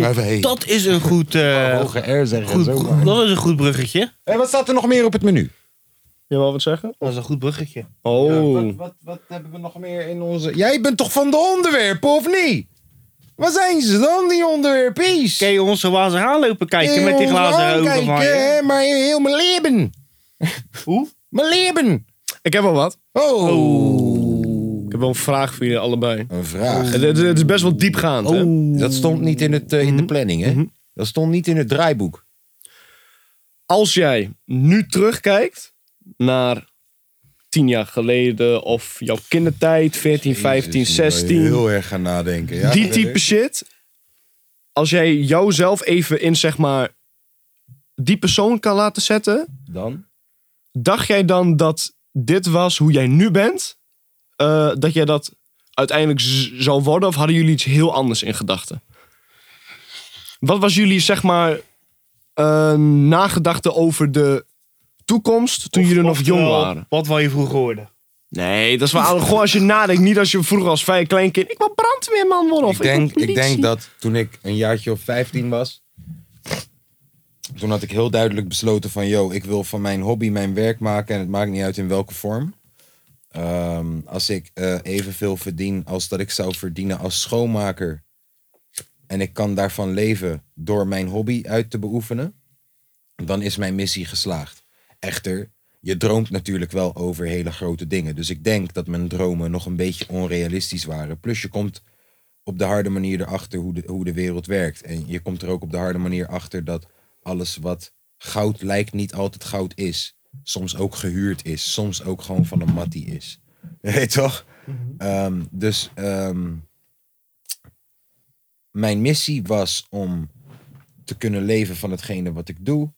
Speaker 4: Lange wee.
Speaker 5: dat is een goed, eh,
Speaker 4: Hoge R zeggen.
Speaker 5: goed,
Speaker 4: zo maar.
Speaker 5: goed- dat is een goed bruggetje.
Speaker 4: En Eh, wat staat er nog meer op het menu?
Speaker 7: Je wil wat zeggen?
Speaker 5: Dat is een goed bruggetje.
Speaker 7: Oh.
Speaker 4: Wat, wat, wat hebben we nog meer in onze... Jij bent toch van de onderwerpen, of niet? Waar zijn ze dan, die onderwerpies?
Speaker 5: Kun je ons zo wazig aanlopen kijken met die
Speaker 4: Heel
Speaker 5: glazen ogen
Speaker 4: aankijken,
Speaker 5: van je?
Speaker 4: hè, maar heel mijn leven.
Speaker 5: Hoe?
Speaker 4: Mijn leven.
Speaker 7: Ik heb wel wat.
Speaker 4: Oh.
Speaker 5: Oh.
Speaker 7: Ik heb wel een vraag Oh. voor jullie allebei.
Speaker 4: Een vraag.
Speaker 7: Het, het- het is best wel diepgaand, hè?
Speaker 4: Dat stond niet in, het, eh, in
Speaker 5: Mhm.
Speaker 4: de planning, hè? Dat stond niet in het draaiboek.
Speaker 7: als jij nu terugkijkt naar tien jaar geleden of jouw kindertijd, 14, 15,
Speaker 4: Jezus, ik ben
Speaker 7: 16,
Speaker 4: Heel erg gaan nadenken. Ja,
Speaker 7: die
Speaker 4: verder.
Speaker 7: type shit. Als jij jouzelf even in, zeg maar, die persoon kan laten zetten,
Speaker 4: Dan?
Speaker 7: dacht jij dan dat dit was hoe jij nu bent? Eh, dat jij dat uiteindelijk z- zou worden of hadden jullie iets heel anders in gedachten? Wat was jullie, zeg maar, eh, nagedachte over de toekomst toen jullie nog jong
Speaker 5: Oftewel,
Speaker 7: waren?
Speaker 5: Wat wou je vroeger hoorden?
Speaker 7: Nee, dat is wel gewoon als je nadenkt. Niet als je vroeger als vrij klein kind. Ik wil brandweerman worden of
Speaker 4: Ik denk,
Speaker 7: wil
Speaker 4: ik denk
Speaker 7: politie."
Speaker 4: dat toen ik een jaartje of 15 was. Toen had ik heel duidelijk besloten van, yo, ik wil van mijn hobby mijn werk maken en het maakt niet uit in welke vorm. Ehm, als ik eh evenveel verdien als dat ik zou verdienen als schoonmaker en ik kan daarvan leven door mijn hobby uit te beoefenen, dan is mijn missie geslaagd. Echter, je droomt natuurlijk wel over hele grote dingen. Dus ik denk dat mijn dromen nog een beetje onrealistisch waren. Plus je komt op de harde manier erachter hoe de, hoe de wereld werkt. En je komt er ook op de harde manier achter dat alles wat goud lijkt niet altijd goud is. Soms ook gehuurd is. Soms ook gewoon van een mattie is. Weet je toch? Ehm, dus ehm, mijn missie was om te kunnen leven van hetgene wat ik doe.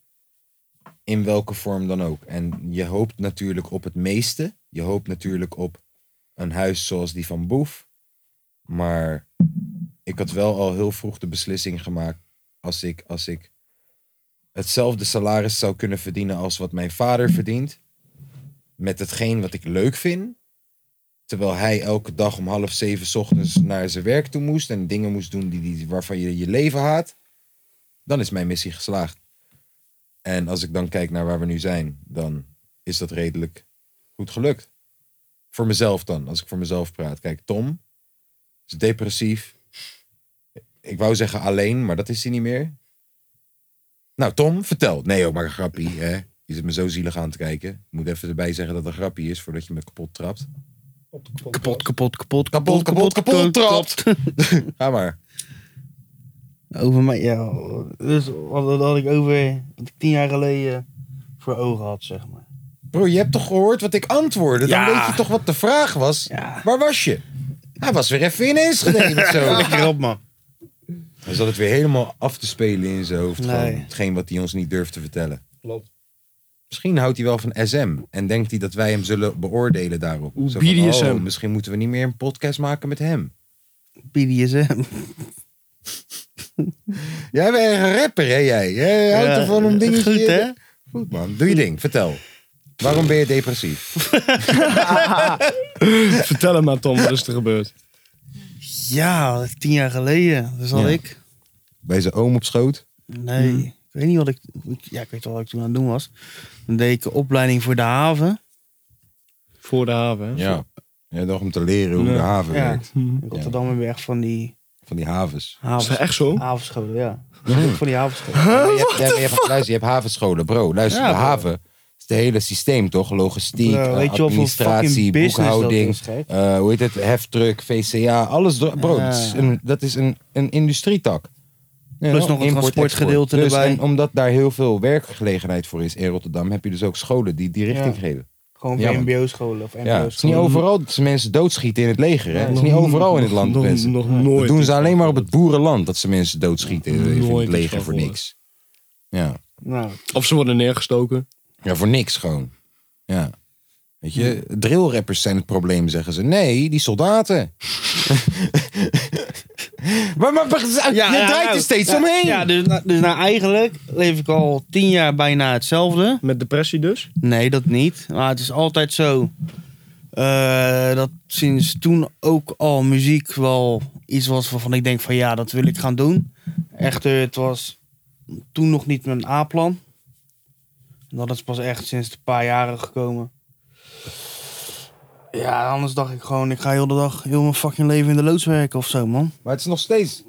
Speaker 4: In welke vorm dan ook. En je hoopt natuurlijk op het meeste. Je hoopt natuurlijk op een huis zoals die van Boef. Maar ik had wel al heel vroeg de beslissing gemaakt. Als ik, als ik hetzelfde salaris zou kunnen verdienen als wat mijn vader verdient. Met hetgeen wat ik leuk vind. Terwijl hij elke dag om half zeven 's ochtends naar zijn werk toe moest. En dingen moest doen die, die, waarvan je je leven haat. Dan is mijn missie geslaagd. En als ik dan kijk naar waar we nu zijn. Dan is dat redelijk goed gelukt. Voor mezelf dan. Als ik voor mezelf praat. Kijk, Tom is depressief. Ik wou zeggen alleen, maar dat is hij niet meer. Nou, Tom, vertel. Nee, ook maar een grappie. Hè? Je zit me zo zielig aan te kijken. Ik moet even erbij zeggen dat het een grappie is voordat je me kapot trapt.
Speaker 5: Kapot, kapot, kapot,
Speaker 4: Kapot, kapot, kapot, trapt. Ga maar.
Speaker 5: Over mij, ja. Dus wat, wat had ik over, wat ik tien jaar geleden voor ogen had, zeg maar.
Speaker 4: Bro, je hebt toch gehoord wat ik antwoordde? Dan
Speaker 5: Ja.
Speaker 4: weet je toch wat de vraag was?
Speaker 5: Ja.
Speaker 4: Waar was je? Hij was weer even in Enschede of zo.
Speaker 5: Lekker op, man.
Speaker 4: Hij zat het weer helemaal af te spelen in zijn hoofd.
Speaker 5: Nee.
Speaker 4: Gewoon hetgeen wat hij ons niet durft te vertellen.
Speaker 7: Klopt.
Speaker 4: Misschien houdt hij wel van SM en denkt hij dat wij hem zullen beoordelen daarop.
Speaker 7: Oeh,
Speaker 4: Zo van,
Speaker 7: BDSM.
Speaker 4: oh, misschien moeten we niet meer een podcast maken met hem.
Speaker 5: BDSM.
Speaker 4: Jij bent echt een rapper, hè jij? Jij houdt
Speaker 5: Ja,
Speaker 4: ervan om dingetjes...
Speaker 5: Goed, hè?
Speaker 4: Goed, man. Doe je ding. Vertel. Waarom ben je depressief?
Speaker 7: Vertel hem maar, Tom, wat is er gebeurd?
Speaker 5: Ja, dat is tien jaar geleden. Dat zat
Speaker 4: Ja.
Speaker 5: ik.
Speaker 4: Bij zijn oom op schoot?
Speaker 5: Nee,
Speaker 4: Hmm.
Speaker 5: ik weet niet wat ik... ik- Ja, ik weet wel wat ik toen aan het doen was. Dan deed ik een opleiding voor de haven.
Speaker 7: Voor de haven, hè?
Speaker 4: Ja. Ja, toch om te leren hoe de haven
Speaker 5: Ja.
Speaker 4: werkt.
Speaker 5: In Rotterdam en weg van die
Speaker 4: Van die havens.
Speaker 7: Is dat
Speaker 5: havens,
Speaker 7: echt zo?
Speaker 5: havenscholen, ja.
Speaker 4: Hmm.
Speaker 5: Van die havenscholen.
Speaker 4: Ja, maar je, hebt, ja, maar je, hebt, luister, je hebt havenscholen, bro. Luister,
Speaker 5: Ja,
Speaker 4: de
Speaker 5: bro.
Speaker 4: haven is het hele systeem, toch? Logistiek,
Speaker 5: Bro,
Speaker 4: eh,
Speaker 5: weet je hoeveel
Speaker 4: administratie,
Speaker 5: fucking business dat
Speaker 4: boekhouding.
Speaker 5: is, gek?
Speaker 4: eh, hoe heet het? Heftruck, VCA, alles. door- Bro, dat is een, dat is een, een industrietak. Ja,
Speaker 5: Plus nog een
Speaker 4: import,
Speaker 5: transportgedeelte
Speaker 4: export. dus,
Speaker 5: erbij.
Speaker 4: En omdat daar heel veel werkgelegenheid voor is in Rotterdam, heb je dus ook scholen die die richting
Speaker 5: Ja.
Speaker 4: geven.
Speaker 5: Gewoon
Speaker 4: Ja,
Speaker 5: voor
Speaker 4: man.
Speaker 5: mbo-scholen of
Speaker 4: Ja, het is niet
Speaker 5: mbo-scholen.
Speaker 4: overal dat ze mensen doodschieten in het leger. Hè? Het is niet
Speaker 7: Nog-
Speaker 4: overal in het
Speaker 7: nog-
Speaker 4: land,
Speaker 7: nog-
Speaker 4: mensen.
Speaker 7: Nog
Speaker 4: Dat
Speaker 7: nooit.
Speaker 4: doen ze alleen maar op het boerenland, dat ze mensen doodschieten in het- in
Speaker 7: Nooit
Speaker 4: het
Speaker 7: iets
Speaker 4: leger
Speaker 7: van
Speaker 4: voor
Speaker 7: gehoord.
Speaker 4: niks. Ja.
Speaker 5: Nou,
Speaker 7: Of ze worden neergestoken.
Speaker 4: Ja, voor niks gewoon. Ja. Weet je, drillrappers zijn het probleem, zeggen ze. Nee, die soldaten. maar, maar maar- je draait er
Speaker 5: nou,
Speaker 4: steeds
Speaker 5: ja,
Speaker 4: omheen.
Speaker 5: Ja, dus, nou- dus nou eigenlijk leef ik al tien jaar bijna hetzelfde.
Speaker 7: Met depressie dus?
Speaker 5: Nee, dat niet. Maar het is altijd zo eh, dat sinds toen ook al muziek wel iets was waarvan ik denk van ja, dat wil ik gaan doen. Echter, het was toen nog niet mijn A-plan. Dat is pas echt sinds een paar jaren gekomen. Ja, anders dacht ik gewoon, ik ga heel de dag heel mijn fucking leven in de loods werken of zo, man.
Speaker 4: Maar het is nog steeds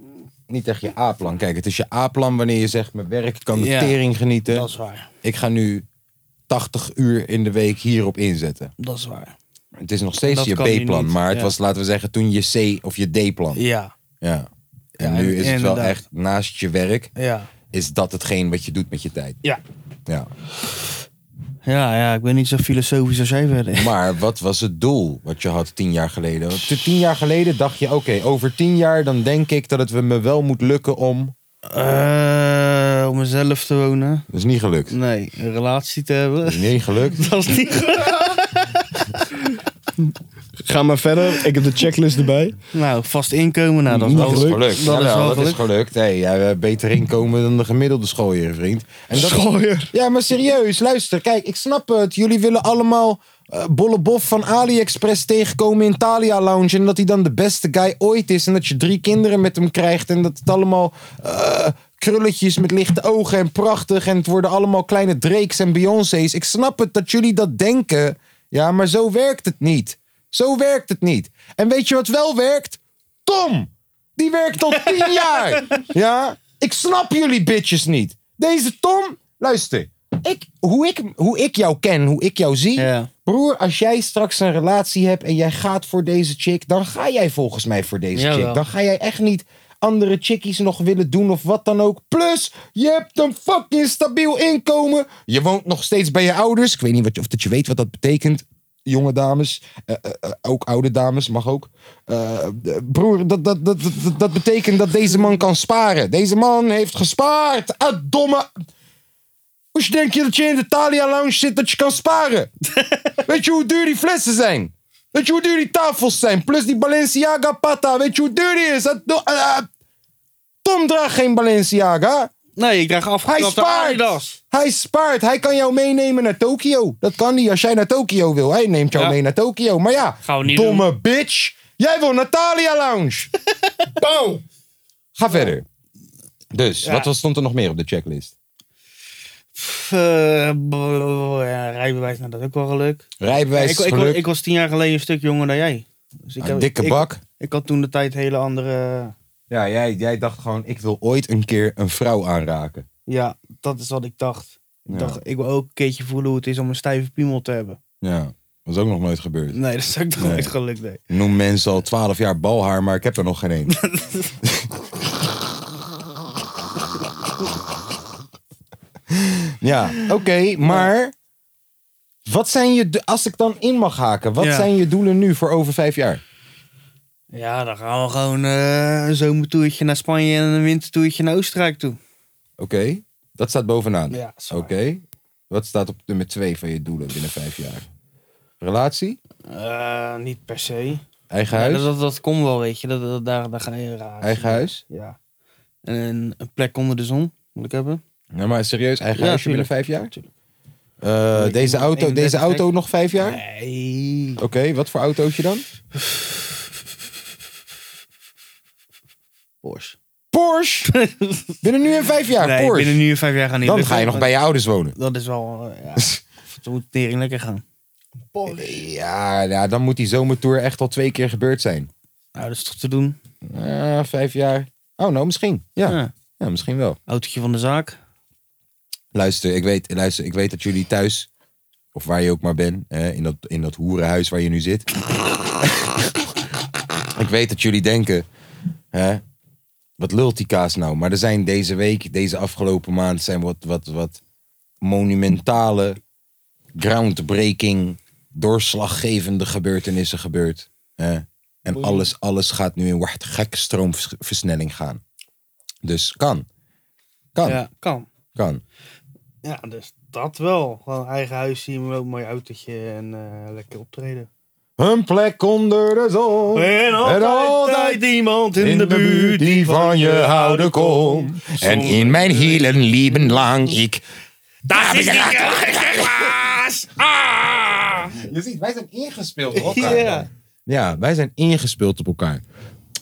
Speaker 4: niet echt je A-plan. Kijk, het is je A-plan wanneer je zegt, mijn werk ik kan de
Speaker 5: Ja.
Speaker 4: tering genieten.
Speaker 5: Dat is waar.
Speaker 4: Ik ga nu 80 uur in de week hierop inzetten.
Speaker 5: Dat is waar.
Speaker 4: Het is nog steeds
Speaker 5: Dat
Speaker 4: je
Speaker 5: kan nu
Speaker 4: B-plan.
Speaker 5: niet,
Speaker 4: Maar het
Speaker 5: ja.
Speaker 4: was, laten we zeggen, toen je C of je D-plan.
Speaker 5: Ja,
Speaker 4: Ja. En
Speaker 5: Ja,
Speaker 4: nu is het wel
Speaker 5: inderdaad.
Speaker 4: echt, naast je werk,
Speaker 5: ja.
Speaker 4: is dat hetgeen wat je doet met je tijd.
Speaker 5: Ja.
Speaker 4: Ja.
Speaker 5: Ja, ja, ik ben niet zo filosofisch als jij verder.
Speaker 4: Maar wat was het doel wat je had tien jaar geleden? Want t- tien jaar geleden dacht je, oké, over tien jaar dan denk ik dat het me wel moet lukken om...
Speaker 5: Eh, om mezelf te wonen.
Speaker 4: Dat is niet gelukt.
Speaker 5: Nee, een relatie te
Speaker 4: Dat is
Speaker 5: hebben.
Speaker 4: niet gelukt.
Speaker 5: Dat is niet goed.
Speaker 7: Ga maar verder. Ik heb de checklist erbij.
Speaker 5: Nou, vast inkomen, nou, dat is
Speaker 4: Dat
Speaker 5: wel
Speaker 4: is
Speaker 5: leuk.
Speaker 4: gelukt.
Speaker 5: Dat is
Speaker 4: Jawel,
Speaker 5: wel
Speaker 4: dat is
Speaker 5: gelukt.
Speaker 4: gelukt. Hey, jij hebt beter inkomen dan de gemiddelde schooier, vriend. En dat,
Speaker 7: Schooier.
Speaker 4: Ja, maar serieus, luister. Kijk, ik snap het. Jullie willen allemaal eh, Bolle Bob van AliExpress tegenkomen in Thalia Lounge. En dat hij dan de beste guy ooit is. En dat je drie kinderen met hem krijgt. En dat het allemaal eh, krulletjes met lichte ogen en prachtig. En het worden allemaal kleine Drakes en Beyoncé's. Ik snap het dat jullie dat denken. Ja, maar zo werkt het niet. Zo werkt het niet. En weet je wat wel werkt? Tom! Die werkt al tien jaar. Ja? Ik snap jullie bitches niet. Deze Tom, luister. Ik, hoe, ik, hoe ik jou ken, hoe ik jou zie.
Speaker 5: Ja.
Speaker 4: Broer, als jij straks een relatie hebt en jij gaat voor deze chick, dan ga jij volgens mij voor deze
Speaker 5: Jawel.
Speaker 4: chick. Dan ga jij echt niet andere chickies nog willen doen of wat dan ook. Plus, je hebt een fucking stabiel inkomen. Je woont nog steeds bij je ouders. Ik weet niet wat, je- of dat je weet wat dat betekent. Jonge dames, eh, eh, eh, ook oude dames, mag ook. Eh, eh, broer, dat, dat, dat, dat, dat betekent dat deze man kan sparen. Deze man heeft gespaard. Ah, domme... Hoe denk je dat je in de Thalia Lounge zit dat je kan sparen? Weet je hoe duur die flessen zijn? Weet je hoe duur die tafels zijn? Plus die Balenciaga patta. Weet je hoe duur die is? Dat- dat- eh, Tom draagt geen Balenciaga.
Speaker 5: Nee, ik draag
Speaker 4: Hij
Speaker 5: afgeknapte
Speaker 4: spaart.
Speaker 5: Adidas.
Speaker 4: Hij spaart. Hij kan jou meenemen naar Tokio. Dat kan hij als jij naar Tokio wil. Hij neemt jou
Speaker 5: Ja.
Speaker 4: mee naar Tokio. Maar ja,
Speaker 5: Gaan we niet
Speaker 4: domme bitch. Jij wil Natalia Lounge. Boom. Ga verder. Dus,
Speaker 5: Ja.
Speaker 4: wat was- stond er nog meer op de checklist?
Speaker 5: Pff, eh, blablabla. ja, rijbewijs, nou, dat is ook wel gelukt.
Speaker 4: Rijbewijs,
Speaker 5: ik, ik,
Speaker 4: geluk,
Speaker 5: ik, was tien jaar geleden een stuk jonger dan jij. Dus ik
Speaker 4: een
Speaker 5: heb-
Speaker 4: dikke
Speaker 5: ik-
Speaker 4: bak.
Speaker 5: Ik had toen de tijd hele andere... eh,
Speaker 4: Ja, jij, jij dacht gewoon, ik wil ooit een keer een vrouw aanraken.
Speaker 5: Ja, dat is wat ik dacht. Ik
Speaker 4: Ja.
Speaker 5: dacht, ik wil ook een keertje voelen hoe het is om een stijve piemel te hebben.
Speaker 4: Ja, was ook nog nooit gebeurd.
Speaker 5: Nee, dat is ook nog
Speaker 4: Nee.
Speaker 5: nooit gelukt, nee.
Speaker 4: Ik noem mensen al 12 jaar balhaar, maar ik heb er nog geen één. ja, oké, maar Wat zijn je, do- als ik dan in mag haken, wat
Speaker 5: Ja.
Speaker 4: zijn je doelen nu voor over vijf jaar?
Speaker 5: Ja, dan gaan we gewoon eh, een zomertoertje naar Spanje en een wintertoertje naar Oostenrijk toe.
Speaker 4: Oké, dat staat bovenaan.
Speaker 5: Ja, is waar.
Speaker 4: Oké, wat staat op nummer twee van je doelen binnen vijf jaar? Relatie,
Speaker 5: Eh, niet per se.
Speaker 4: eigen
Speaker 5: Ja,
Speaker 4: huis,
Speaker 5: dat, dat, dat komt wel, weet je. Dat, dat, daar, daar ga je raar.
Speaker 4: eigen huis.
Speaker 5: Ja. En een, een plek onder de zon moet ik hebben.
Speaker 4: Nou, maar serieus, eigen
Speaker 5: Ja,
Speaker 4: huis binnen
Speaker 5: tuurlijk.
Speaker 4: vijf jaar?
Speaker 5: Tuurlijk.
Speaker 4: Eh,
Speaker 5: Ik
Speaker 4: deze
Speaker 5: moet
Speaker 4: auto,
Speaker 5: 31
Speaker 4: deze auto
Speaker 5: trekken.
Speaker 4: nog vijf jaar?
Speaker 5: Nee.
Speaker 4: Oké, wat voor autootje dan?
Speaker 5: Porsche.
Speaker 4: Porsche! binnen nu en vijf jaar,
Speaker 5: nee,
Speaker 4: Porsche.
Speaker 5: binnen nu en vijf jaar gaan niet
Speaker 4: Dan
Speaker 5: lukken,
Speaker 4: ga je nog bij
Speaker 5: want
Speaker 4: je ouders wonen.
Speaker 5: Dat is wel, eh, ja. Het moet tering lekker gaan.
Speaker 4: Ja, ja, dan moet die zomertour echt al twee keer gebeurd zijn.
Speaker 5: Nou, dat is toch te doen.
Speaker 4: Ah, vijf jaar. Oh, nou, misschien. Ja. ja.
Speaker 5: Ja.
Speaker 4: misschien wel.
Speaker 5: Autootje van de zaak.
Speaker 4: Luister ik, weet, luister, ik weet dat jullie thuis, of waar je ook maar bent, hè, in, dat, in dat hoerenhuis waar je nu zit. ik weet dat jullie denken, hè, wat lult die kaas nou? Maar er zijn deze week, deze afgelopen maand, zijn wat, wat, wat monumentale, groundbreaking, doorslaggevende gebeurtenissen gebeurd. Hè? En alles, alles gaat nu in wat gekke stroomversnelling gaan. Dus kan. Kan,
Speaker 5: Ja, kan.
Speaker 4: kan.
Speaker 5: Ja, dus dat wel. Gewoon eigen huis zien, maar ook een mooi autootje en eh, lekker optreden.
Speaker 4: Een plek onder de zon.
Speaker 5: En altijd,
Speaker 4: altijd
Speaker 5: iemand in,
Speaker 4: In de buurt die van je houden komt. En in mijn hielen lieben lang ik.
Speaker 2: Dat is niet gekkaas! Ah!
Speaker 4: Je ziet, wij zijn ingespeeld op
Speaker 5: Ja.
Speaker 4: Ja, wij zijn ingespeeld op elkaar.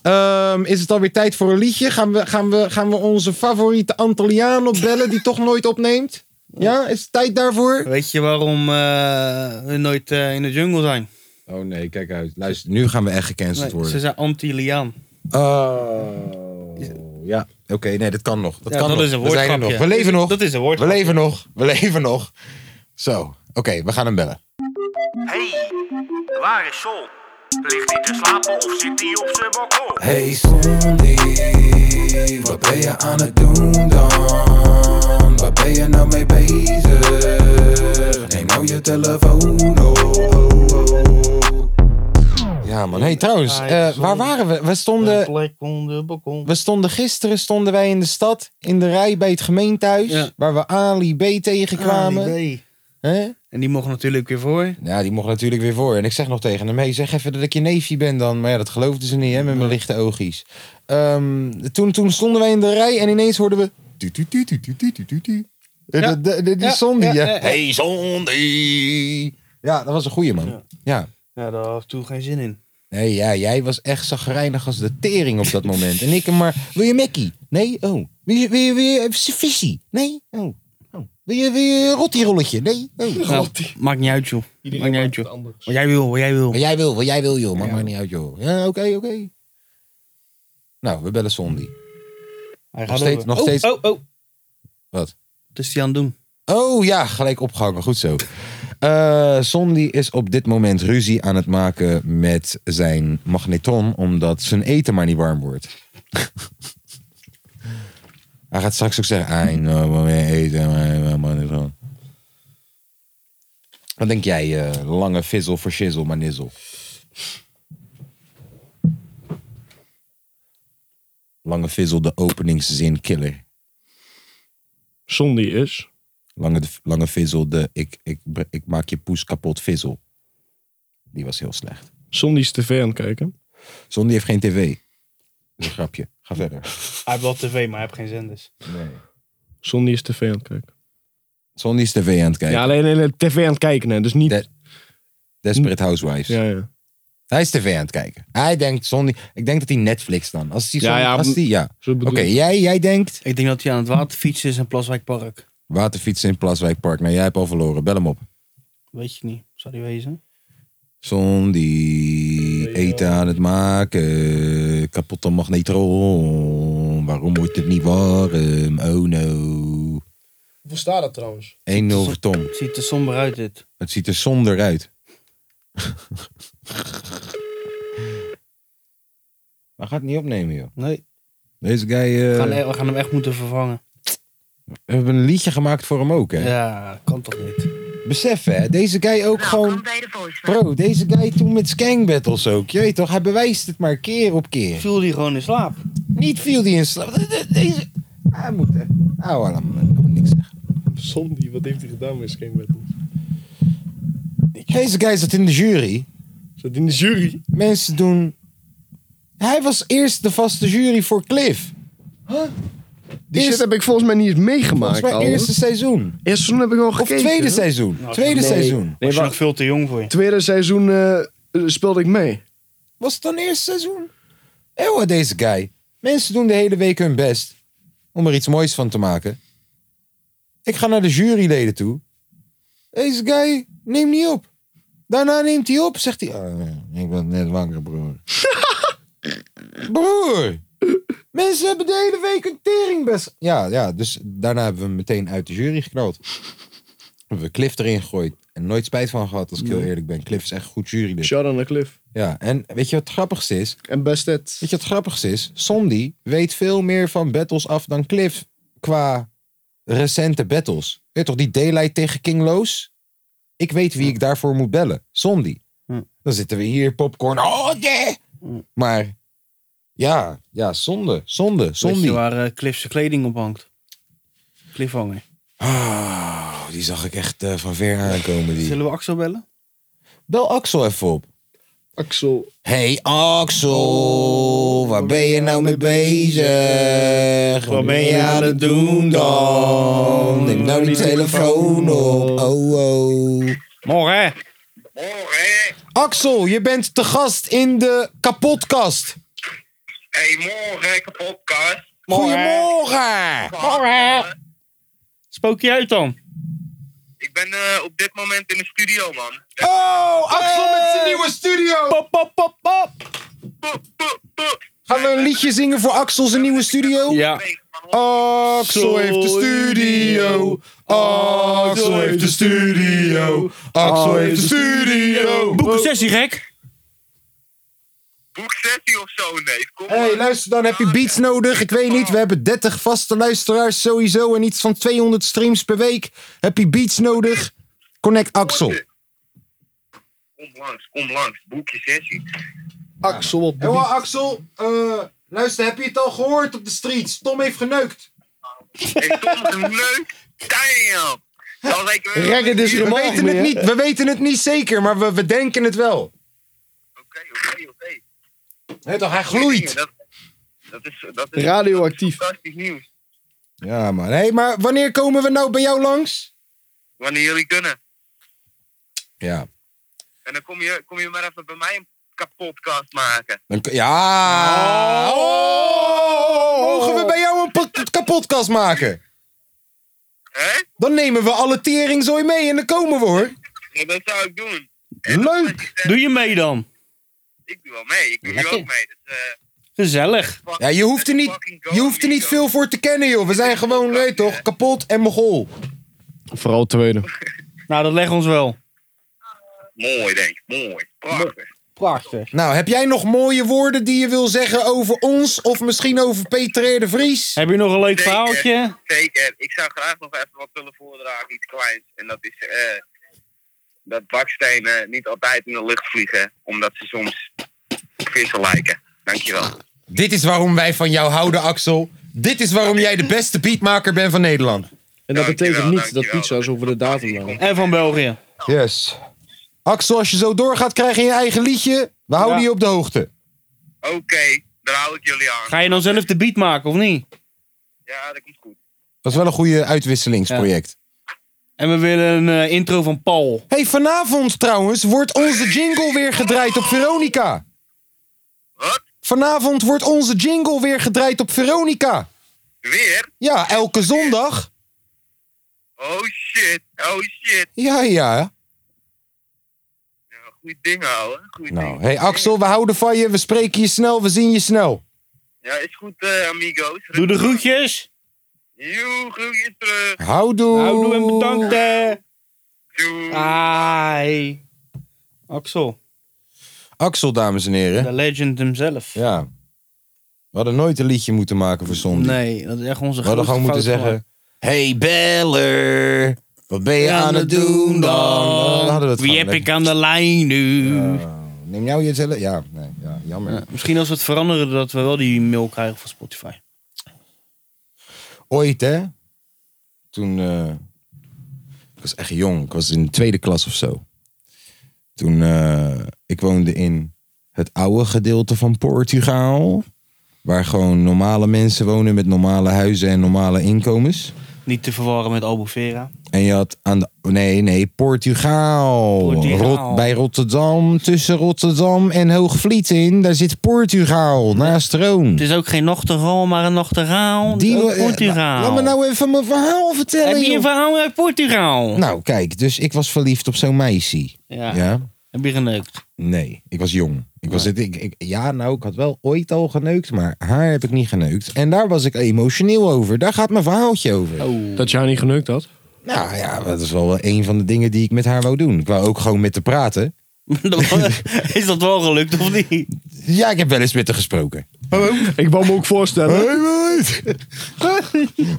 Speaker 4: Ehm, is het alweer tijd voor een liedje? Gaan we, gaan we, gaan we onze favoriete Antilliaan opbellen die toch nooit opneemt? Ja, is het tijd daarvoor?
Speaker 5: Weet je waarom eh, we nooit eh, in de jungle zijn?
Speaker 4: Oh nee, kijk uit. Luister, nu gaan we echt gecanceld
Speaker 5: Nee, ze zijn anti-liaan.
Speaker 4: Oh. Ja, oké, nee, dat kan nog. Dat
Speaker 5: Ja,
Speaker 4: kan
Speaker 5: dat
Speaker 4: nog.
Speaker 5: is een
Speaker 4: we zijn er
Speaker 5: woordgrapje.
Speaker 4: nog. We leven nog.
Speaker 5: Dat is een
Speaker 4: We
Speaker 5: woord.
Speaker 4: leven nog, we leven nog. Zo, oké, we gaan hem bellen.
Speaker 2: Hey, waar is Sol? Ligt hij te slapen of zit hij op zijn balkon?
Speaker 3: Hey Soendie, wat ben je aan het doen dan? Waar ben je nou mee bezig? Neem nou je telefoon op.
Speaker 4: Ja man, hey trouwens,
Speaker 5: Ja,
Speaker 4: eh,
Speaker 5: sorry.
Speaker 4: waar waren we? We
Speaker 5: Een
Speaker 4: stonden,
Speaker 5: plek onder het balkon.
Speaker 4: we stonden gisteren stonden wij in de stad, in de rij bij het gemeentehuis,
Speaker 5: Ja.
Speaker 4: waar we Ali B tegenkwamen.
Speaker 5: Ah, nee.
Speaker 4: Hè?
Speaker 5: En die mocht natuurlijk weer voor.
Speaker 4: Ja, die mocht natuurlijk weer voor. En ik zeg nog tegen hem, hey, zeg even dat ik je neefje ben dan. Maar ja, dat geloofden ze niet, hè, met mijn lichte oogjes. Ehm, toen, toen stonden wij in de rij en ineens hoorden we... tu, tu, tu, tu, tu, tu, tu, tu, tu. Eh,
Speaker 5: Ja.
Speaker 4: de- de- de- Die
Speaker 5: Ja,
Speaker 4: Sondi,
Speaker 5: ja,
Speaker 4: hè.
Speaker 5: ja, ja.
Speaker 4: Hey, Sondi! Ja, dat was een goeie, man. ja.
Speaker 5: Ja, daar had ik toen geen zin in.
Speaker 4: Nee, ja, jij was echt zagrijnig als de tering op dat moment. En ik hem maar, wil je Mackie? Nee? Oh. Wil je, wil je, wil je visie? Nee? Oh. oh. Wil je, wil je rottirolletje? Nee? Oh.
Speaker 5: Nou, maakt niet uit, joh. maakt niet uit, joh. Wat jij wil, wat jij wil.
Speaker 4: Wat jij wil, wat jij wil, joh. Maakt maar niet uit, joh. Ja, oké, oké. Nou, we bellen Sondi.
Speaker 5: Hij
Speaker 4: Nog steeds,
Speaker 5: over.
Speaker 4: nog
Speaker 5: oh,
Speaker 4: steeds.
Speaker 5: oh, oh.
Speaker 4: Wat?
Speaker 5: Wat is die aan het doen?
Speaker 4: Oh ja, gelijk opgehangen. Goed zo. Eh Sondi is op dit moment ruzie aan het maken met zijn magnetron. Omdat zijn eten maar niet warm wordt. Hij gaat straks ook zeggen: Ah, nou, maar mijn eten, maar mijn magnetron. Wat denk jij, eh, lange fizzle voor shizzle, maar nizzle? Lange fizzle, de openingszin killer.
Speaker 6: Sondi is.
Speaker 4: Lange, lange Vizzel, de ik, ik, ik maak je poes kapot Vizzel. Die was heel slecht.
Speaker 6: Sondi is tv aan het kijken.
Speaker 4: Zondi heeft geen tv. Dat is Een grapje. Ga verder.
Speaker 5: Hij heeft wel tv, maar hij heeft geen zenders.
Speaker 4: Nee.
Speaker 6: Sondi is tv aan het kijken.
Speaker 4: Zondi is tv aan het kijken.
Speaker 6: Ja, alleen, alleen tv aan het kijken, hè. Dus niet...
Speaker 4: Dat- Desperate Housewives.
Speaker 6: Ja, ja.
Speaker 4: Hij is tv aan het kijken. Hij denkt Zondi... Ik denk dat hij Netflix dan. Als hij
Speaker 6: Ja,
Speaker 4: Zondi-
Speaker 6: ja,
Speaker 4: Als die, ja.
Speaker 6: Zo
Speaker 4: Oké,
Speaker 6: bedoel ik.
Speaker 4: jij, jij denkt...
Speaker 5: Ik denk dat hij aan het water fietsen is in Plaswijkpark.
Speaker 4: Waterfietsen in Plaswijkpark. Nou, jij hebt al verloren. Bel hem op.
Speaker 5: Weet je niet. Zou die wezen?
Speaker 4: Zondi, eten aan het maken. Kapotte magnetron. Waarom wordt het niet warm? Oh no.
Speaker 7: Hoe staat dat trouwens?
Speaker 4: 1-0 voor Tom.
Speaker 5: Het ziet er somber uit, dit.
Speaker 4: Het ziet er zonder uit. Hij gaat niet opnemen, joh.
Speaker 5: Nee.
Speaker 4: Deze guy... eh,
Speaker 5: We gaan, we gaan hem echt moeten vervangen.
Speaker 4: we hebben een liedje gemaakt voor hem ook, hè?
Speaker 5: Ja, kan toch niet.
Speaker 4: Besef hè, deze guy ook
Speaker 10: Welkom
Speaker 4: gewoon...
Speaker 10: Nou, bij de voicemail.
Speaker 4: Bro, deze guy toen met Skank Battles ook. Je weet toch, hij bewijst het maar keer op keer.
Speaker 5: Viel die gewoon in slaap.
Speaker 4: Niet viel die in slaap. De- de- Deze... Hij moet hè. Nou, laat me nog niks zeggen.
Speaker 7: Zombie, wat heeft hij gedaan met Skank Battles?
Speaker 4: Deze guy zat in de jury.
Speaker 7: Zat in de jury.
Speaker 4: mensen doen. Hij was eerst de vaste jury voor Cliff.
Speaker 6: Die
Speaker 4: Eerst-
Speaker 6: shit heb ik volgens mij niet eens meegemaakt.
Speaker 4: Volgens mij
Speaker 6: ouwe.
Speaker 4: eerste seizoen.
Speaker 6: Eerste seizoen heb ik wel
Speaker 4: Of
Speaker 6: gekeken.
Speaker 4: tweede seizoen. Tweede
Speaker 6: nee.
Speaker 4: seizoen.
Speaker 5: Was je
Speaker 6: wa-
Speaker 5: nog veel te jong voor je.
Speaker 6: Tweede seizoen eh, eh, speelde ik mee.
Speaker 4: Was het dan eerste seizoen? Eeuw, deze guy. Mensen doen de hele week hun best om er iets moois van te maken. Ik ga naar de juryleden toe. Deze guy neemt niet op. Daarna neemt hij op, zegt hij. "Ah, ik ben net wakker, broer. broer! Mensen hebben de hele week een tering best. Ja, ja, dus daarna hebben we hem meteen uit de jury geknald. Hebben we Cliff erin gegooid. En nooit spijt van gehad, als ik heel eerlijk ben. Cliff is echt een goed jurylid.
Speaker 6: Shout out naar Cliff.
Speaker 4: Ja, en weet je wat het grappigste is?
Speaker 6: En best het.
Speaker 4: Weet je wat het grappigste is? Sondi weet veel meer van battles af dan Cliff qua recente battles. Weet je toch, die Daylight tegen King Loos? Ik weet wie ik daarvoor moet bellen. Sondi.
Speaker 5: Hm.
Speaker 4: Dan zitten we hier, popcorn. Oh, yeah! Maar ja, ja, zonde, zonde,
Speaker 5: Weet
Speaker 4: Sondi.
Speaker 5: je waar eh, Cliff zijn kleding op hangt? Cliffhanger.
Speaker 4: Ah, die zag ik echt eh, van ver aankomen. Die.
Speaker 5: Zullen we Axel bellen?
Speaker 4: Bel Axel even op.
Speaker 6: Axel.
Speaker 4: Hey Axel, waar ben je nou mee bezig? Wat ben je aan het doen dan? Neem nou die telefoon op. Oh, oh.
Speaker 5: Morgen.
Speaker 2: Morgen.
Speaker 4: Axel, je bent te gast in de kapotkast.
Speaker 2: Hey, morgen, kapotkast.
Speaker 4: Goedemorgen.
Speaker 5: Spook je uit dan?
Speaker 2: Ik ben eh, op dit moment in de studio, man.
Speaker 4: Oh, Axel met zijn nieuwe studio.
Speaker 5: Pop, pop, pop, pop.
Speaker 2: Boe, boe, boe.
Speaker 4: Gaan we een liedje zingen voor Axel zijn nieuwe studio?
Speaker 5: Ja.
Speaker 4: Axel heeft de studio. Axel heeft de studio. Axel heeft de studio.
Speaker 5: Boek een sessie, gek.
Speaker 2: Boek sessie of zo, nee. Kom
Speaker 4: Hé, hey,
Speaker 2: maar.
Speaker 4: luister, dan heb je beats nodig. Ik weet niet, we hebben 30 vaste luisteraars sowieso en iets van 200 streams per week. Heb je beats nodig? Connect Axel.
Speaker 2: Kom langs, kom langs. Boek je sessie.
Speaker 6: Axel op de
Speaker 4: Hé, Axel, eh, luister, heb je het al gehoord op de streets? Tom heeft geneukt.
Speaker 2: Ik vond het leuk. Damn. Dan lijken we...
Speaker 6: Reggae is
Speaker 4: We
Speaker 6: er mag
Speaker 4: weten, het
Speaker 6: meer.
Speaker 4: niet, we weten het niet zeker, maar we, we denken het wel.
Speaker 2: Oké, oké, oké.
Speaker 4: Hé, toch, hij gloeit.
Speaker 2: Dat, dat is... Dat is
Speaker 6: Radioactief.
Speaker 2: Fantastisch nieuws.
Speaker 4: Ja, man. Hé, maar wanneer komen we nou bij jou langs?
Speaker 2: Wanneer jullie kunnen.
Speaker 4: Ja.
Speaker 2: En dan kom je, kom je maar even bij mij een kapotkast maken.
Speaker 4: Dan, k- ja. Oh. Mogen we bij jou een pa- kapotkast maken?
Speaker 2: Hè?
Speaker 4: Dan nemen we alle teringzooi mee en dan komen we hoor.
Speaker 2: Ja, dat zou ik doen.
Speaker 4: Leuk.
Speaker 5: Doe je mee dan?
Speaker 2: Ik doe wel mee. Ik doe hier ook mee. Dus, eh,
Speaker 5: Gezellig.
Speaker 2: fuck-
Speaker 4: Ja, je hoeft er niet,
Speaker 2: fucking go,
Speaker 4: je hoeft er niet
Speaker 2: Nico.
Speaker 4: veel voor te kennen joh. We zijn gewoon, weet je toch, kapot en mogol.
Speaker 6: Vooral tweede.
Speaker 5: Nou, dat legt ons wel.
Speaker 2: Mooi, denk ik. Mooi. Prachtig.
Speaker 5: Prachtig.
Speaker 4: Nou, heb jij nog mooie woorden die je wil zeggen over ons? Of misschien over Peter R. de Vries?
Speaker 5: Heb je nog een leuk
Speaker 2: Zeker.
Speaker 5: verhaaltje?
Speaker 2: Zeker. Ik zou graag nog even wat willen voordragen. Iets kleins. En dat is... eh, dat bakstenen niet altijd in de lucht vliegen. Omdat ze soms vissen lijken. Dankjewel.
Speaker 4: Dit is waarom wij van jou houden, Axel. Dit is waarom jij de beste beatmaker bent van Nederland.
Speaker 6: En dat betekent
Speaker 2: Dankjewel,
Speaker 6: niet dat
Speaker 2: dankjewel.
Speaker 6: pizza's over de datum waren.
Speaker 5: En van België.
Speaker 4: Yes. Axel, als je zo doorgaat, krijg je je eigen liedje. We houden
Speaker 5: Ja.
Speaker 4: je op de hoogte.
Speaker 2: Oké, daar hou ik jullie aan.
Speaker 5: Ga je dan zelf de beat maken, of niet?
Speaker 2: Ja, dat komt goed.
Speaker 4: Dat is wel een goede uitwisselingsproject.
Speaker 5: En we willen een eh, intro van Paul.
Speaker 4: hey, vanavond trouwens wordt onze jingle weer gedraaid op Veronica.
Speaker 2: Wat?
Speaker 4: Vanavond wordt onze jingle weer gedraaid op Veronica.
Speaker 2: Weer?
Speaker 4: Ja, elke zondag.
Speaker 2: Oh shit. Oh shit.
Speaker 4: Ja, ja.
Speaker 2: Ja, Goed ding houden. Goed
Speaker 4: Nou,
Speaker 2: ding.
Speaker 4: hey Axel, we houden van je. We spreken je snel, we zien je snel.
Speaker 2: Ja, is goed, eh, amigo's.
Speaker 5: Doe de groetjes.
Speaker 2: Joe, groetjes terug.
Speaker 4: Houdoe.
Speaker 5: Houdoe en bedankt. hè.
Speaker 2: Doei.
Speaker 4: Ah,
Speaker 5: Ai. Axel,
Speaker 4: Axel, dames en
Speaker 5: de
Speaker 4: heren.
Speaker 5: legend hemzelf.
Speaker 4: Ja. We hadden nooit een liedje moeten maken voor zondag.
Speaker 5: Nee, dat is echt onze
Speaker 4: we hadden
Speaker 5: grootste
Speaker 4: gewoon moeten
Speaker 5: fout
Speaker 4: zeggen...
Speaker 5: gemaakt.
Speaker 4: Hey beller, Wat ben je aan het doen dan? Dan hadden we het
Speaker 5: Wie
Speaker 4: gewoon
Speaker 5: heb ik
Speaker 4: lekker.
Speaker 5: aan de lijn nu?
Speaker 4: Neem jou je zelf? Ja, nee, ja jammer.
Speaker 5: Ja, misschien als we het veranderen, dat we wel die mail krijgen van Spotify.
Speaker 4: Ooit, hè? Toen... eh, ik was echt jong. Ik was in de tweede klas of zo. Toen... eh, ik woonde in het oude gedeelte van Portugal. Waar gewoon normale mensen wonen met normale huizen en normale inkomens.
Speaker 5: Niet te verwarren met Albufeira.
Speaker 4: En je had aan de. Nee, nee, Portugal.
Speaker 5: Portugal.
Speaker 4: Rot- bij Rotterdam, tussen Rotterdam en Hoogvliet in, daar zit Portugal naast Roon.
Speaker 5: Het is ook geen Nochtegal, maar een Nochteraal. Die
Speaker 4: lo- eh,
Speaker 5: Dus Portugal.
Speaker 4: Laat me nou even mijn verhaal vertellen.
Speaker 5: Heb je
Speaker 4: joh.
Speaker 5: een verhaal uit Portugal?
Speaker 4: Nou, kijk, dus ik was verliefd op zo'n meisje.
Speaker 5: Ja.
Speaker 4: Ja.
Speaker 5: Heb je geneukt?
Speaker 4: Nee, ik was jong. Ik was, ik, ik, ja, nou, ik had wel ooit al geneukt, maar haar heb ik niet geneukt. En daar was ik emotioneel over. Daar gaat mijn verhaaltje over.
Speaker 5: Oh.
Speaker 7: Dat je haar niet geneukt had?
Speaker 4: Nou ja, dat is wel een van de dingen die ik met haar wou doen. Ik wou ook gewoon met te praten.
Speaker 5: is dat wel gelukt of niet?
Speaker 4: Ja, ik heb wel eens met haar gesproken.
Speaker 7: Ik wou me ook voorstellen.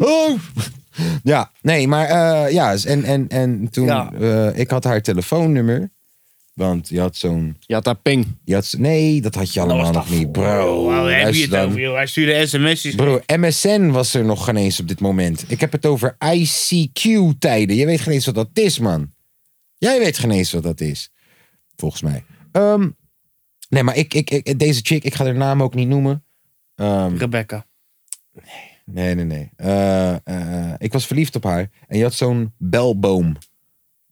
Speaker 4: Oh. Ja, nee, maar eh, ja, en, en, en toen,
Speaker 5: Ja.
Speaker 4: eh, ik had haar telefoonnummer. Want je had zo'n,
Speaker 7: Ja, daar ping.
Speaker 4: je had, z- nee, dat had je allemaal nog niet, bro.
Speaker 5: Waar heb je
Speaker 4: luister
Speaker 5: het
Speaker 4: dan.
Speaker 5: over, joh? Hij stuurde sms'jes.
Speaker 4: Bro, MSN was er nog geen eens op dit moment. Ik heb het over ICQ-tijden. Je weet geen eens wat dat is, man. Jij weet geen eens wat dat is. Volgens mij. Ehm, nee, maar ik, ik, ik, deze chick, ik ga haar naam ook niet noemen. Ehm,
Speaker 5: Rebecca.
Speaker 4: Nee, nee, nee. Eh, eh, ik was verliefd op haar. En je had zo'n belboom.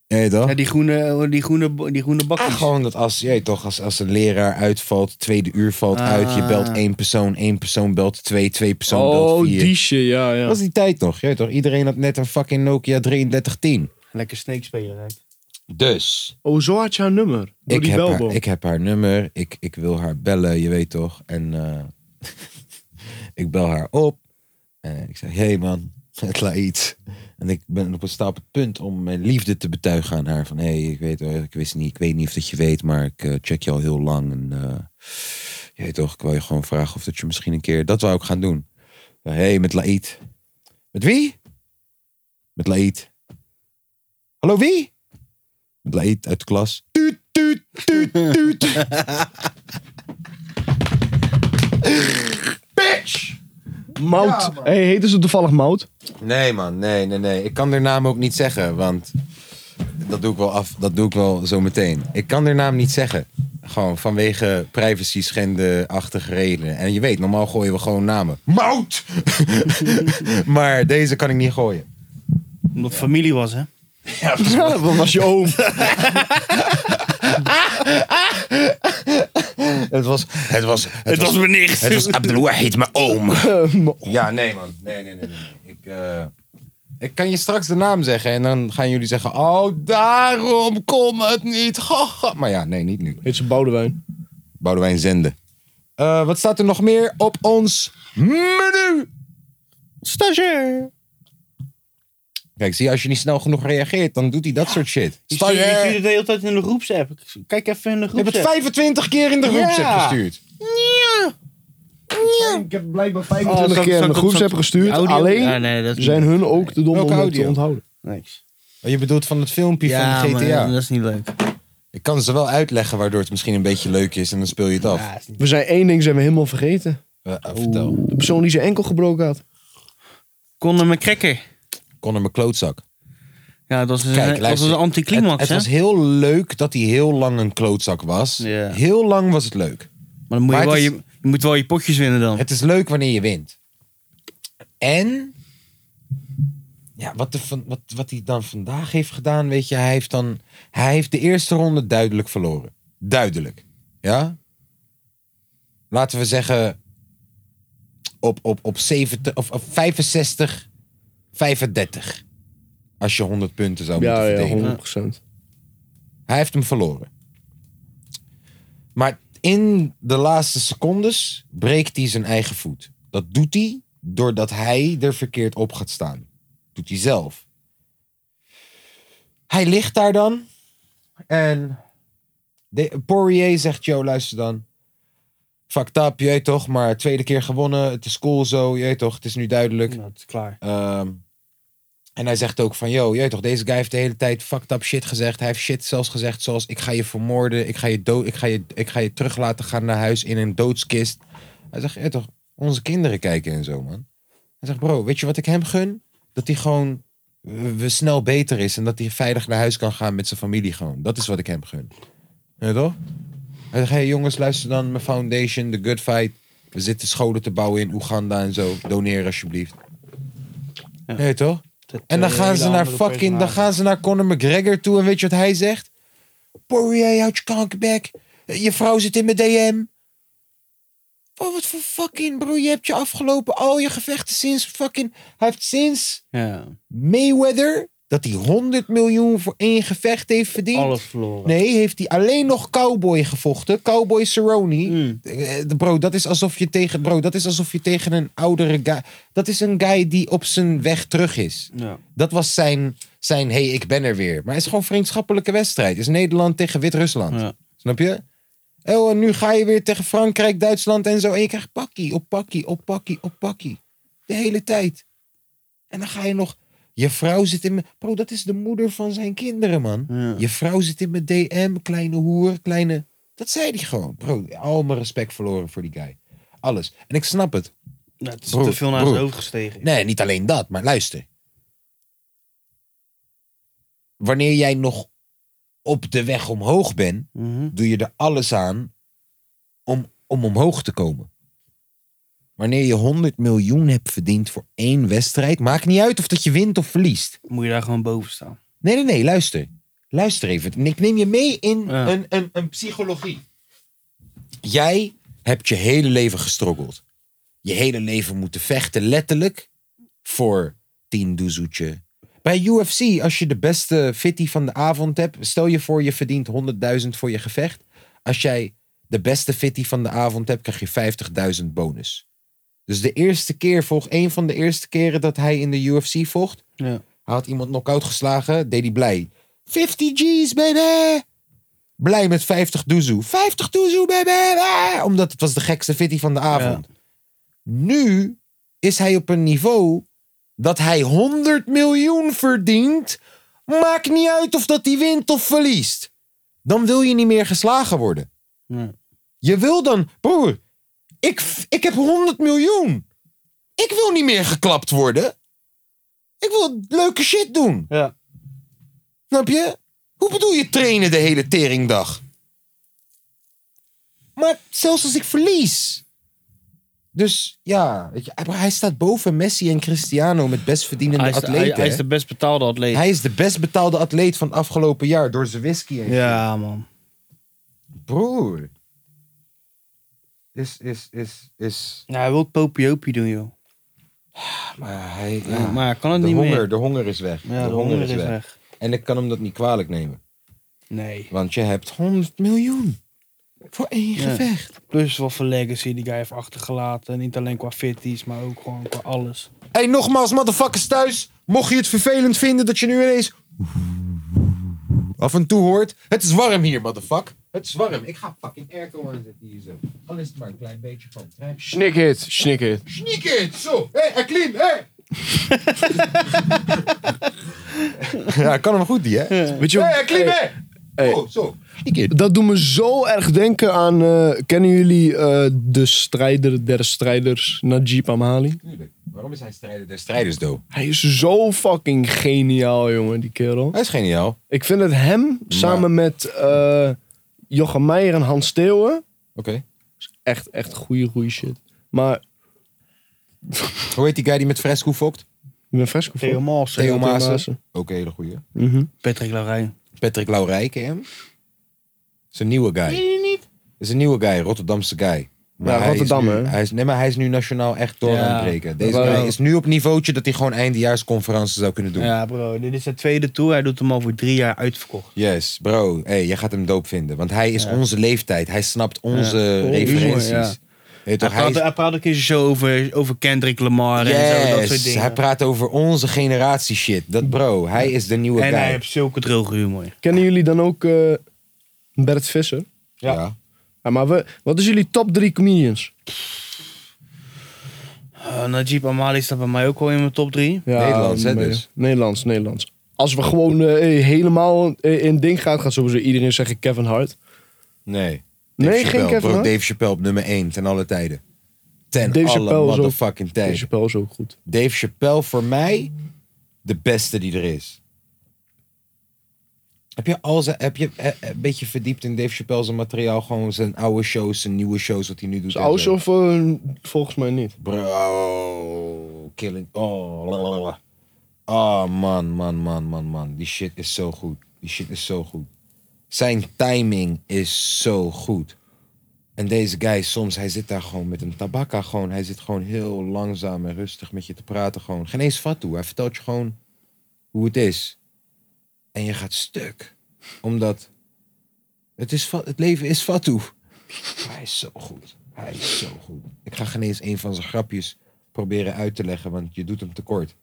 Speaker 4: Je weet toch?
Speaker 5: Ja, die groene, eh, die groene, die groene
Speaker 4: Ah,
Speaker 5: bakjes.
Speaker 4: gewoon dat als, je weet toch, als, als een leraar uitvalt, tweede uur valt
Speaker 5: Ah.
Speaker 4: uit. Je belt één persoon, één persoon belt twee, twee persoon
Speaker 7: Oh,
Speaker 4: belt vier.
Speaker 7: die shit, ja,
Speaker 4: Dat
Speaker 7: ja.
Speaker 4: was die tijd nog. Je weet toch? Iedereen had net een fucking Nokia 3310.
Speaker 5: Lekker snake spelen. hè?
Speaker 4: Dus,
Speaker 7: Oh, zo had je haar nummer. Door
Speaker 4: ik
Speaker 7: die
Speaker 4: heb, haar,
Speaker 7: belboom.
Speaker 4: ik heb haar nummer. Ik, ik wil haar bellen, je weet toch. En eh, ik bel haar op. En ik zeg, hé hey man, het laat iets. En ik ben op een stap het punt om mijn liefde te betuigen aan haar. Van, hé, hey, ik weet wel, ik wist niet, ik weet niet of dat je weet, maar ik eh, check je al heel lang. En eh, je weet toch, ik wil je gewoon vragen of dat je misschien een keer... Dat wou ik gaan doen. Hé, hey, met Laït. Met wie? Met Laït. Hallo, wie? Met Laït uit de klas. Tuut, tuut, tuut, tuut.
Speaker 7: Mout. hey, heten ze toevallig Mout?
Speaker 4: Nee, man, nee, nee, nee. Ik kan haar naam ook niet zeggen, want dat doe ik wel af, dat doe ik wel zo meteen. Ik kan haar naam niet zeggen. Gewoon vanwege privacy schende-achtige redenen. En je weet, normaal gooien we gewoon namen. Mout! maar deze kan ik niet gooien.
Speaker 5: Omdat het familie was, hè?
Speaker 7: Ja, dat was je oom.
Speaker 4: Het was, het was, het,
Speaker 5: Het was mijn nicht.
Speaker 4: het was Abdelwahid, mijn oom. ja, nee, man. Nee, nee, nee. nee. Ik, eh, ik kan je straks de naam zeggen en dan gaan jullie zeggen... Oh, daarom kon het niet. Haha. Maar ja, nee, niet nu.
Speaker 7: Heet ze Boudewijn.
Speaker 4: Boudewijn Zende. Eh, wat staat er nog meer op ons menu?
Speaker 5: Stagiair.
Speaker 4: Kijk, zie je, als je niet snel genoeg reageert, dan doet hij dat soort shit.
Speaker 5: Je stuurt je stuurt
Speaker 4: Stagiair!
Speaker 5: het de hele tijd in de groepsapp. Ik- Kijk even in de
Speaker 4: Je hebt het
Speaker 5: groepsapp.
Speaker 4: 25 keer in de
Speaker 5: Ja.
Speaker 4: groepsapp gestuurd.
Speaker 7: Ik heb blijkbaar
Speaker 5: Oh, zal
Speaker 7: 25
Speaker 5: ik-
Speaker 7: keer
Speaker 5: zal
Speaker 7: in
Speaker 5: ik
Speaker 7: de
Speaker 5: op-
Speaker 7: groeps
Speaker 5: zal ik
Speaker 7: heb
Speaker 5: op-
Speaker 7: gestuurd.
Speaker 5: Audio?
Speaker 7: Alleen
Speaker 5: Ja, nee, dat is
Speaker 7: zijn
Speaker 5: niet-
Speaker 7: hun ook te dom
Speaker 4: Welke
Speaker 7: om het te
Speaker 4: audio?
Speaker 7: onthouden.
Speaker 5: niks.
Speaker 4: Oh, Je bedoelt van het filmpje van de
Speaker 5: maar
Speaker 4: GTA.
Speaker 5: dat is niet leuk.
Speaker 4: eh, Ik kan ze wel uitleggen waardoor het misschien een beetje leuk is en dan speel je het af.
Speaker 5: Ja, is niet-
Speaker 7: We zijn één ding zijn we helemaal vergeten.
Speaker 4: Eh, eh, vertel.
Speaker 7: De persoon die zijn enkel gebroken had.
Speaker 5: Conor McCracker.
Speaker 4: Connor mijn klootzak.
Speaker 5: Ja, dat is een,
Speaker 4: Kijk,
Speaker 5: dat Eh, was
Speaker 4: luister.
Speaker 5: een
Speaker 4: het
Speaker 5: anticlimax,
Speaker 4: het
Speaker 5: hè?
Speaker 4: was heel leuk dat hij heel lang een klootzak was.
Speaker 5: Ja.
Speaker 4: Heel lang was het leuk.
Speaker 5: Maar dan moet
Speaker 4: maar
Speaker 5: je, wel
Speaker 4: het
Speaker 5: je, je moet wel je potjes winnen dan.
Speaker 4: Het is leuk wanneer je wint. En. Ja, wat, de, van- wat, wat hij dan vandaag heeft gedaan, weet je, hij heeft dan. Hij heeft de eerste ronde duidelijk verloren. Duidelijk. Ja? Laten we zeggen. Op, op, op 70, of, op 65, 35. Als je 100 punten zou moeten
Speaker 7: Ja, ja,
Speaker 4: verdedigen.
Speaker 7: 100%.
Speaker 4: Hij heeft hem verloren. Maar in de laatste secondes breekt hij zijn eigen voet. Dat doet hij doordat hij er verkeerd op gaat staan. Doet hij zelf. Hij ligt daar dan. En de, Poirier zegt, yo, luister dan. Fucked up, je weet toch. Maar tweede keer gewonnen. Het is cool zo, je weet toch. Het is nu duidelijk.
Speaker 5: Nou, het is klaar.
Speaker 4: Ehm, En hij zegt ook van, yo, jij toch, deze guy heeft de hele tijd fucked up shit gezegd. Hij heeft shit zelfs gezegd zoals, ik ga je vermoorden, ik ga je, dood, ik ga je, ik ga je terug laten gaan naar huis in een doodskist. Hij zegt, ja toch, onze kinderen kijken en zo, man. Hij zegt, bro, weet je wat ik hem gun? Dat hij gewoon we we snel beter is en dat hij veilig naar huis kan gaan met zijn familie gewoon. Dat is wat ik hem gun. Ja, toch? Hij zegt, hey jongens, luister dan mijn foundation, The Good Fight. We zitten scholen te bouwen in Oeganda en zo. Doneer alsjeblieft. Ja. toch? En dan gaan ze naar fucking, dan gaan ze naar Conor McGregor toe en weet je wat hij zegt? Poirier, houd je kankerbek. Je vrouw zit in mijn DM. Wow, wat voor fucking bro, je hebt je afgelopen al je gevechten sinds fucking... Hij heeft sinds
Speaker 5: Ja,
Speaker 4: Mayweather, dat hij 100 miljoen voor één gevecht heeft verdiend.
Speaker 5: alles verloren.
Speaker 4: Nee, heeft hij alleen nog Cowboy gevochten. Cowboy Cerrone.
Speaker 5: Mm.
Speaker 4: Eh, Bro, dat is alsof je tegen, bro, dat is alsof je tegen een oudere guy... Dat is een guy die op zijn weg terug is.
Speaker 5: Ja.
Speaker 4: Dat was zijn, zijn hey, ik ben er weer. Maar het is gewoon een vriendschappelijke wedstrijd. Het is Nederland tegen Wit-Rusland.
Speaker 5: Ja.
Speaker 4: Snap je? Oh, en nu ga je weer tegen Frankrijk, Duitsland en zo. En je krijgt pakkie op pakkie op pakkie op pakkie. De hele tijd. En dan ga je nog... Je vrouw zit in mijn... Bro, dat is de moeder van zijn kinderen, man.
Speaker 5: Ja.
Speaker 4: Je vrouw zit in mijn DM, kleine hoer, kleine... Dat zei hij gewoon. Bro, al mijn respect verloren voor die guy. Alles. En ik snap het.
Speaker 5: Ja, het is
Speaker 4: Broer,
Speaker 5: te veel naar zijn
Speaker 4: broer.
Speaker 5: hoofd gestegen.
Speaker 4: Nee, niet alleen dat, maar luister. Wanneer jij nog op de weg omhoog bent,
Speaker 5: Mhm.
Speaker 4: doe je er alles aan om, om omhoog te komen. Wanneer je 100 miljoen hebt verdiend voor één wedstrijd, maakt niet uit of dat je wint of verliest.
Speaker 5: Moet je daar gewoon boven staan.
Speaker 4: Nee, nee, nee, luister. Luister even. En Ik neem je mee in
Speaker 5: Ja.
Speaker 4: een, een, een psychologie. Jij hebt je hele leven gestroggeld. Je hele leven moeten vechten, letterlijk, voor tien doezoetje. Bij UFC, als je de beste fitty van de avond hebt, stel je voor je verdient 100.000 voor je gevecht. Als jij de beste fitty van de avond hebt, krijg je 50.000 bonus. Dus de eerste keer, volg een van de eerste keren dat hij in de UFC vocht,
Speaker 5: Ja.
Speaker 4: hij had iemand knock-out geslagen, deed hij blij. 50 G's, baby! Blij met 50 doezoe. 50 doezoe, baby! Ah! Omdat het was de gekste fitty van de avond. Nu is hij op een niveau dat hij 100 miljoen verdient. Maakt niet uit of dat hij wint of verliest. Dan wil je niet meer geslagen worden.
Speaker 5: Nee.
Speaker 4: Je wil dan... Broer, ik, ik heb 100 miljoen. Ik wil niet meer geklapt worden. Ik wil leuke shit doen.
Speaker 5: Ja.
Speaker 4: Snap je? Hoe bedoel je trainen de hele teringdag? Maar zelfs als ik verlies. Dus ja, weet je, hij- hij staat boven Messi en Cristiano met best verdienende
Speaker 5: Hij is, de,
Speaker 4: atleten.
Speaker 5: hij,
Speaker 4: hè?
Speaker 5: hij is de best betaalde atleet.
Speaker 4: best betaalde atleet van het afgelopen jaar door Zawinski. en-
Speaker 5: Ja, man.
Speaker 4: Broer. Is, is, is, is.
Speaker 5: Nou, hij wil popiopie doen, joh.
Speaker 4: Maar hij, ja.
Speaker 5: Ja, maar hij kan het
Speaker 4: de,
Speaker 5: Oh, niet
Speaker 4: honger,
Speaker 5: meer.
Speaker 4: de honger is weg.
Speaker 5: Ja, de, honger is weg.
Speaker 4: En ik kan hem dat niet kwalijk nemen.
Speaker 5: Nee.
Speaker 4: Want je hebt 100 miljoen. Voor één
Speaker 5: Ja.
Speaker 4: gevecht.
Speaker 5: Plus wat voor legacy die guy heeft achtergelaten. Niet alleen qua fitties, maar ook gewoon qua alles.
Speaker 4: hey, nogmaals, motherfuckers thuis. Mocht je het vervelend vinden dat je nu ineens... af en toe hoort. Het is warm hier, motherfuck. Het is warm. Ik ga fucking airco aanzetten hier zo. Al is het maar een klein beetje van.
Speaker 7: Snikhit, snikhit.
Speaker 4: Sneak it! Zo! Hé, hey, clean! Hé! ja, kan hem goed die, hè? Hé,
Speaker 7: Weet je wat-
Speaker 4: clean,
Speaker 7: Hey,
Speaker 4: hè? Oh, zo. Sneak it.
Speaker 7: Dat doet me zo erg denken aan. eh, kennen jullie eh, de strijder der strijders, Najib Amali?
Speaker 4: Tuurlijk. Waarom is hij strijder der strijders, doe?
Speaker 7: Hij is zo fucking geniaal, jongen, die kerel.
Speaker 4: Hij is geniaal.
Speaker 7: Ik vind het hem samen met eh Jochem Meijer en Hans Steeuwen.
Speaker 4: Oké.
Speaker 7: Echt, echt goede, goede shit. Maar
Speaker 4: Hoe heet die guy die met Fresco fokt?
Speaker 7: ik ben fresco
Speaker 5: Theo
Speaker 7: voor.
Speaker 5: Maassen.
Speaker 4: Theo
Speaker 7: Theo
Speaker 4: Maassen.
Speaker 7: Maassen.
Speaker 4: Ook een hele goeie.
Speaker 7: Mhm.
Speaker 5: Patrick Larijn.
Speaker 4: Patrick Laurij, ken je hem? Is een nieuwe guy. Nee, niet. Is een nieuwe guy, Rotterdamse guy. hij
Speaker 7: Ja,
Speaker 4: is
Speaker 7: Rotterdam,
Speaker 4: nu-
Speaker 7: hè?
Speaker 4: Hij is, nee, maar hij is nu nationaal echt door
Speaker 5: Ja.
Speaker 4: aan het breken. Deze
Speaker 7: Wow.
Speaker 4: guy is nu op niveautje dat hij gewoon eindejaarsconferenties zou kunnen doen.
Speaker 5: Ja, bro. Dit is zijn tweede tour. Hij doet hem al voor drie jaar uitverkocht.
Speaker 4: Yes, bro. Hey, jij gaat hem doop vinden. Want hij is
Speaker 5: Ja.
Speaker 4: onze leeftijd. Hij snapt onze
Speaker 5: Oh,
Speaker 4: referenties.
Speaker 5: humor, ja.
Speaker 4: Weet je
Speaker 5: Hij
Speaker 4: toch, hij
Speaker 5: praat,
Speaker 4: is-
Speaker 5: hij praat ook in zijn show over, over Kendrick Lamar en zo, dat soort
Speaker 4: Yes,
Speaker 5: dingen.
Speaker 4: hij praat over onze generatie shit. Dat bro, hij is de nieuwe
Speaker 5: en
Speaker 4: guy.
Speaker 5: hij heeft zulke droge humor.
Speaker 7: Kennen jullie dan ook eh, Bert Visser?
Speaker 4: ja.
Speaker 7: Ja, maar we, wat is jullie top drie comedians?
Speaker 5: Eh, Najib Amali staat bij mij ook wel in mijn top 3.
Speaker 6: Ja,
Speaker 4: Nederlands, hè,
Speaker 6: nee.
Speaker 4: dus?
Speaker 6: Nederlands, Nederlands. Als we gewoon eh, eh, helemaal eh, in ding gaan, gaat sowieso iedereen zeggen Kevin Hart.
Speaker 4: Nee.
Speaker 6: Nee,
Speaker 4: Dave
Speaker 6: geen
Speaker 4: Chappelle.
Speaker 6: Kevin,
Speaker 4: Bro,
Speaker 6: hoor.
Speaker 4: Dave Chappelle op nummer 1 ten alle tijden. Ten
Speaker 6: Dave
Speaker 4: alle
Speaker 6: Chappelle is ook-
Speaker 4: motherfucking
Speaker 6: Dave
Speaker 4: tijden.
Speaker 6: Chappelle is ook goed.
Speaker 4: Dave Chappelle voor mij de beste die er is. Heb je, al zijn, heb je eh, eh, een beetje verdiept in Dave Chappelle zijn materiaal? Gewoon zijn oude shows, zijn nieuwe shows, wat hij nu doet.
Speaker 6: Is
Speaker 4: en
Speaker 6: Aus
Speaker 4: zo.
Speaker 6: of eh, volgens mij niet.
Speaker 4: Bro, killing. Oh, lalalala. Ah, man, man, man, man, man. Die shit is zo goed. Die shit is zo goed. Zijn timing is zo goed. En deze guy, soms, hij zit daar gewoon met een tabakka. Gewoon. Hij zit gewoon heel langzaam en rustig met je te praten. Gewoon. Geen eens fatu. Hij vertelt je gewoon hoe het is. En je gaat stuk. Omdat het, is, fa- het leven is fatu. Hij is zo goed. Hij is zo goed. Ik ga geen eens een van zijn grapjes proberen uit te leggen, want je doet hem tekort.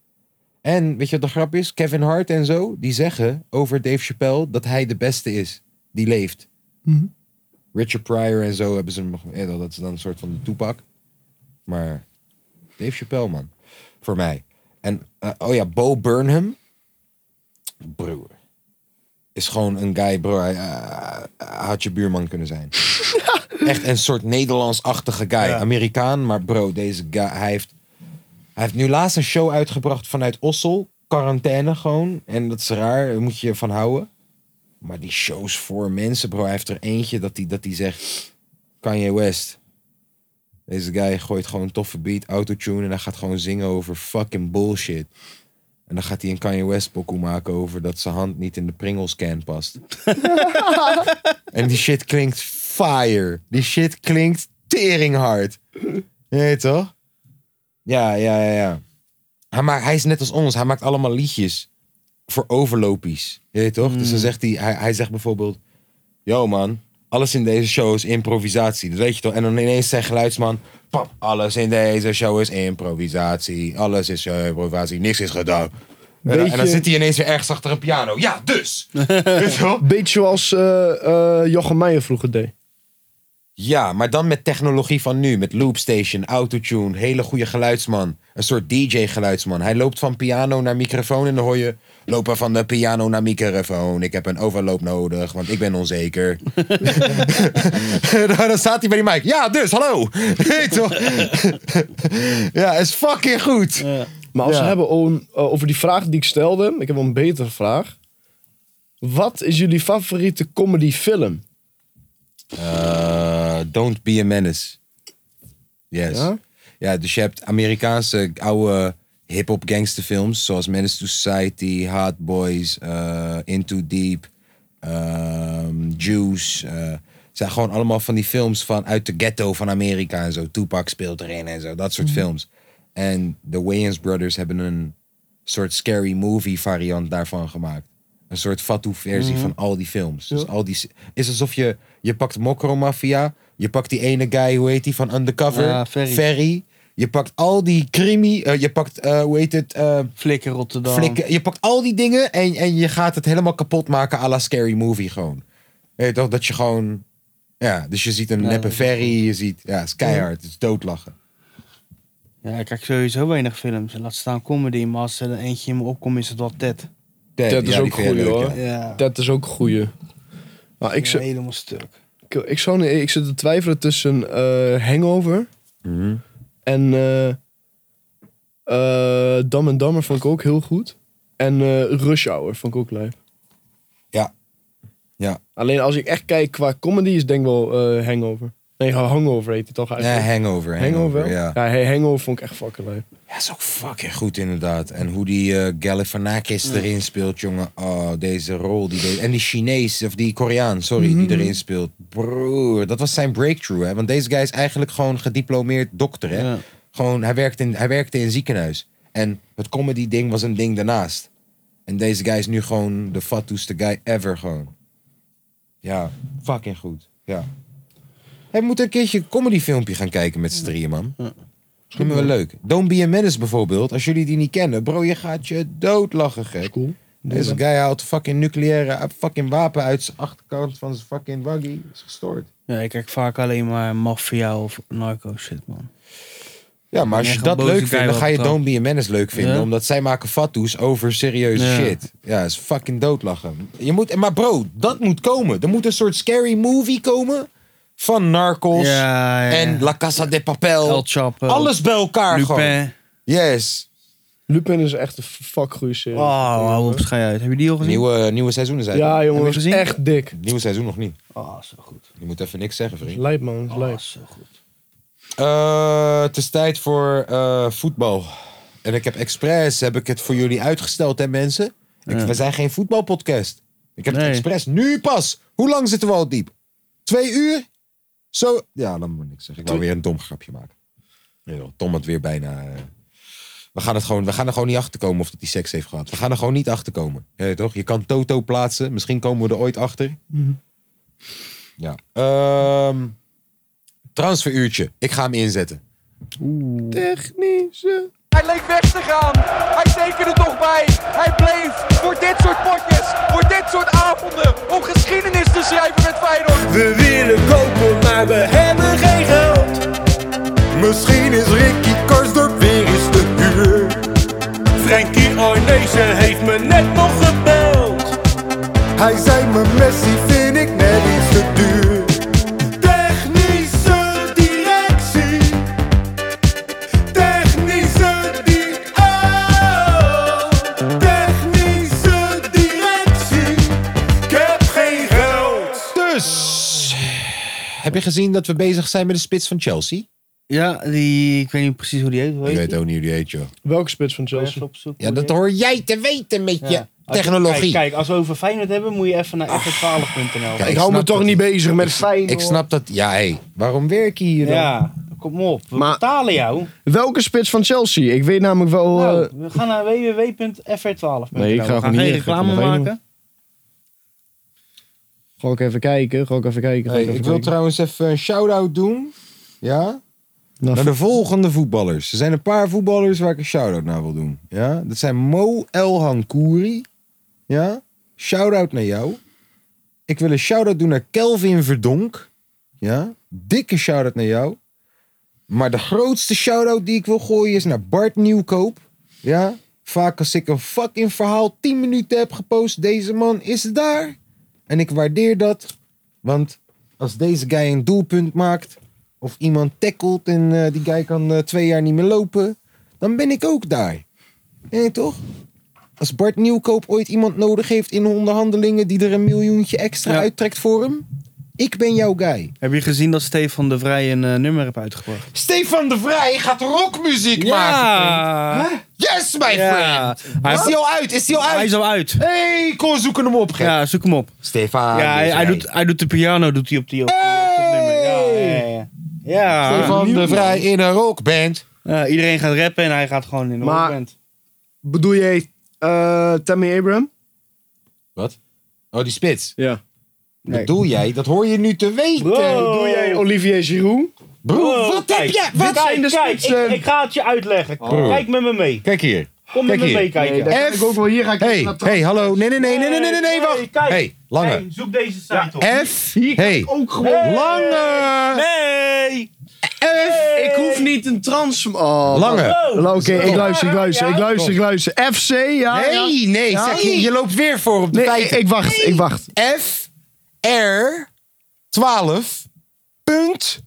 Speaker 4: En weet je wat de grap is? Kevin Hart en zo, die zeggen over Dave Chappelle dat hij de beste is die leeft. Richard Pryor en zo hebben ze hem nog. eh, Dat is dan een soort van de toepak. Maar Dave Chappelle, man. Voor mij. En, eh, oh ja, Bo Burnham. Broer. Is gewoon een guy, bro. Hij eh, had je buurman kunnen zijn. Echt een soort Nederlands-achtige guy. Amerikaan, maar bro, deze guy, hij heeft... Hij heeft nu laatst een show uitgebracht vanuit Ossel. Quarantaine gewoon. En dat is raar, daar moet je je van houden. Maar die shows voor mensen, bro. Hij heeft er eentje dat hij dat die zegt... Kanye West. Deze guy gooit gewoon een toffe beat, autotune... en hij gaat gewoon zingen over fucking bullshit. En dan gaat hij een Kanye West pokoe maken over... dat zijn hand niet in de Pringles-can past. En die shit klinkt fire. Die shit klinkt teringhard. Je weet toch? Ja, ja, ja, ja. Hij, maakt, hij is net als ons. Hij maakt allemaal liedjes voor overlopies. Je weet toch? Dus dan zegt hij, hij, hij zegt bijvoorbeeld... Yo man, alles in deze show is improvisatie. Dat weet je toch? En dan ineens zegt geluidsman... Pap, alles in deze show is improvisatie. Alles is eh, improvisatie. Niks is gedaan. En dan- En dan
Speaker 6: Beetje-
Speaker 4: zit hij ineens weer ergens achter een piano. Ja, dus! Weet je wel?
Speaker 6: Beetje zoals eh, eh, Jochem Meijer vroeger deed.
Speaker 4: Ja, maar dan met technologie van nu. Met loopstation, autotune, hele goede geluidsman. Een soort DJ-geluidsman. Hij loopt van piano naar microfoon en dan hoor je... Lopen van de piano naar microfoon. Ik heb een overloop nodig, want ik ben onzeker. dan staat hij bij die mic. Ja, dus, hallo. Hey, toch? ja, is fucking goed.
Speaker 6: Maar als we
Speaker 4: Ja.
Speaker 6: hebben om- eh, over die vraag die ik stelde, ik heb wel een betere vraag. Wat is jullie favoriete comedyfilm?
Speaker 4: Eh, don't be a menace. Yes.
Speaker 6: Ja?
Speaker 4: Ja? dus je hebt Amerikaanse oude hip-hop gangsterfilms. Zoals Menace to Society, Hard Boys, eh, In Too Deep, ehm, Juice. eh, het zijn gewoon allemaal van die films van uit de ghetto van Amerika en zo. Tupac speelt erin en zo. Dat soort films. En de Wayans Brothers hebben een soort scary movie variant daarvan gemaakt. Een soort fatu versie van al die films. Dus al die is alsof je je pakt Mokro Mafia, je pakt die ene guy hoe heet die van Undercover,
Speaker 5: Ja, Ferry.
Speaker 4: Je pakt al die crimi, eh, je pakt eh, hoe heet het, eh,
Speaker 5: Flikker Rotterdam.
Speaker 4: flikken. Je pakt al die dingen en, en je gaat het helemaal kapot maken à la scary movie gewoon. Weet je toch, dat je gewoon, ja, dus je ziet een
Speaker 5: Ja,
Speaker 4: neppe
Speaker 5: dat is
Speaker 4: ferry, je ziet, ja, het is keihard, het is doodlachen.
Speaker 5: Ja, ik kijk sowieso weinig films. Laat staan comedy, maar als er eentje in me opkomt, is het wel Ted.
Speaker 4: Ted,
Speaker 6: Dat is
Speaker 4: ja, die
Speaker 6: ook
Speaker 4: vind
Speaker 6: goeie,
Speaker 4: je leuk,
Speaker 6: hoor.
Speaker 4: ja.
Speaker 5: Ja,
Speaker 6: Dat is ook een goeie. Maar Nou, ik,
Speaker 5: ik
Speaker 6: zou-
Speaker 5: helemaal stuk.
Speaker 6: ik, ik, zou, ik zit te twijfelen tussen eh, Hangover
Speaker 4: Mhm.
Speaker 6: en eh eh, Dam en Dammer vond ik ook heel goed. En eh, Rush Hour vond ik ook leuk.
Speaker 4: Ja. Ja.
Speaker 6: Alleen als ik echt kijk qua comedy is denk ik wel eh, Hangover. Nee, Hangover heet het toch
Speaker 4: Nee,
Speaker 6: eigenlijk.
Speaker 4: eh, hangover, hangover,
Speaker 6: hangover?
Speaker 4: ja.
Speaker 6: ja hey, hangover vond ik echt fucking leuk.
Speaker 4: Ja, is ook fucking goed inderdaad. En hoe die eh Galifianakis erin speelt, jongen. Oh, deze rol. Die deed- En die Chinees, of die Koreaan, sorry, die erin speelt. Broer, dat was zijn breakthrough, hè. Want deze guy is eigenlijk gewoon gediplomeerd dokter, hè.
Speaker 5: Ja.
Speaker 4: Gewoon, hij werkte, in, hij werkte in een ziekenhuis. En het comedy ding was een ding daarnaast. En deze guy is nu gewoon de fatsoenste guy ever, gewoon. Ja, fucking goed. Ja. Hij moet een keertje een comedyfilmpje gaan kijken met z'n drieën, man. Dat vinden we leuk. Don't Be a Menace bijvoorbeeld. Als jullie die niet kennen, bro, je gaat je doodlachen, gek.
Speaker 6: Cool.
Speaker 4: Deze guy haalt fucking nucleaire eh, fucking wapen uit zijn achterkant van zijn fucking waggy. Is gestoord.
Speaker 5: Ja, ik kijk vaak alleen maar maffia of narco shit, man.
Speaker 4: Ja, maar als
Speaker 5: echt
Speaker 4: je
Speaker 5: een
Speaker 4: dat
Speaker 5: boze
Speaker 4: leuk vindt,
Speaker 5: guy
Speaker 4: dan
Speaker 5: wat
Speaker 4: ga je
Speaker 5: het had.
Speaker 4: Don't Be a Menace leuk vinden.
Speaker 5: Ja.
Speaker 4: Omdat zij maken fatsoes over serieuze
Speaker 5: Ja.
Speaker 4: shit. Ja, is fucking doodlachen. Je moet, maar bro, dat moet komen. Er moet een soort scary movie komen van Narcos
Speaker 5: Ja, ja.
Speaker 4: en La Casa de Papel.
Speaker 5: El Chapo.
Speaker 4: Alles bij elkaar gewoon.
Speaker 5: Lupin.
Speaker 4: Yes.
Speaker 6: Lupin is echt een fuck goede serie.
Speaker 5: Oh, hou op, schei uit. Heb je die al gezien?
Speaker 4: Nieuwe, nieuwe seizoenen zijn er.
Speaker 6: ja, jongen,
Speaker 5: Heb je
Speaker 6: is
Speaker 5: gezien?
Speaker 6: echt dik.
Speaker 4: Nieuwe seizoen nog niet.
Speaker 5: Oh, zo goed.
Speaker 4: Je moet even niks zeggen, vriend.
Speaker 6: Lijp, man. is
Speaker 5: Oh,
Speaker 6: Lijp.
Speaker 5: zo goed.
Speaker 4: Eh, het is tijd voor eh, voetbal. En ik heb expres heb ik het voor jullie uitgesteld, hè mensen? Ik-
Speaker 5: Ja.
Speaker 4: We zijn geen voetbalpodcast. Ik heb
Speaker 5: Nee.
Speaker 4: het expres nu pas. Hoe lang zitten we al diep? Twee uur? Zo. Ja, dan moet ik niks zeggen. Ik wou weer een dom grapje maken. Nee, joh, Tom had weer bijna. eh, We gaan, het gewoon, we gaan er gewoon niet achter komen of dat hij seks heeft gehad. We gaan er gewoon niet achter komen. Je, weet toch? je kan Toto plaatsen. Misschien komen we er ooit achter.
Speaker 5: Mhm.
Speaker 4: Ja. Ehm, transferuurtje. Ik ga hem inzetten.
Speaker 1: Hij leek weg te gaan. Hij tekende toch bij. Hij bleef voor dit soort potjes, voor dit soort avonden, om geschiedenis te schrijven met Feyenoord. We willen kopen, maar we hebben geen geld. Misschien is Ricky Karsdorp weer eens te duur. Frankie Arnezen heeft me net nog gebeld. Hij zei me Messi vind ik net iets te duur. Technische directie. Technische di- oh, technische directie. Ik heb geen geld.
Speaker 4: Dus, heb je gezien dat we bezig zijn met de spits van Chelsea?
Speaker 5: Ja, die, ik weet niet precies hoe die heet. Hoe
Speaker 4: Ik
Speaker 5: heet
Speaker 4: weet
Speaker 5: die?
Speaker 4: ook niet hoe die heet, joh.
Speaker 6: Welke spits van
Speaker 5: Even
Speaker 6: Chelsea?
Speaker 5: opzoeken
Speaker 4: Ja,
Speaker 5: hoe
Speaker 4: dat
Speaker 5: die
Speaker 4: hoor jij te weten met
Speaker 5: heet. Ja.
Speaker 4: je
Speaker 5: Als je-
Speaker 4: technologie.
Speaker 5: Kijk, kijk, als we over Feyenoord hebben, moet je even naar fr12.nl.
Speaker 4: Kijk,
Speaker 6: Ik hou me
Speaker 4: snap
Speaker 6: toch
Speaker 4: dat-
Speaker 6: niet bezig met fijn.
Speaker 4: Ik snap dat. Ja, hé, waarom werk je hier dan?
Speaker 5: Ja, kom op. We
Speaker 6: Maar-
Speaker 5: betalen jou.
Speaker 6: Welke spits van Chelsea? Ik weet namelijk wel...
Speaker 5: Nou,
Speaker 6: eh,
Speaker 5: we gaan naar www.fr12.nl.
Speaker 6: Nee, ik ga
Speaker 5: we
Speaker 6: gewoon
Speaker 5: gaan
Speaker 6: hier,
Speaker 5: geen
Speaker 6: ik ga
Speaker 5: reclame
Speaker 6: nog even-
Speaker 5: maken.
Speaker 6: Ga ik even kijken. Ga ik even kijken. ga
Speaker 4: Hey,
Speaker 6: ik even
Speaker 4: ik wil
Speaker 6: kijken.
Speaker 4: trouwens even een shout-out doen. Ja?
Speaker 6: Nou,
Speaker 4: Naar de volgende voetballers. Er zijn een paar voetballers waar ik een shout-out naar wil doen. Ja? Dat zijn Mo Elhankouri. Ja? Shout-out naar jou. Ik wil een shout-out doen naar Kelvin Verdonk. Ja? Dikke shout-out naar jou. Maar de grootste shout-out die ik wil gooien is naar Bart Nieuwkoop. Ja? Vaak als ik een fucking verhaal 10 minuten heb gepost, deze man is daar. En ik waardeer dat. Want als deze guy een doelpunt maakt, of iemand tackelt en eh, die guy kan eh, twee jaar niet meer lopen, dan ben ik ook daar. Nee, toch? Als Bart Nieuwkoop ooit iemand nodig heeft in onderhandelingen die er een miljoentje extra
Speaker 5: Ja.
Speaker 4: uittrekt voor hem, ik ben jouw guy.
Speaker 5: Heb je gezien dat Stefan de Vrij een eh, nummer heeft uitgebracht?
Speaker 4: Stefan de Vrij gaat rockmuziek maken. vriend. Yes, my
Speaker 5: Ja.
Speaker 4: friend!
Speaker 5: Hij-
Speaker 4: is hij al uit? Is hij al
Speaker 5: Hij
Speaker 4: uit? Ah,
Speaker 5: is al uit.
Speaker 4: hey, kom, zoeken hem op, gek.
Speaker 5: Ja, zoek hem op.
Speaker 4: Stefan
Speaker 5: ja, hij, hij doet, hij doet de piano doet hij op die op, op dat nummer. Ja, ja, ja. ja.
Speaker 4: Stefan de Vrij in een rockband.
Speaker 5: Ja, iedereen gaat rappen en hij gaat gewoon in de
Speaker 6: Maar-
Speaker 5: rockband.
Speaker 6: Bedoel je eh Tammy Abraham?
Speaker 4: Wat? Oh, die spits.
Speaker 6: Ja.
Speaker 5: Nee.
Speaker 4: Bedoel jij? Dat hoor je nu te weten.
Speaker 6: Bedoel jij Olivier Giroud?
Speaker 4: Bro, Oh. wat
Speaker 5: kijk,
Speaker 4: heb je?
Speaker 5: dit-
Speaker 4: Wat?
Speaker 5: kijk,
Speaker 6: zijn de eh?
Speaker 5: kijk,
Speaker 6: spitsen?
Speaker 5: ik, ik ga het je uitleggen.
Speaker 4: Oh.
Speaker 5: Kijk met me mee.
Speaker 4: Kijk hier.
Speaker 5: Kom
Speaker 4: Kijk
Speaker 5: met me
Speaker 4: hier.
Speaker 5: mee kijken.
Speaker 6: Nee, F. ook wel hier ga ik
Speaker 4: Hey, hey, hallo. Nee, nee, nee, nee, nee, nee, nee, nee, wacht.
Speaker 5: kijk.
Speaker 4: Hey, lange.
Speaker 5: Hey, zoek deze site op.
Speaker 4: F. Hey,
Speaker 6: ook gewoon.
Speaker 4: lange.
Speaker 5: Nee!
Speaker 4: F.
Speaker 6: Ik hoef niet een trans. Oh,
Speaker 4: Lange.
Speaker 6: Oké, ik luister, ik luister, ik luister,
Speaker 4: Kom.
Speaker 6: ik luister. FC, ja. ja.
Speaker 4: Nee, nee,
Speaker 6: Ja.
Speaker 4: zeg je. Je loopt weer voor op de
Speaker 6: Nee, ik,
Speaker 4: feiten.
Speaker 6: ik wacht, ik wacht.
Speaker 4: F. R. 12. Punt.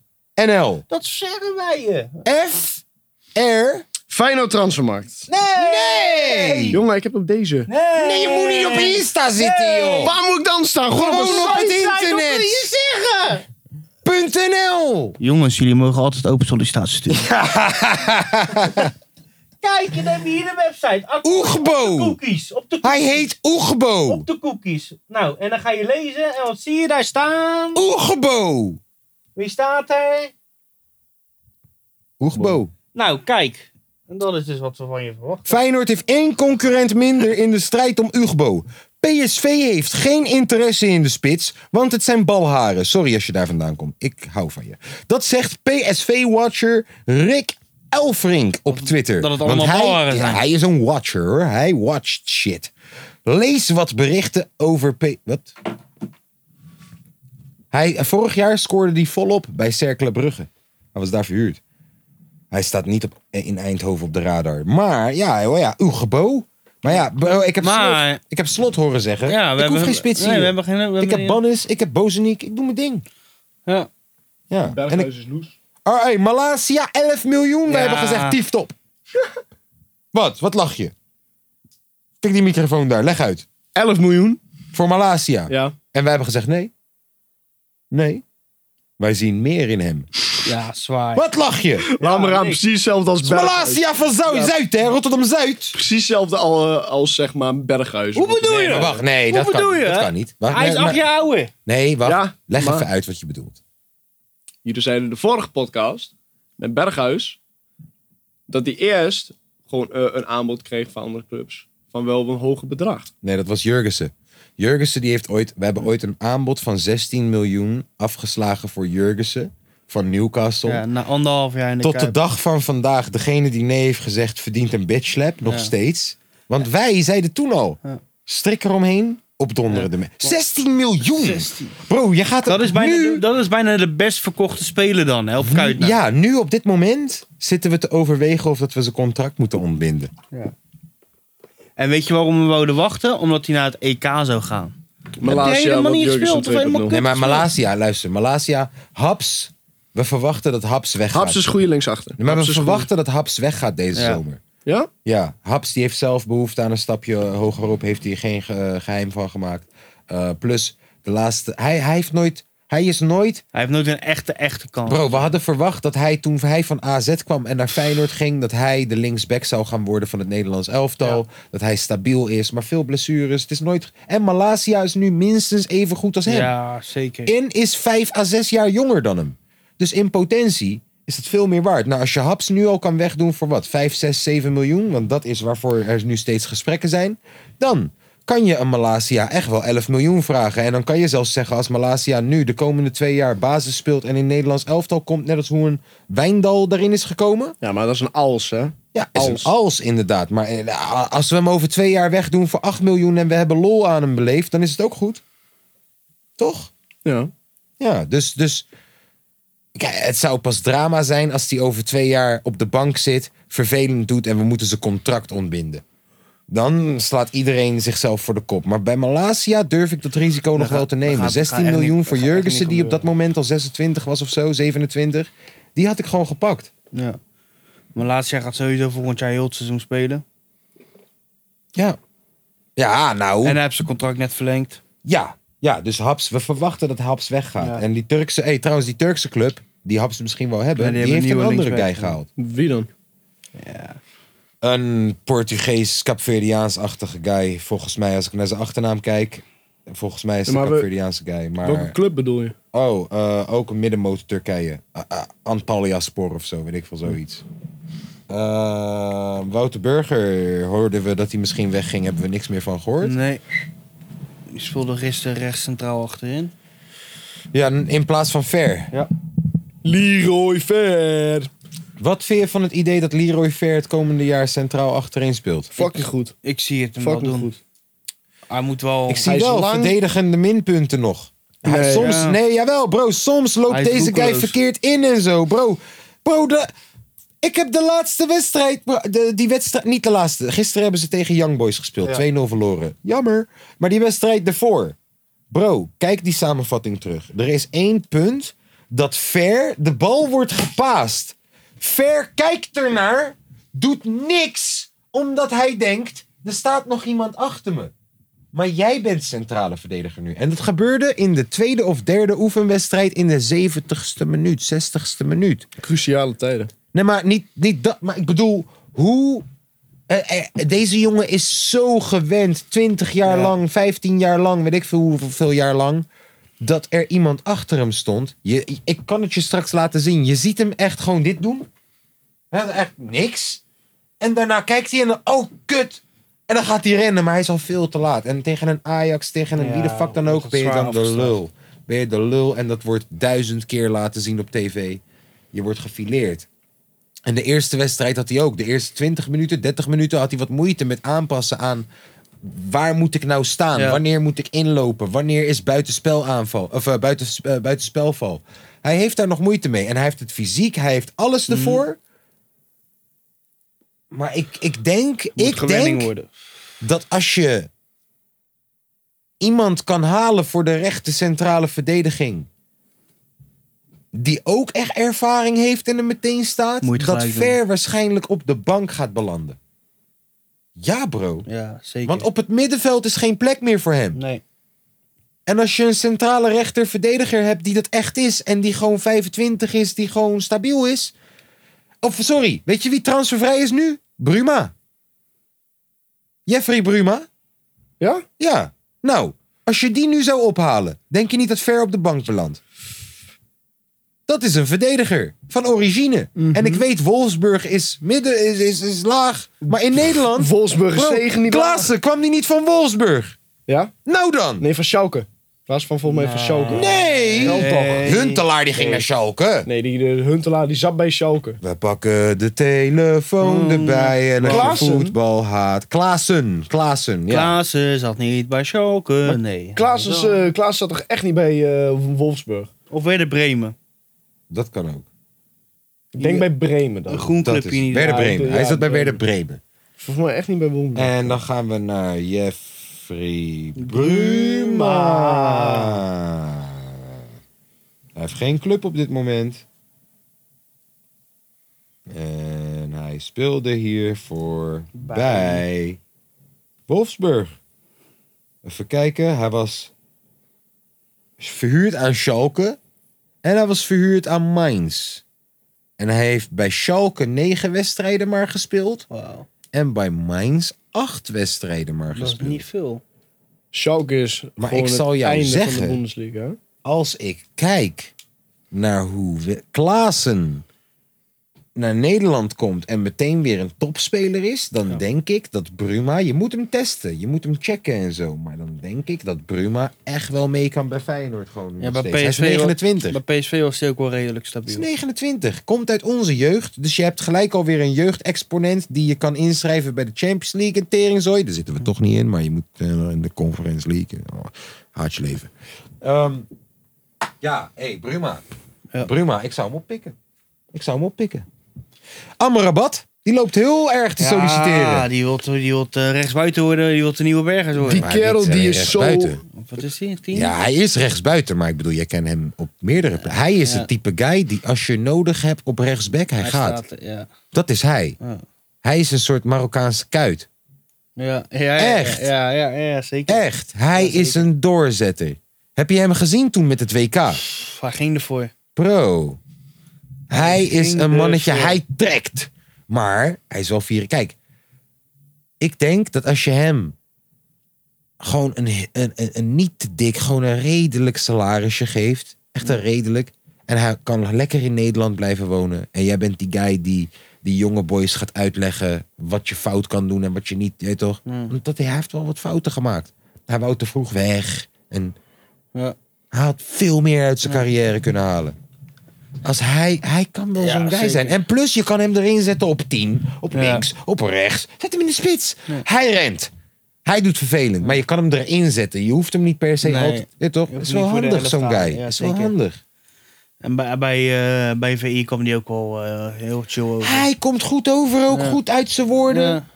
Speaker 4: NL.
Speaker 5: Dat zeggen wij je.
Speaker 4: F. R.
Speaker 6: Feyenoord transfermarkt.
Speaker 4: Nee.
Speaker 6: Jongen, ik heb op deze.
Speaker 5: Nee,
Speaker 4: Nee, je moet niet op Insta zitten, joh.
Speaker 6: Waar moet ik dan staan? Gewoon op
Speaker 4: Gewoon op
Speaker 6: een
Speaker 4: het
Speaker 6: site.
Speaker 4: internet. Punt NL.
Speaker 5: Jongens, jullie mogen altijd open sollicitaties sturen. Kijk, dan heb je hier de website. Ak-
Speaker 4: Oegbo.
Speaker 5: Cookies. Op de
Speaker 4: Hij heet Oegbo.
Speaker 5: Op de cookies. Nou, en dan ga je lezen. En wat zie je daar staan?
Speaker 4: Oegbo.
Speaker 5: Wie staat er?
Speaker 4: Oegbo.
Speaker 5: Nou, kijk. En dat is dus wat we van je verwachten.
Speaker 4: Feyenoord heeft één concurrent minder in de strijd om Ugbo. PSV heeft geen interesse in de spits, want het zijn balharen. Sorry als je daar vandaan komt. Ik hou van je. Dat zegt PSV-watcher Rick Elfrink op Twitter.
Speaker 5: dat het
Speaker 4: Want
Speaker 5: allemaal
Speaker 4: hij-
Speaker 5: balharen
Speaker 4: ja,
Speaker 5: zijn.
Speaker 4: hij is een watcher hoor. Hij watcht shit. Lees wat berichten over P... Wat? eh, Hij, vorig jaar scoorde hij volop bij Cercle Brugge. Hij was daar verhuurd. Hij Hij staat niet op, in Eindhoven op de radar. Maar ja, joh, ja uw gebo. Maar ja, bro, ik heb,
Speaker 5: Maar-
Speaker 4: slot, ik heb slot horen zeggen.
Speaker 5: Ja, we
Speaker 4: ik
Speaker 5: hebben,
Speaker 4: hoef geen spits
Speaker 5: Nee,
Speaker 4: hier.
Speaker 5: we hebben geen... we hebben
Speaker 4: ik heb
Speaker 5: niet-
Speaker 4: Bannis, ik heb Bozeniek, ik doe mijn ding.
Speaker 5: Ja.
Speaker 4: Ja. En ik,
Speaker 7: is loes.
Speaker 4: oh, hey, Malasia, 11 miljoen.
Speaker 5: Ja.
Speaker 4: Wij hebben gezegd, tieft op. wat? Wat lach je? Tik die microfoon daar, leg uit.
Speaker 7: 11 miljoen.
Speaker 4: Voor Malasia.
Speaker 7: Ja.
Speaker 4: En wij hebben gezegd, nee. Nee. Wij zien meer in hem.
Speaker 5: Ja, zwaar.
Speaker 4: Wat lach je?
Speaker 7: Laat me aan precies hetzelfde als Berghuis.
Speaker 4: Malasia van Zou- Zuid, hè? Rotterdam-Zuid.
Speaker 7: Precies hetzelfde al, eh, als zeg maar Berghuis.
Speaker 5: Hoe bedoel je
Speaker 4: Nee,
Speaker 5: dat?
Speaker 4: wacht, nee, dat
Speaker 5: bedoel
Speaker 4: kan,
Speaker 5: je?
Speaker 4: dat kan niet. Wacht,
Speaker 5: Hij is
Speaker 4: nee,
Speaker 5: acht
Speaker 4: maar-
Speaker 5: jaar ouder.
Speaker 4: Nee, wacht.
Speaker 7: Ja,
Speaker 4: Leg
Speaker 7: maar-
Speaker 4: even uit wat je bedoelt.
Speaker 7: Jullie zeiden in de vorige podcast met Berghuis dat hij eerst gewoon eh, een aanbod kreeg van andere clubs. Van wel een hoger bedrag.
Speaker 4: Nee, dat was Jurgensen. Jurgensen die heeft ooit... We hebben ooit een aanbod van 16 miljoen afgeslagen voor Jurgensen. Van Newcastle.
Speaker 5: Ja, eh, na anderhalf jaar in de
Speaker 4: Tot de
Speaker 5: Kuip.
Speaker 4: dag van vandaag. Degene die nee heeft gezegd verdient een bitchlap. Nog
Speaker 5: Ja.
Speaker 4: steeds. Want wij zeiden toen al.
Speaker 5: Ja.
Speaker 4: Strik eromheen. Opdonderen de me- 16 miljoen! Bro, je gaat
Speaker 5: Dat is, bijna
Speaker 4: nu...
Speaker 5: de, dat is bijna de best verkochte speler dan, hè, op Kuit. nou.
Speaker 4: Ja, nu op dit moment zitten we te overwegen of dat we zijn contract moeten ontbinden.
Speaker 5: En weet je waarom we wouden wachten? Omdat hij naar het EK zou gaan.
Speaker 7: Malasia,
Speaker 5: helemaal
Speaker 7: wat
Speaker 5: niet
Speaker 7: Jurgensen
Speaker 5: gespeeld of
Speaker 7: 2.0.
Speaker 5: helemaal
Speaker 4: Nee, maar Malasia, luister. Malasia, Haps. We verwachten dat Haps weggaat.
Speaker 7: Haps is goede linksachter.
Speaker 4: Nee, maar
Speaker 7: Haps
Speaker 4: we
Speaker 7: is goede-
Speaker 4: verwachten dat Haps weggaat deze
Speaker 5: Ja.
Speaker 4: zomer.
Speaker 7: Ja?
Speaker 4: Ja, Haps die heeft zelf behoefte aan een stapje hogerop. Heeft hij geen ge- geheim van gemaakt. Eh, plus, de laatste... Hij, hij heeft nooit... Hij is nooit
Speaker 5: Hij heeft nooit een echte, echte kans.
Speaker 4: Bro, we hadden verwacht dat hij toen hij van AZ kwam en naar Feyenoord ging... dat hij de linksback zou gaan worden van het Nederlands elftal. Dat hij stabiel is, maar veel blessures. Het is nooit... En Malasia is nu minstens even goed als hem.
Speaker 5: ja, zeker.
Speaker 4: In is vijf à zes jaar jonger dan hem. Dus in potentie is het veel meer waard. Nou, als je Haps nu al kan wegdoen voor wat? Vijf, zes, zeven miljoen? Want dat is waarvoor er nu steeds gesprekken zijn. Dan kan je een Malasia echt wel 11 miljoen vragen. En dan kan je zelfs zeggen als Malasia nu de komende twee jaar basis speelt... en in Nederlands elftal komt, net als hoe een Wijndal daarin is gekomen.
Speaker 7: Ja, maar dat is een als, hè?
Speaker 4: Ja, is
Speaker 7: Als.
Speaker 4: een als inderdaad. Maar eh, als we hem over twee jaar wegdoen voor 8 miljoen... en we hebben lol aan hem beleefd, dan is het ook goed. Toch?
Speaker 7: Ja.
Speaker 4: Ja, dus, dus kijk, het zou pas drama zijn als hij over twee jaar op de bank zit, vervelend doet en we moeten zijn contract ontbinden. Dan slaat iedereen zichzelf voor de kop. Maar bij Malasia durf ik dat risico nog
Speaker 5: gaan-
Speaker 4: wel te
Speaker 5: we
Speaker 4: nemen.
Speaker 5: gaan- we
Speaker 4: 16
Speaker 5: gaan echt
Speaker 4: miljoen
Speaker 5: niet-
Speaker 4: voor
Speaker 5: we gaan echt
Speaker 4: Jurgensen,
Speaker 5: niet
Speaker 4: die op dat
Speaker 5: gebeuren.
Speaker 4: moment al 26 was of zo, 27. Die had ik gewoon gepakt.
Speaker 5: Ja. Maar laatste jaar gaat sowieso volgend jaar heel het seizoen spelen.
Speaker 4: Ja. Ja, nou.
Speaker 5: En eh, hij heeft zijn contract net verlengd.
Speaker 4: Ja, ja, dus Haps, we verwachten dat Haps weggaat.
Speaker 5: Ja.
Speaker 4: En die Turkse, hey, trouwens, die Turkse club, die Haps misschien wel hebben,
Speaker 5: Ja, die
Speaker 4: die,
Speaker 5: hebben
Speaker 4: heeft
Speaker 5: een
Speaker 4: een
Speaker 5: nieuwe
Speaker 4: andere guy
Speaker 5: linksback, ja.
Speaker 4: gehaald.
Speaker 7: Wie dan?
Speaker 4: een Portugees, Capverdiaans-achtige guy. Volgens mij, als ik naar zijn achternaam kijk. Volgens mij is het
Speaker 7: Ja,
Speaker 4: een
Speaker 7: maar we-
Speaker 4: Capverdiaanse guy.
Speaker 7: Welke
Speaker 4: Maar,
Speaker 7: club bedoel je?
Speaker 4: oh, eh, ook een middenmotor Turkije. Ah, ah, Antalyaspor of zo, weet ik veel, zoiets. Eh, Wouter Burger hoorden we dat hij misschien wegging. Hebben we niks meer van gehoord.
Speaker 5: Nee. Die speelde gisteren rechts centraal achterin.
Speaker 4: Ja, n- in plaats van Ver.
Speaker 7: Leroy Ver.
Speaker 4: Wat vind je van het idee dat Leroy Ver het komende jaar centraal achterin speelt?
Speaker 7: Fucking goed.
Speaker 5: Ik zie het hem wel
Speaker 7: Fucking
Speaker 5: doen.
Speaker 7: goed.
Speaker 5: Hij moet wel...
Speaker 4: Ik zie
Speaker 7: Hij is
Speaker 4: wel
Speaker 7: lang-
Speaker 4: verdedigende minpunten nog. Hij
Speaker 7: Nee,
Speaker 4: soms,
Speaker 5: ja.
Speaker 4: nee, jawel, bro. Soms loopt
Speaker 5: Hij is
Speaker 4: deze guy
Speaker 5: roekeloos.
Speaker 4: verkeerd in en zo, bro. Bro, de, ik heb de laatste wedstrijd, bro, de, die wedstrijd, niet de laatste. Gisteren hebben ze tegen Young Boys gespeeld, 2-0 verloren. Jammer. Maar die wedstrijd ervoor, bro, kijk die samenvatting terug. Er is één punt dat Ver de bal wordt gepaast. Ver kijkt ernaar, doet niks, omdat hij denkt, er staat nog iemand achter me. Maar jij bent centrale verdediger nu. En dat gebeurde in de tweede of derde oefenwedstrijd in de 70ste minuut, 60ste minuut.
Speaker 7: Cruciale tijden.
Speaker 4: Nee, maar niet, niet dat. Maar ik bedoel, hoe. eh, eh, deze jongen is zo gewend, 20 jaar lang, 15 jaar lang, weet ik veel hoeveel jaar lang. Dat er iemand achter hem stond. Je, ik kan het je straks laten zien. Je ziet hem echt gewoon dit doen. Hij had echt niks. En daarna kijkt hij en dan, oh kut. En dan gaat hij rennen, maar hij is al veel te laat. En tegen een Ajax, tegen een
Speaker 5: Ja,
Speaker 4: wie de fuck dan
Speaker 5: wordt
Speaker 4: ook,
Speaker 5: het
Speaker 4: ben je
Speaker 5: zwaar
Speaker 4: dan de
Speaker 5: afgestraft.
Speaker 4: lul. Ben je de lul en dat wordt duizend keer laten zien op tv. Je wordt gefileerd. En de eerste wedstrijd had hij ook. De eerste 20 minuten, 30 minuten had hij wat moeite met aanpassen aan waar moet ik nou staan?
Speaker 5: Ja.
Speaker 4: Wanneer moet ik inlopen? Wanneer is buitenspel aanval? Of eh, buitens,
Speaker 5: Mhm.
Speaker 4: eh, buitenspelval? Hij heeft daar nog moeite mee. En hij heeft het fysiek, hij heeft alles ervoor. Maar ik, ik denk,
Speaker 5: Moet
Speaker 4: ik
Speaker 5: gewenning
Speaker 4: denk
Speaker 5: worden.
Speaker 4: dat als je iemand kan halen voor de rechte centrale verdediging. Die ook echt ervaring heeft en er meteen staat.
Speaker 5: Moet je het
Speaker 4: dat
Speaker 5: gelijk
Speaker 4: Ver waarschijnlijk op de bank gaat belanden. Ja, bro.
Speaker 5: Ja, zeker.
Speaker 4: Want op het middenveld is geen plek meer voor hem.
Speaker 5: Nee.
Speaker 4: En als je een centrale rechter verdediger hebt die dat echt is en die gewoon 25 is, die gewoon stabiel is. Of sorry, weet je wie transfervrij is nu? Bruma. Jeffrey Bruma.
Speaker 6: Ja?
Speaker 4: Ja. Nou, als je die nu zou ophalen, denk je niet dat Ver op de bank belandt? Dat is een verdediger van origine.
Speaker 6: Mhm.
Speaker 4: En ik weet, Wolfsburg is midden, is, is, is laag. Maar in Nederland.
Speaker 6: Wolfsburg is tegen die
Speaker 4: Klaassen kwam die niet van Wolfsburg.
Speaker 6: Ja?
Speaker 4: Nou dan.
Speaker 6: Nee, van Schalke. In plaats van volgens mij van Schalke.
Speaker 4: Nee!
Speaker 6: Wel toch?
Speaker 4: Huntelaar die ging naar Schalke.
Speaker 6: Nee, die de Huntelaar die zat bij Schalke.
Speaker 4: We pakken de telefoon erbij en als je
Speaker 6: Klaassen?
Speaker 4: voetbal haat. Klaassen, Klaassen, ja.
Speaker 5: Klaassen zat niet bij Schalke. Nee.
Speaker 6: Klaas, is, eh, Klaas zat toch echt niet bij eh, Wolfsburg?
Speaker 5: Of Werder Bremen.
Speaker 4: Dat kan ook.
Speaker 6: Ik denk bij Bremen dan.
Speaker 5: Een groen
Speaker 4: Dat
Speaker 5: clubje
Speaker 4: is
Speaker 5: niet.
Speaker 4: Werder
Speaker 6: Ja, ik
Speaker 4: Bremen.
Speaker 6: denk-
Speaker 4: Hij
Speaker 6: ja,
Speaker 4: zat bij Werder
Speaker 6: Bremen.
Speaker 4: Bremen.
Speaker 6: Volgens mij echt niet bij Wolfsburg.
Speaker 4: En dan gaan we naar Jeffrey Bruma. Hij heeft geen club op dit moment. En hij speelde hiervoor bij, Wolfsburg. Even kijken, hij was verhuurd aan Schalke en hij was verhuurd aan Mainz. En hij heeft bij Schalke negen wedstrijden maar gespeeld.
Speaker 5: Wauw.
Speaker 4: En bij Mainz acht wedstrijden maar
Speaker 5: Dat is
Speaker 4: gespeeld.
Speaker 5: niet veel.
Speaker 6: Schalke is
Speaker 4: Maar
Speaker 6: gewoon
Speaker 4: ik zal
Speaker 6: het
Speaker 4: jou
Speaker 6: einde van
Speaker 4: zeggen-
Speaker 6: de Bundesliga. hè?
Speaker 4: Als ik kijk naar hoe we- Klaassen naar Nederland komt en meteen weer een topspeler is, dan denk ik dat Bruma, je moet hem testen, je moet hem checken en zo, maar dan denk ik dat Bruma echt wel mee kan bij Feyenoord gewoon.
Speaker 5: Ja,
Speaker 4: nog
Speaker 5: bij
Speaker 4: steeds. Hij is
Speaker 5: PSV,
Speaker 4: 29.
Speaker 5: Bij PSV was hij ook wel redelijk
Speaker 4: Hij
Speaker 5: stabiel.
Speaker 4: is 29, komt uit onze jeugd. Dus je hebt gelijk alweer een jeugdexponent die je kan inschrijven bij de Champions League en Teringzooi. Daar zitten we toch niet in, maar je moet eh, in de Conference League. Oh, haat je leven. Ehm, ja, hé, hey, Bruma.
Speaker 5: Ja.
Speaker 4: Bruma, ik zou hem oppikken. Ik zou hem oppikken. Amrabat, die loopt heel erg te
Speaker 5: Ja,
Speaker 4: solliciteren.
Speaker 5: die wil die wilt, eh, rechtsbuiten worden, die wil de nieuwe Bergers worden.
Speaker 6: Die-
Speaker 4: Maar
Speaker 6: kerel
Speaker 4: dit, eh,
Speaker 6: die is zo-
Speaker 4: rechtsbuiten.
Speaker 5: Wat is die? Tien?
Speaker 4: Ja, hij is rechtsbuiten, maar ik bedoel, jij kent hem op meerdere plekken. Hij is
Speaker 5: Ja.
Speaker 4: het type guy die als je nodig hebt op rechtsback, hij,
Speaker 5: Hij
Speaker 4: gaat.
Speaker 5: staat, ja.
Speaker 4: Dat is hij.
Speaker 5: Ja.
Speaker 4: Hij is een soort Marokkaanse kuit.
Speaker 5: Ja, ja, ja, ja,
Speaker 4: Echt?
Speaker 5: Ja, ja, ja, zeker.
Speaker 4: Echt, hij is een doorzetter. Heb je hem gezien toen met het WK?
Speaker 5: Pff, hij ging ervoor.
Speaker 4: Bro, hij is
Speaker 5: ging
Speaker 4: een
Speaker 5: er
Speaker 4: mannetje,
Speaker 5: voor.
Speaker 4: hij trekt. Maar hij is wel vieren. Kijk, ik denk dat als je hem gewoon een, een, een, een niet te dik, gewoon een redelijk salarisje geeft. Echt een redelijk. En hij kan lekker in Nederland blijven wonen. En jij bent die guy die die jonge boys gaat uitleggen wat je fout kan doen en wat je niet, je weet toch?
Speaker 5: Mm.
Speaker 4: Omdat hij, hij heeft wel wat fouten gemaakt. Hij wou te vroeg weg. En
Speaker 5: Ja.
Speaker 4: hij had veel meer uit zijn carrière kunnen halen. Als hij, hij kan wel
Speaker 5: Ja,
Speaker 4: zo'n guy
Speaker 5: zeker.
Speaker 4: zijn. En plus, je kan hem erin zetten op 10, op
Speaker 5: Ja.
Speaker 4: links, op rechts. Zet hem in de spits. Hij rent. Hij doet vervelend, maar je kan hem erin zetten. Je hoeft hem niet per se
Speaker 5: Nee.
Speaker 4: altijd. Ja, toch?
Speaker 5: Je hoeft
Speaker 4: Is wel
Speaker 5: niet voor de
Speaker 4: handig,
Speaker 5: helft
Speaker 4: zo'n
Speaker 5: te halen.
Speaker 4: guy.
Speaker 5: Ja,
Speaker 4: is wel
Speaker 5: zeker.
Speaker 4: handig.
Speaker 5: En bij, bij, eh, bij VI kwam die ook wel eh, heel chill over.
Speaker 4: Hij komt goed over, ook
Speaker 5: Ja.
Speaker 4: goed uit zijn woorden.
Speaker 5: Ja.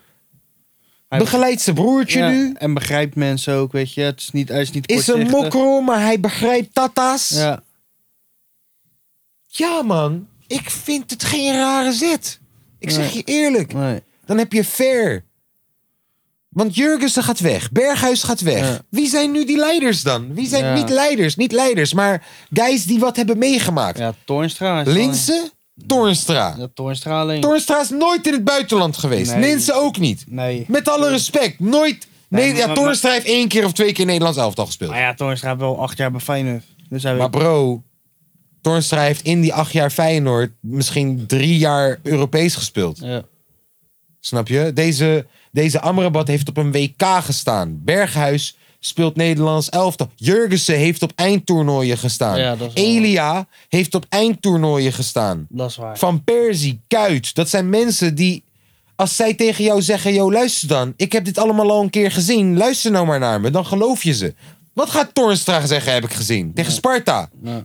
Speaker 5: Hij-
Speaker 4: Begeleidt zijn broertje
Speaker 5: ja,
Speaker 4: nu.
Speaker 5: En begrijpt mensen ook, weet je. Het is niet, hij is niet
Speaker 4: Is een
Speaker 5: kortzichtig.
Speaker 4: mokro, maar hij begrijpt tata's. Ja.
Speaker 5: Ja.
Speaker 4: man. Ik vind het geen rare zet. Ik zeg
Speaker 5: Nee.
Speaker 4: je eerlijk.
Speaker 5: Nee.
Speaker 4: Dan heb je Ver. Want Jurgensen gaat weg. Berghuis gaat weg.
Speaker 5: Ja.
Speaker 4: Wie zijn nu die leiders dan? Wie zijn
Speaker 5: Ja.
Speaker 4: niet leiders? Niet leiders, maar guys die wat hebben meegemaakt.
Speaker 5: Ja, Toornstra. is wel-
Speaker 4: Linse, Toornstra.
Speaker 5: Ja, Toornstra alleen.
Speaker 4: Toornstra is nooit in het buitenland geweest.
Speaker 5: Nee.
Speaker 4: Linse ook niet.
Speaker 5: nee.
Speaker 4: Met alle respect, nooit.
Speaker 5: Nee,
Speaker 4: Nee,
Speaker 5: maar-
Speaker 4: ja,
Speaker 5: maar-
Speaker 4: Toornstra heeft één keer of twee keer Nederlands elftal gespeeld.
Speaker 5: Maar ja, Toornstra heeft wel acht jaar bij Feyenoord. Dus hij
Speaker 4: Maar
Speaker 5: weet-
Speaker 4: bro, Toornstra heeft in die acht jaar Feyenoord misschien drie jaar Europees gespeeld.
Speaker 5: Ja.
Speaker 4: Snap je? Deze, deze Amrabat heeft op een WK gestaan. Berghuis speelt Nederlands elftal. Jurgensen heeft op eindtoernooien gestaan.
Speaker 5: Ja, dat is wel-
Speaker 4: Elia heeft op eindtoernooien gestaan.
Speaker 5: Dat is waar.
Speaker 4: Van Persie, Kuit. Dat zijn mensen die... Als zij tegen jou zeggen, yo luister dan. Ik heb dit allemaal al een keer gezien. Luister nou maar naar me. Dan geloof je ze. Wat gaat Toornstra zeggen, heb ik gezien. Tegen Sparta.
Speaker 5: Ja,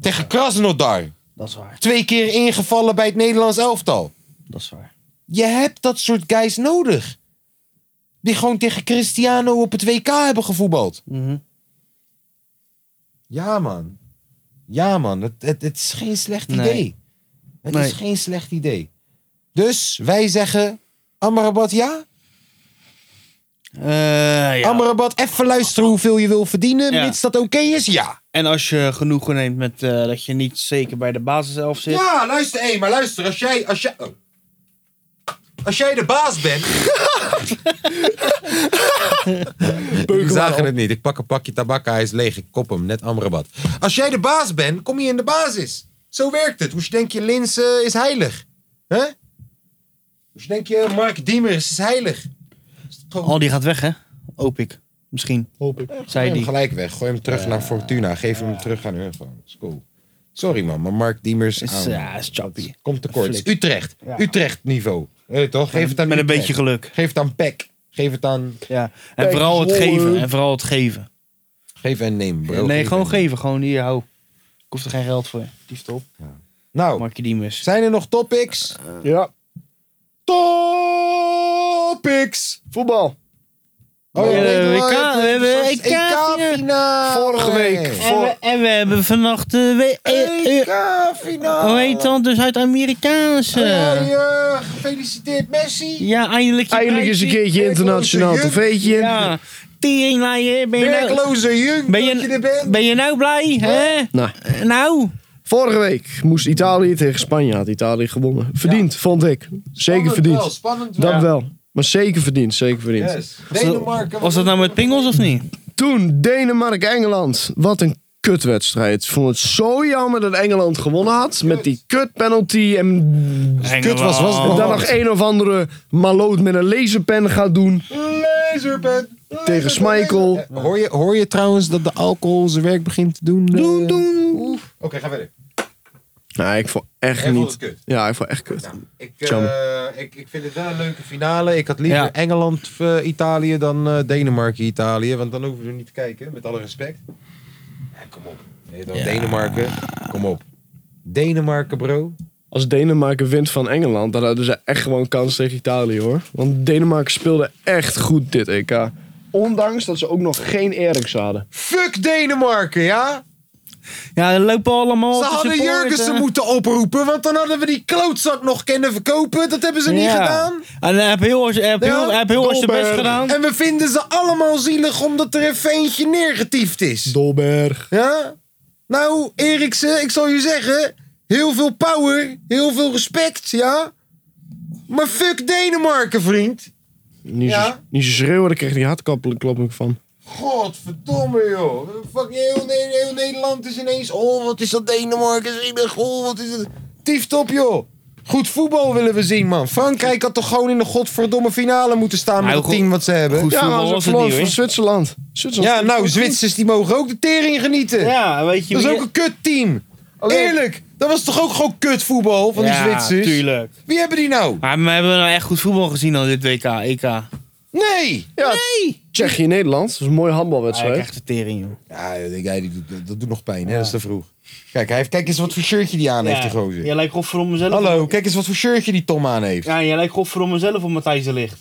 Speaker 4: Tegen Krasnodar.
Speaker 5: dat is waar.
Speaker 4: Twee keer ingevallen bij het Nederlands elftal.
Speaker 5: Dat is waar.
Speaker 4: Je hebt dat soort guys nodig. Die gewoon tegen Cristiano op het WK hebben gevoetbald.
Speaker 5: Mhm.
Speaker 4: Ja, man. Ja, man. Het, het, het is geen slecht
Speaker 5: Nee.
Speaker 4: idee. Het
Speaker 5: Nee.
Speaker 4: is geen slecht idee. Dus wij zeggen... Amrabat ja?
Speaker 5: Eh, ja.
Speaker 4: Amrabat, even luisteren hoeveel je wil verdienen.
Speaker 5: Ja.
Speaker 4: Mits dat oké is, ja.
Speaker 5: En als je genoegen neemt met eh, dat je niet zeker bij de basis zelf zit.
Speaker 4: Ja, luister, hé, maar luister, als jij, als jij, oh. als jij de baas bent. Jullie zagen het niet. Ik pak een pakje tabak, hij is leeg. Ik kop hem, net Amrabat. Als jij de baas bent, kom je in de basis. Zo werkt het. Hoe denk je, Lins eh, is heilig? hè? Hoe denk je, Mark Diemers is heilig?
Speaker 5: Al Oh, die gaat weg, hè? Hoop ik. Misschien.
Speaker 7: Hoop ik.
Speaker 5: Zei
Speaker 4: Gooi
Speaker 5: die.
Speaker 4: hem gelijk weg. Gooi hem terug naar Fortuna. Geef hem terug aan hun gewoon. Is cool. Sorry man, maar Mark Diemers
Speaker 5: Is,
Speaker 4: aan.
Speaker 5: ja, is choppy.
Speaker 4: Komt tekort. Het is Utrecht. Utrecht niveau. Weet je toch? Geef het aan
Speaker 5: Met een
Speaker 4: Utrecht.
Speaker 5: beetje geluk.
Speaker 4: Geef het aan Peck. Geef het aan...
Speaker 5: Ja. En vooral het geven. En vooral het geven.
Speaker 4: Geef en neem, bro.
Speaker 5: nee,
Speaker 4: Geef
Speaker 5: gewoon
Speaker 4: en neem.
Speaker 5: geven. Gewoon hier, hou. Ik hoef er geen geld voor.
Speaker 4: Nou,
Speaker 5: Mark je die mis.
Speaker 4: zijn er nog topics?
Speaker 7: Ja,
Speaker 4: Topics!
Speaker 7: voetbal.
Speaker 4: Oh,
Speaker 5: We hebben
Speaker 4: weet je wel,
Speaker 5: WK, we hebben
Speaker 4: het was
Speaker 5: WK -finaal.
Speaker 4: EK-finaal.
Speaker 7: Vorige week.
Speaker 5: En we, en we hebben vannacht de we- eh, eh,
Speaker 4: EK-finaal.
Speaker 5: hoe heet dat? Dus De Zuid-Amerikaanse.
Speaker 4: Oh, Ja, gefeliciteerd Messi.
Speaker 5: Ja, eindelijk. je
Speaker 7: Eindelijk eens een
Speaker 5: prijsje.
Speaker 7: keertje internationaal trofeetje.
Speaker 5: Ja. Teringlaaier, ben je nou,
Speaker 4: Werkloze junk
Speaker 5: ben
Speaker 4: dat je er
Speaker 5: je,
Speaker 4: bent.
Speaker 5: ben je nou blij? Hè?
Speaker 7: Nou,
Speaker 5: Eh, Nou,
Speaker 7: vorige week moest Italië tegen Spanje. Had Italië gewonnen. Verdiend, vond ik. Zeker
Speaker 4: Spannend
Speaker 7: verdiend.
Speaker 4: wel, spannend
Speaker 7: Dat
Speaker 4: wel.
Speaker 7: wel. Maar zeker verdiend, zeker verdiend.
Speaker 4: Yes. Denemarken.
Speaker 5: was dat nou met pingels of niet?
Speaker 7: Toen Denemarken-Engeland. Wat een kutwedstrijd. Ik vond het zo jammer dat Engeland gewonnen had. Met die kutpenalty. En
Speaker 5: Engeland.
Speaker 4: was- was het
Speaker 7: dan
Speaker 4: Oh.
Speaker 7: nog een of andere maloot met een laserpen gaat doen.
Speaker 4: Laserpen.
Speaker 7: Tegen Schmeichel.
Speaker 4: Eh, Hoor je, hoor je trouwens dat de alcohol zijn werk begint te doen? eh? Doen, doen. Oké, ga verder.
Speaker 7: Nee, ik vond echt
Speaker 4: Hij vond
Speaker 7: niet.
Speaker 4: het kut.
Speaker 7: Ja, ik vond echt kut.
Speaker 4: Ik,
Speaker 7: Jammer.
Speaker 4: eh, ik, ik vind het wel een leuke finale. Ik had liever
Speaker 5: Ja.
Speaker 4: Engeland-Italië dan eh, Denemarken-Italië. Want dan hoeven we er niet te kijken, met alle respect. Ja, kom op. Nee, dan Denemarken, kom op. Denemarken, bro.
Speaker 7: Als Denemarken wint van Engeland, dan hadden ze echt gewoon kans tegen Italië hoor. Want Denemarken speelde echt goed dit EK. Ondanks dat ze ook nog geen Eriksen hadden.
Speaker 4: Fuck Denemarken, ja?
Speaker 5: Ja, er lopen allemaal.
Speaker 4: Ze
Speaker 5: te
Speaker 4: hadden
Speaker 5: supporten.
Speaker 4: Jurgensen moeten oproepen, want dan hadden we die klootzak nog kunnen verkopen. Dat hebben ze niet
Speaker 5: Ja.
Speaker 4: gedaan.
Speaker 5: En hij heeft heel, hij heeft heel, hij heeft heel hard zijn best
Speaker 7: Dolberg.
Speaker 5: gedaan.
Speaker 4: En we vinden ze allemaal zielig omdat er even eentje neergetiefd is.
Speaker 7: Dolberg.
Speaker 4: Ja? Nou, Eriksen, ik zal je zeggen. Heel veel power, heel veel respect, ja? Maar fuck Denemarken, vriend.
Speaker 7: Niet, zo,
Speaker 4: Ja.
Speaker 7: niet zo schreeuwen, daar kreeg hij hartklopping van.
Speaker 4: Godverdomme, joh. Fucking heel, Ne- heel Nederland is ineens... Oh, wat is dat Denemarken? zielig. Oh, wat is dat... Tieft op, joh. Goed voetbal willen we zien, man. Frankrijk had toch gewoon in de godverdomme finale moeten staan met
Speaker 5: Nou,
Speaker 4: het team wat ze hebben.
Speaker 5: goed
Speaker 7: Ja,
Speaker 5: voetbal
Speaker 7: maar ze
Speaker 5: was het
Speaker 7: verloren
Speaker 5: niet,
Speaker 7: van
Speaker 5: hoor.
Speaker 7: Zwitserland. Zwitserland.
Speaker 4: Ja, nou, Zwitsers die mogen ook de tering genieten.
Speaker 5: Ja, weet je
Speaker 4: Dat is
Speaker 5: wie-
Speaker 4: ook een kutteam. Eerlijk, dat was toch ook gewoon kutvoetbal van die
Speaker 5: ja,
Speaker 4: Zwitsers?
Speaker 5: tuurlijk.
Speaker 4: Wie hebben die nou?
Speaker 5: Maar we hebben nou echt goed voetbal gezien al dit WK, EK. Ja,
Speaker 4: Nee!
Speaker 7: Ja, Tsjechië-Nederland. Dat was een mooie
Speaker 5: Hij
Speaker 7: handbalwedstrijd.
Speaker 5: krijgt de tering, joh.
Speaker 4: Ja, die guy, die doet- dat, dat doet nog pijn, hè? Dat is te vroeg. Kijk, hij heeft, kijk eens wat voor shirtje die aan heeft, die gozer.
Speaker 5: Jij lijkt goffer om mezelf.
Speaker 4: Hallo, kijk eens wat voor shirtje die Tom aan heeft.
Speaker 5: Ja, jij lijkt goffer om mezelf op Matthijs de Licht.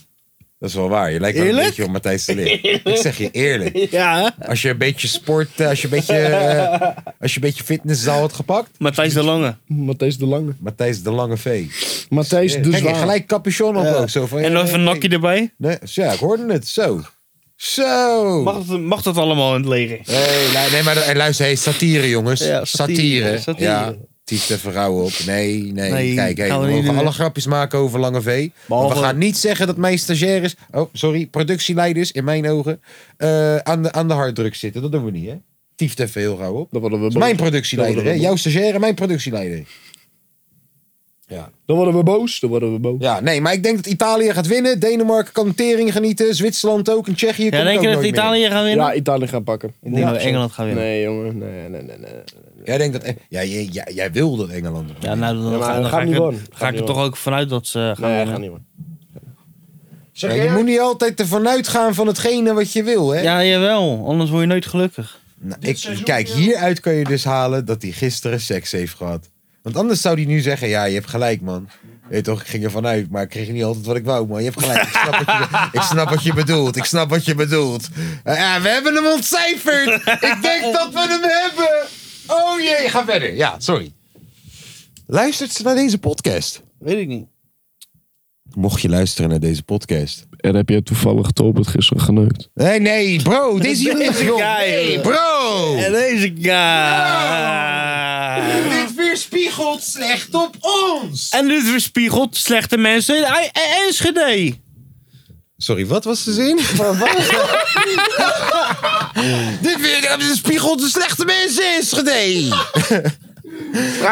Speaker 4: Dat is wel waar. Je lijkt wel een
Speaker 5: Eerlijk?
Speaker 4: beetje op Matthijs de Leer. Ik zeg je eerlijk.
Speaker 5: Ja,
Speaker 4: Als je een beetje sport, eh, als je een beetje, eh, als je een beetje fitnesszaal had gepakt.
Speaker 5: Matthijs de Lange.
Speaker 7: Matthijs de Lange.
Speaker 4: Matthijs de Lange V.
Speaker 7: Matthijs de
Speaker 4: Kijk,
Speaker 7: Zwaar.
Speaker 4: gelijk capuchon op ook. Zo van,
Speaker 5: En
Speaker 4: eh,
Speaker 5: nog even een
Speaker 4: eh,
Speaker 5: nakje erbij.
Speaker 4: Nee, ja, ik hoorde het. Zo. Zo.
Speaker 5: Mag dat, mag dat allemaal in het leger?
Speaker 4: Hey, lu- nee, maar hey, luister, hey, satire jongens.
Speaker 5: Ja, satire,
Speaker 4: satire.
Speaker 5: satire.
Speaker 4: Ja, typ de vrouwen op. Nee, nee.
Speaker 5: Nee,
Speaker 4: Kijk, hey,
Speaker 5: gaan we
Speaker 4: we
Speaker 5: niet
Speaker 4: mogen
Speaker 5: doen.
Speaker 4: alle grapjes maken over Lange V.
Speaker 5: Behalve-
Speaker 4: Maar we gaan niet zeggen dat mijn stagiaires, oh sorry, productieleiders in mijn ogen, eh, aan, de, aan de harddruk zitten. Dat doen we niet, hè? Tief even heel gauw op.
Speaker 7: Dan worden we
Speaker 4: Dat
Speaker 7: boos.
Speaker 4: is mijn productieleider, hè? Jouw stagiaire, mijn productieleider.
Speaker 7: Dan worden we boos. Dan worden we boos.
Speaker 4: Ja, nee, maar ik denk dat Italië gaat winnen. Denemarken kan tering genieten. Zwitserland ook. En Tsjechië
Speaker 5: Ja,
Speaker 4: komt
Speaker 5: denk
Speaker 4: ook
Speaker 5: je dat
Speaker 4: nooit meer.
Speaker 5: Italië gaan winnen?
Speaker 7: Ja, Italië gaan pakken.
Speaker 5: ik denk dat Engeland gaat winnen.
Speaker 7: Nee, jongen. Nee, nee, nee. nee.
Speaker 4: Jij denkt dat... eh, Ja, jij, jij, jij wil dat Engeland...
Speaker 5: Ja, nou, dan,
Speaker 7: maar
Speaker 5: ga-
Speaker 7: dat
Speaker 5: dan
Speaker 7: gaat
Speaker 5: ga ik
Speaker 7: niet
Speaker 5: er-
Speaker 7: worden.
Speaker 5: ga
Speaker 7: Dat gaat
Speaker 5: ik er
Speaker 7: niet
Speaker 5: toch ook vanuit dat ze gaan
Speaker 7: Nee,
Speaker 5: winnen.
Speaker 7: gaan niet worden.
Speaker 4: Ja, Eh, je moet niet altijd ervan uitgaan van hetgene wat je wil, hè?
Speaker 5: Ja, jawel. Anders word je nooit gelukkig.
Speaker 4: Nou, ik, kijk, hieruit kan je dus halen dat hij gisteren seks heeft gehad. Want anders zou hij nu zeggen, ja, je hebt gelijk, man. Weet je toch, ik ging ervan uit, maar ik kreeg niet altijd wat ik wou, man. Je hebt gelijk. Ik snap wat je, ik snap wat je bedoelt. Ik snap wat je bedoelt. Eh, ja, we hebben hem ontcijferd. Ik denk dat we hem hebben. Oh jee, ga verder. Ja, sorry. Luistert ze naar deze podcast?
Speaker 5: Weet ik niet.
Speaker 4: Mocht je luisteren naar deze podcast.
Speaker 6: En heb jij toevallig Tobert gisteren geneukt?
Speaker 4: Nee, nee, bro. Deze is jong. Nee, bro.
Speaker 5: En deze guy.
Speaker 4: Dit weerspiegelt slecht op ons.
Speaker 5: En dit weerspiegelt slechte mensen in I- I- Enschede.
Speaker 4: Sorry, wat was de zin? Dit weer spiegelt de slechte mensen is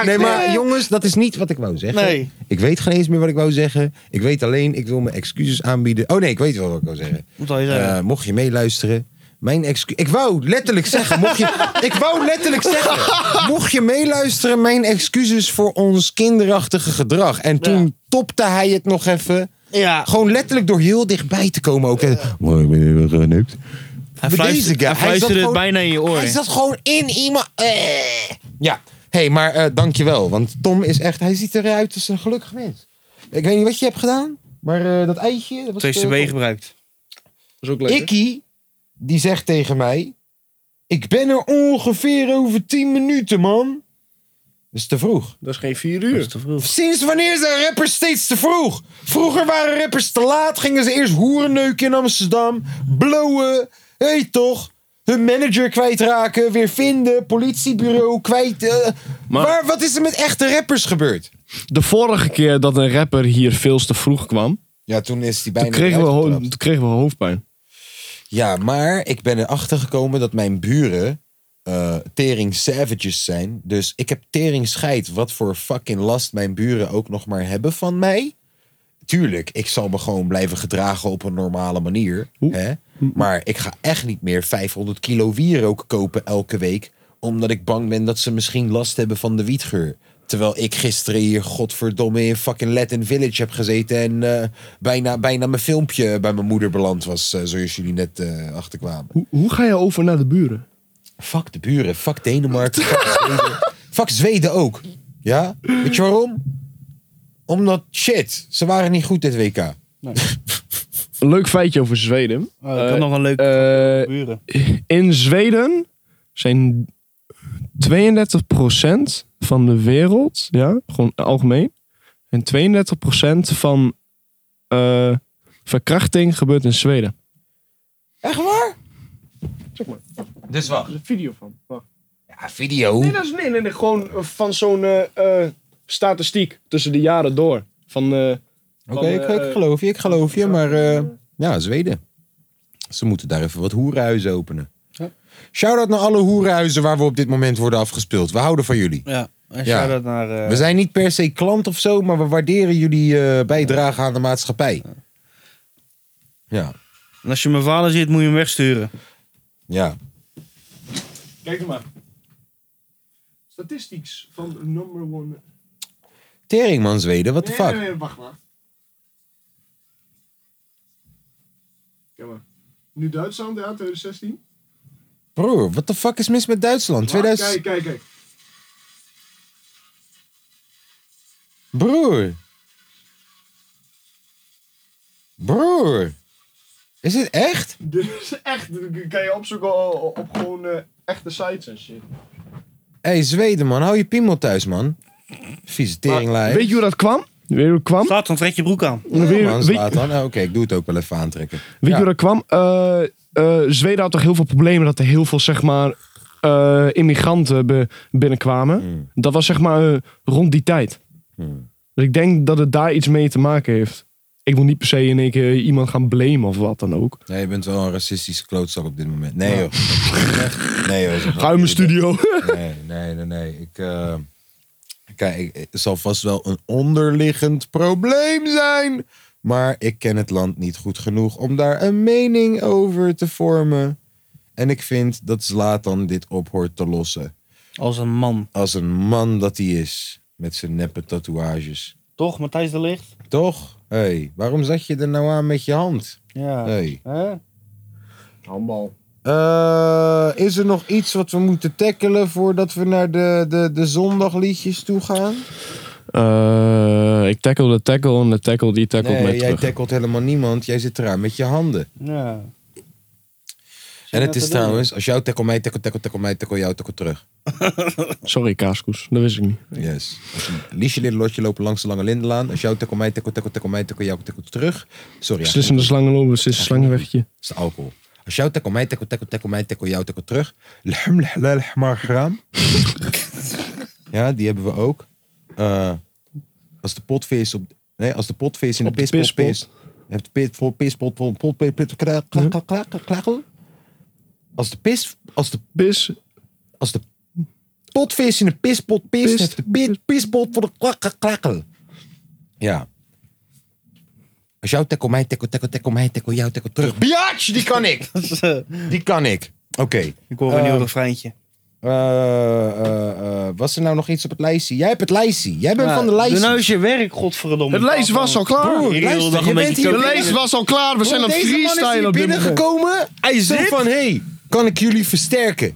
Speaker 4: Nee, maar jongens, dat is niet wat ik wou zeggen.
Speaker 5: Nee.
Speaker 4: Ik weet geen eens meer wat ik wou zeggen. Ik weet alleen, ik wil mijn excuses aanbieden. Oh nee, ik weet wel wat ik wou zeggen.
Speaker 5: Moet al je zeggen.
Speaker 4: Eh, mocht je meeluisteren. Mijn excu- ik wou letterlijk zeggen, mocht je, ik wou letterlijk zeggen, mocht je meeluisteren, mijn excuses voor ons kinderachtige gedrag. En toen topte hij het nog even.
Speaker 5: ja.
Speaker 4: Gewoon letterlijk door heel dichtbij te komen ook. En, Mooi, ik ben heel erg geneukt.
Speaker 5: Hij
Speaker 4: Maar
Speaker 5: fluistert,
Speaker 4: deze guy,
Speaker 5: hij
Speaker 4: hij zat
Speaker 5: fluisterde het
Speaker 4: gewoon-
Speaker 5: bijna in je oor.
Speaker 4: Hij zat gewoon in iemand. eh. Ja. Hé, hey, maar eh dankjewel. Want Tom is echt. Hij ziet eruit als een gelukkig mens. Ik weet niet wat je hebt gedaan. Maar eh, dat eitje. Dat was,
Speaker 5: Twee
Speaker 4: eh,
Speaker 5: CB gebruikt.
Speaker 7: is ook leuk.
Speaker 4: Ikkie, die zegt tegen mij: Ik ben er ongeveer over 10 minuten, man. Dat is te vroeg.
Speaker 7: Dat is geen vier
Speaker 5: Dat is
Speaker 7: uur.
Speaker 5: te vroeg.
Speaker 4: Sinds wanneer zijn rappers steeds te vroeg? Vroeger waren rappers te laat, gingen ze eerst hoerenneuken in Amsterdam, blowen, hé toch? Hun manager kwijtraken, weer vinden, politiebureau kwijt. eh.
Speaker 7: Maar-
Speaker 4: Waar, wat is er met echte rappers gebeurd?
Speaker 7: De vorige keer dat een rapper hier veel te vroeg kwam,
Speaker 4: Ja, toen is die bijna.
Speaker 7: toen kregen, we
Speaker 4: eruit
Speaker 7: ho-
Speaker 4: getrapt.
Speaker 7: toen kregen we hoofdpijn.
Speaker 4: Ja, maar ik ben erachter gekomen dat mijn buren eh, tering savages zijn. Dus ik heb tering scheid wat voor fucking last mijn buren ook nog maar hebben van mij. Tuurlijk, ik zal me gewoon blijven gedragen op een normale manier. Hè? Maar ik ga echt niet meer 500 kilo wierook kopen elke week. Omdat ik bang ben dat ze misschien last hebben van de wietgeur. Terwijl ik gisteren hier godverdomme in fucking Latin Village heb gezeten. En eh, bijna, bijna mijn filmpje bij mijn moeder beland was. eh, zoals jullie net eh, achterkwamen.
Speaker 6: Hoe, hoe ga je over naar de buren?
Speaker 4: Fuck de buren, fuck Denemarken, fuck Zweden. Fuck Zweden ook. Ja? Weet je waarom? Omdat shit, ze waren niet goed dit WK.
Speaker 6: Een leuk feitje over Zweden.
Speaker 5: Oh, ik had nog een leuke
Speaker 6: Eh,
Speaker 5: buren.
Speaker 6: in Zweden zijn 32% van de wereld, ja, gewoon algemeen. En 32% van eh, verkrachting gebeurt in Zweden.
Speaker 4: Echt waar?
Speaker 6: Dus wat? Er is een video van.
Speaker 4: Ja, video.
Speaker 6: Nee, dat is nee, nee, nee, gewoon eh, van zo'n eh, eh, statistiek tussen de jaren door. Van, eh,
Speaker 4: Oké,
Speaker 6: van,
Speaker 4: ik,
Speaker 6: eh,
Speaker 4: ik geloof je, ik geloof je. Maar eh, ja, Zweden. Ze moeten daar even wat hoerenhuizen openen. Shout-out naar alle hoerenhuizen waar we op dit moment worden afgespeeld. We houden van jullie.
Speaker 5: Ja.
Speaker 4: Ja.
Speaker 5: En shout-out naar... eh,
Speaker 4: We zijn niet per se klant of zo, maar we waarderen jullie eh, bijdrage aan de maatschappij. Ja,
Speaker 5: en als je mijn vader ziet, moet je hem wegsturen.
Speaker 4: ja.
Speaker 6: Kijk er maar. Statistics van number one.
Speaker 4: Tering man, Zweden, what the fuck?
Speaker 6: wacht maar. Kijk maar. Nu Duitsland, ja, 2016.
Speaker 4: Broer, what the fuck is mis met Duitsland? 2000...
Speaker 6: kijk, kijk.
Speaker 4: Broer. Broer. Is dit echt?
Speaker 6: Dit is echt, dit kan je opzoeken o- o- op, gewoon eh, echte sites en shit.
Speaker 4: Hé, hey, Zweden man, hou je piemel thuis man. Vieze teringlijn.
Speaker 7: Weet je hoe dat kwam? Weet je hoe dat kwam?
Speaker 5: Staat, dan trek je broek aan.
Speaker 7: Weet je-
Speaker 4: Ja, man,
Speaker 7: weet-
Speaker 4: slaat dan. Oh, Oké, ik doe het ook wel even aantrekken.
Speaker 7: Weet je
Speaker 4: Ja.
Speaker 7: hoe dat kwam? Eh, eh, Zweden had toch heel veel problemen dat er heel veel, zeg maar, eh, immigranten be- binnenkwamen. Dat was, zeg maar, eh, rond die tijd. Dus ik denk dat het daar iets mee te maken heeft. Ik wil niet per se in één keer iemand gaan blamen of wat dan ook.
Speaker 4: Nee, je bent wel een racistische klootzak op dit moment. Nee joh. Nee joh. zeg maar.
Speaker 7: Ga in mijn studio.
Speaker 4: Nee, nee, nee, nee. Ik, eh, Kijk, ik- het zal vast wel een onderliggend probleem zijn. Maar ik ken het land niet goed genoeg om daar een mening over te vormen. En ik vind dat Zlatan dit op hoort te lossen.
Speaker 5: Als een man.
Speaker 4: Als een man dat hij is. Met zijn neppe tatoeages.
Speaker 5: Toch, Matthijs de Licht?
Speaker 4: Toch? Hé, hey, waarom zat je er nou aan met je hand?
Speaker 5: Ja.
Speaker 4: Hey.
Speaker 5: Hè?
Speaker 6: Handbal.
Speaker 4: Eh, is er nog iets wat we moeten tackelen voordat we naar de, de, de zondagliedjes toe gaan?
Speaker 7: Eh, ik tackle de tackle en de tackle die tackelt mij
Speaker 4: Nee, jij
Speaker 7: terug.
Speaker 4: tackelt helemaal niemand. Jij zit eraan met je handen.
Speaker 5: Ja.
Speaker 4: en het is
Speaker 5: dat te doen?
Speaker 4: trouwens, als jou tackle mij, tackle, tackle, tackle mij, tackle jou, tackle terug.
Speaker 7: Sorry, kaaskoes. Dat wist ik niet.
Speaker 4: Yes. Als je Liesje Lille Lotje lopen langs de Lange Lindenlaan. Als jou tackle mij, tackle, tackle, tackle mij, tackle jou, tackle terug. Sorry, ja,
Speaker 7: Beslissende slangen lopen, beslissende slangenwegje.
Speaker 4: dat is de alcohol. Als jou tackle mij, tackle, tackle, tackle mij, tackle jou, tackle terug. Lehm, leh, leh, maar graam. Ja, die hebben we ook. Eh, als de potvis op... Nee, als de potvis in de
Speaker 7: Op de
Speaker 4: pispot
Speaker 7: pispot.
Speaker 4: pist. Heeft de pispot, pispot, pot, pot, pot, pot, kra- kra- kra- kra- kra- krakkel. Als de pis... Als de
Speaker 7: Bis,
Speaker 4: als de potvis in de pispot pist,
Speaker 7: Pist.
Speaker 4: heeft de pi- pisbot voor de klak- klakkel. Ja. Als jouw tackle mij tackle, tackle, tackle mij tackle, jouw tackle terug. Biatch, die kan ik.
Speaker 7: eh,
Speaker 4: Die kan ik. Oké.
Speaker 5: ik hoor
Speaker 4: Eh,
Speaker 5: een nieuw refreintje.
Speaker 4: Eh, eh, eh, was er nou nog iets op het lijstje? Jij hebt het lijstje. Jij bent
Speaker 5: Ja,
Speaker 4: van de
Speaker 5: Doe nou
Speaker 4: lijstje.
Speaker 5: eens je werk, godverdomme.
Speaker 7: Het lijst was al klaar.
Speaker 4: Broer,
Speaker 5: Ik wilde
Speaker 4: luister,
Speaker 5: nog een
Speaker 4: je
Speaker 5: beetje
Speaker 4: bent hier
Speaker 5: koken.
Speaker 7: De
Speaker 5: Oké.
Speaker 7: lijst was al klaar. We zijn aan
Speaker 4: Bro,
Speaker 7: het
Speaker 4: Deze man is
Speaker 7: freestylen
Speaker 4: hier
Speaker 7: op dit moment.
Speaker 4: binnengekomen. Hij
Speaker 5: zit.
Speaker 4: zegt van, hey, kan ik jullie versterken?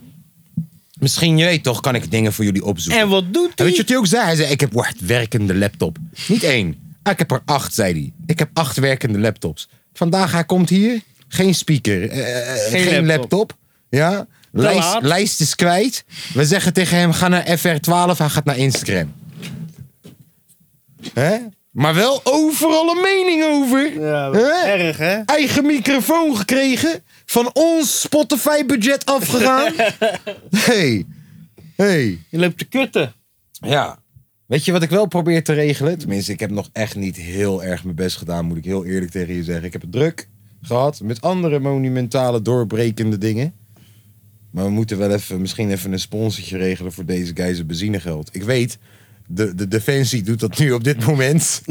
Speaker 4: Misschien, je weet toch, kan ik dingen voor jullie opzoeken.
Speaker 5: En wat doet
Speaker 4: En
Speaker 5: hij?
Speaker 4: weet je wat hij ook zei? Hij zei, ik heb hard werkende laptop. Niet één. Ah, Ik heb er acht, zei hij. Ik heb acht werkende laptops. Vandaag, hij komt hier. Geen speaker. eh, geen, laptop. Ja. Lijst,
Speaker 5: laat.
Speaker 4: lijst is kwijt. We zeggen tegen hem, ga naar FR12. Hij gaat naar Instagram. Hè? Maar wel overal een mening over.
Speaker 5: Ja,
Speaker 4: Hè?
Speaker 5: erg hè?
Speaker 4: Eigen microfoon gekregen. Van ons Spotify-budget afgegaan. hey. Hey.
Speaker 5: Je loopt te kutten.
Speaker 4: Ja. Weet je wat ik wel probeer te regelen? Tenminste, ik heb nog echt niet heel erg mijn best gedaan, moet ik heel eerlijk tegen je zeggen. Ik heb het druk gehad met andere monumentale, doorbrekende dingen. Maar we moeten wel even, misschien even een sponsortje regelen voor deze guy's benzinegeld. Ik weet, de, de Defensie doet dat nu op dit moment.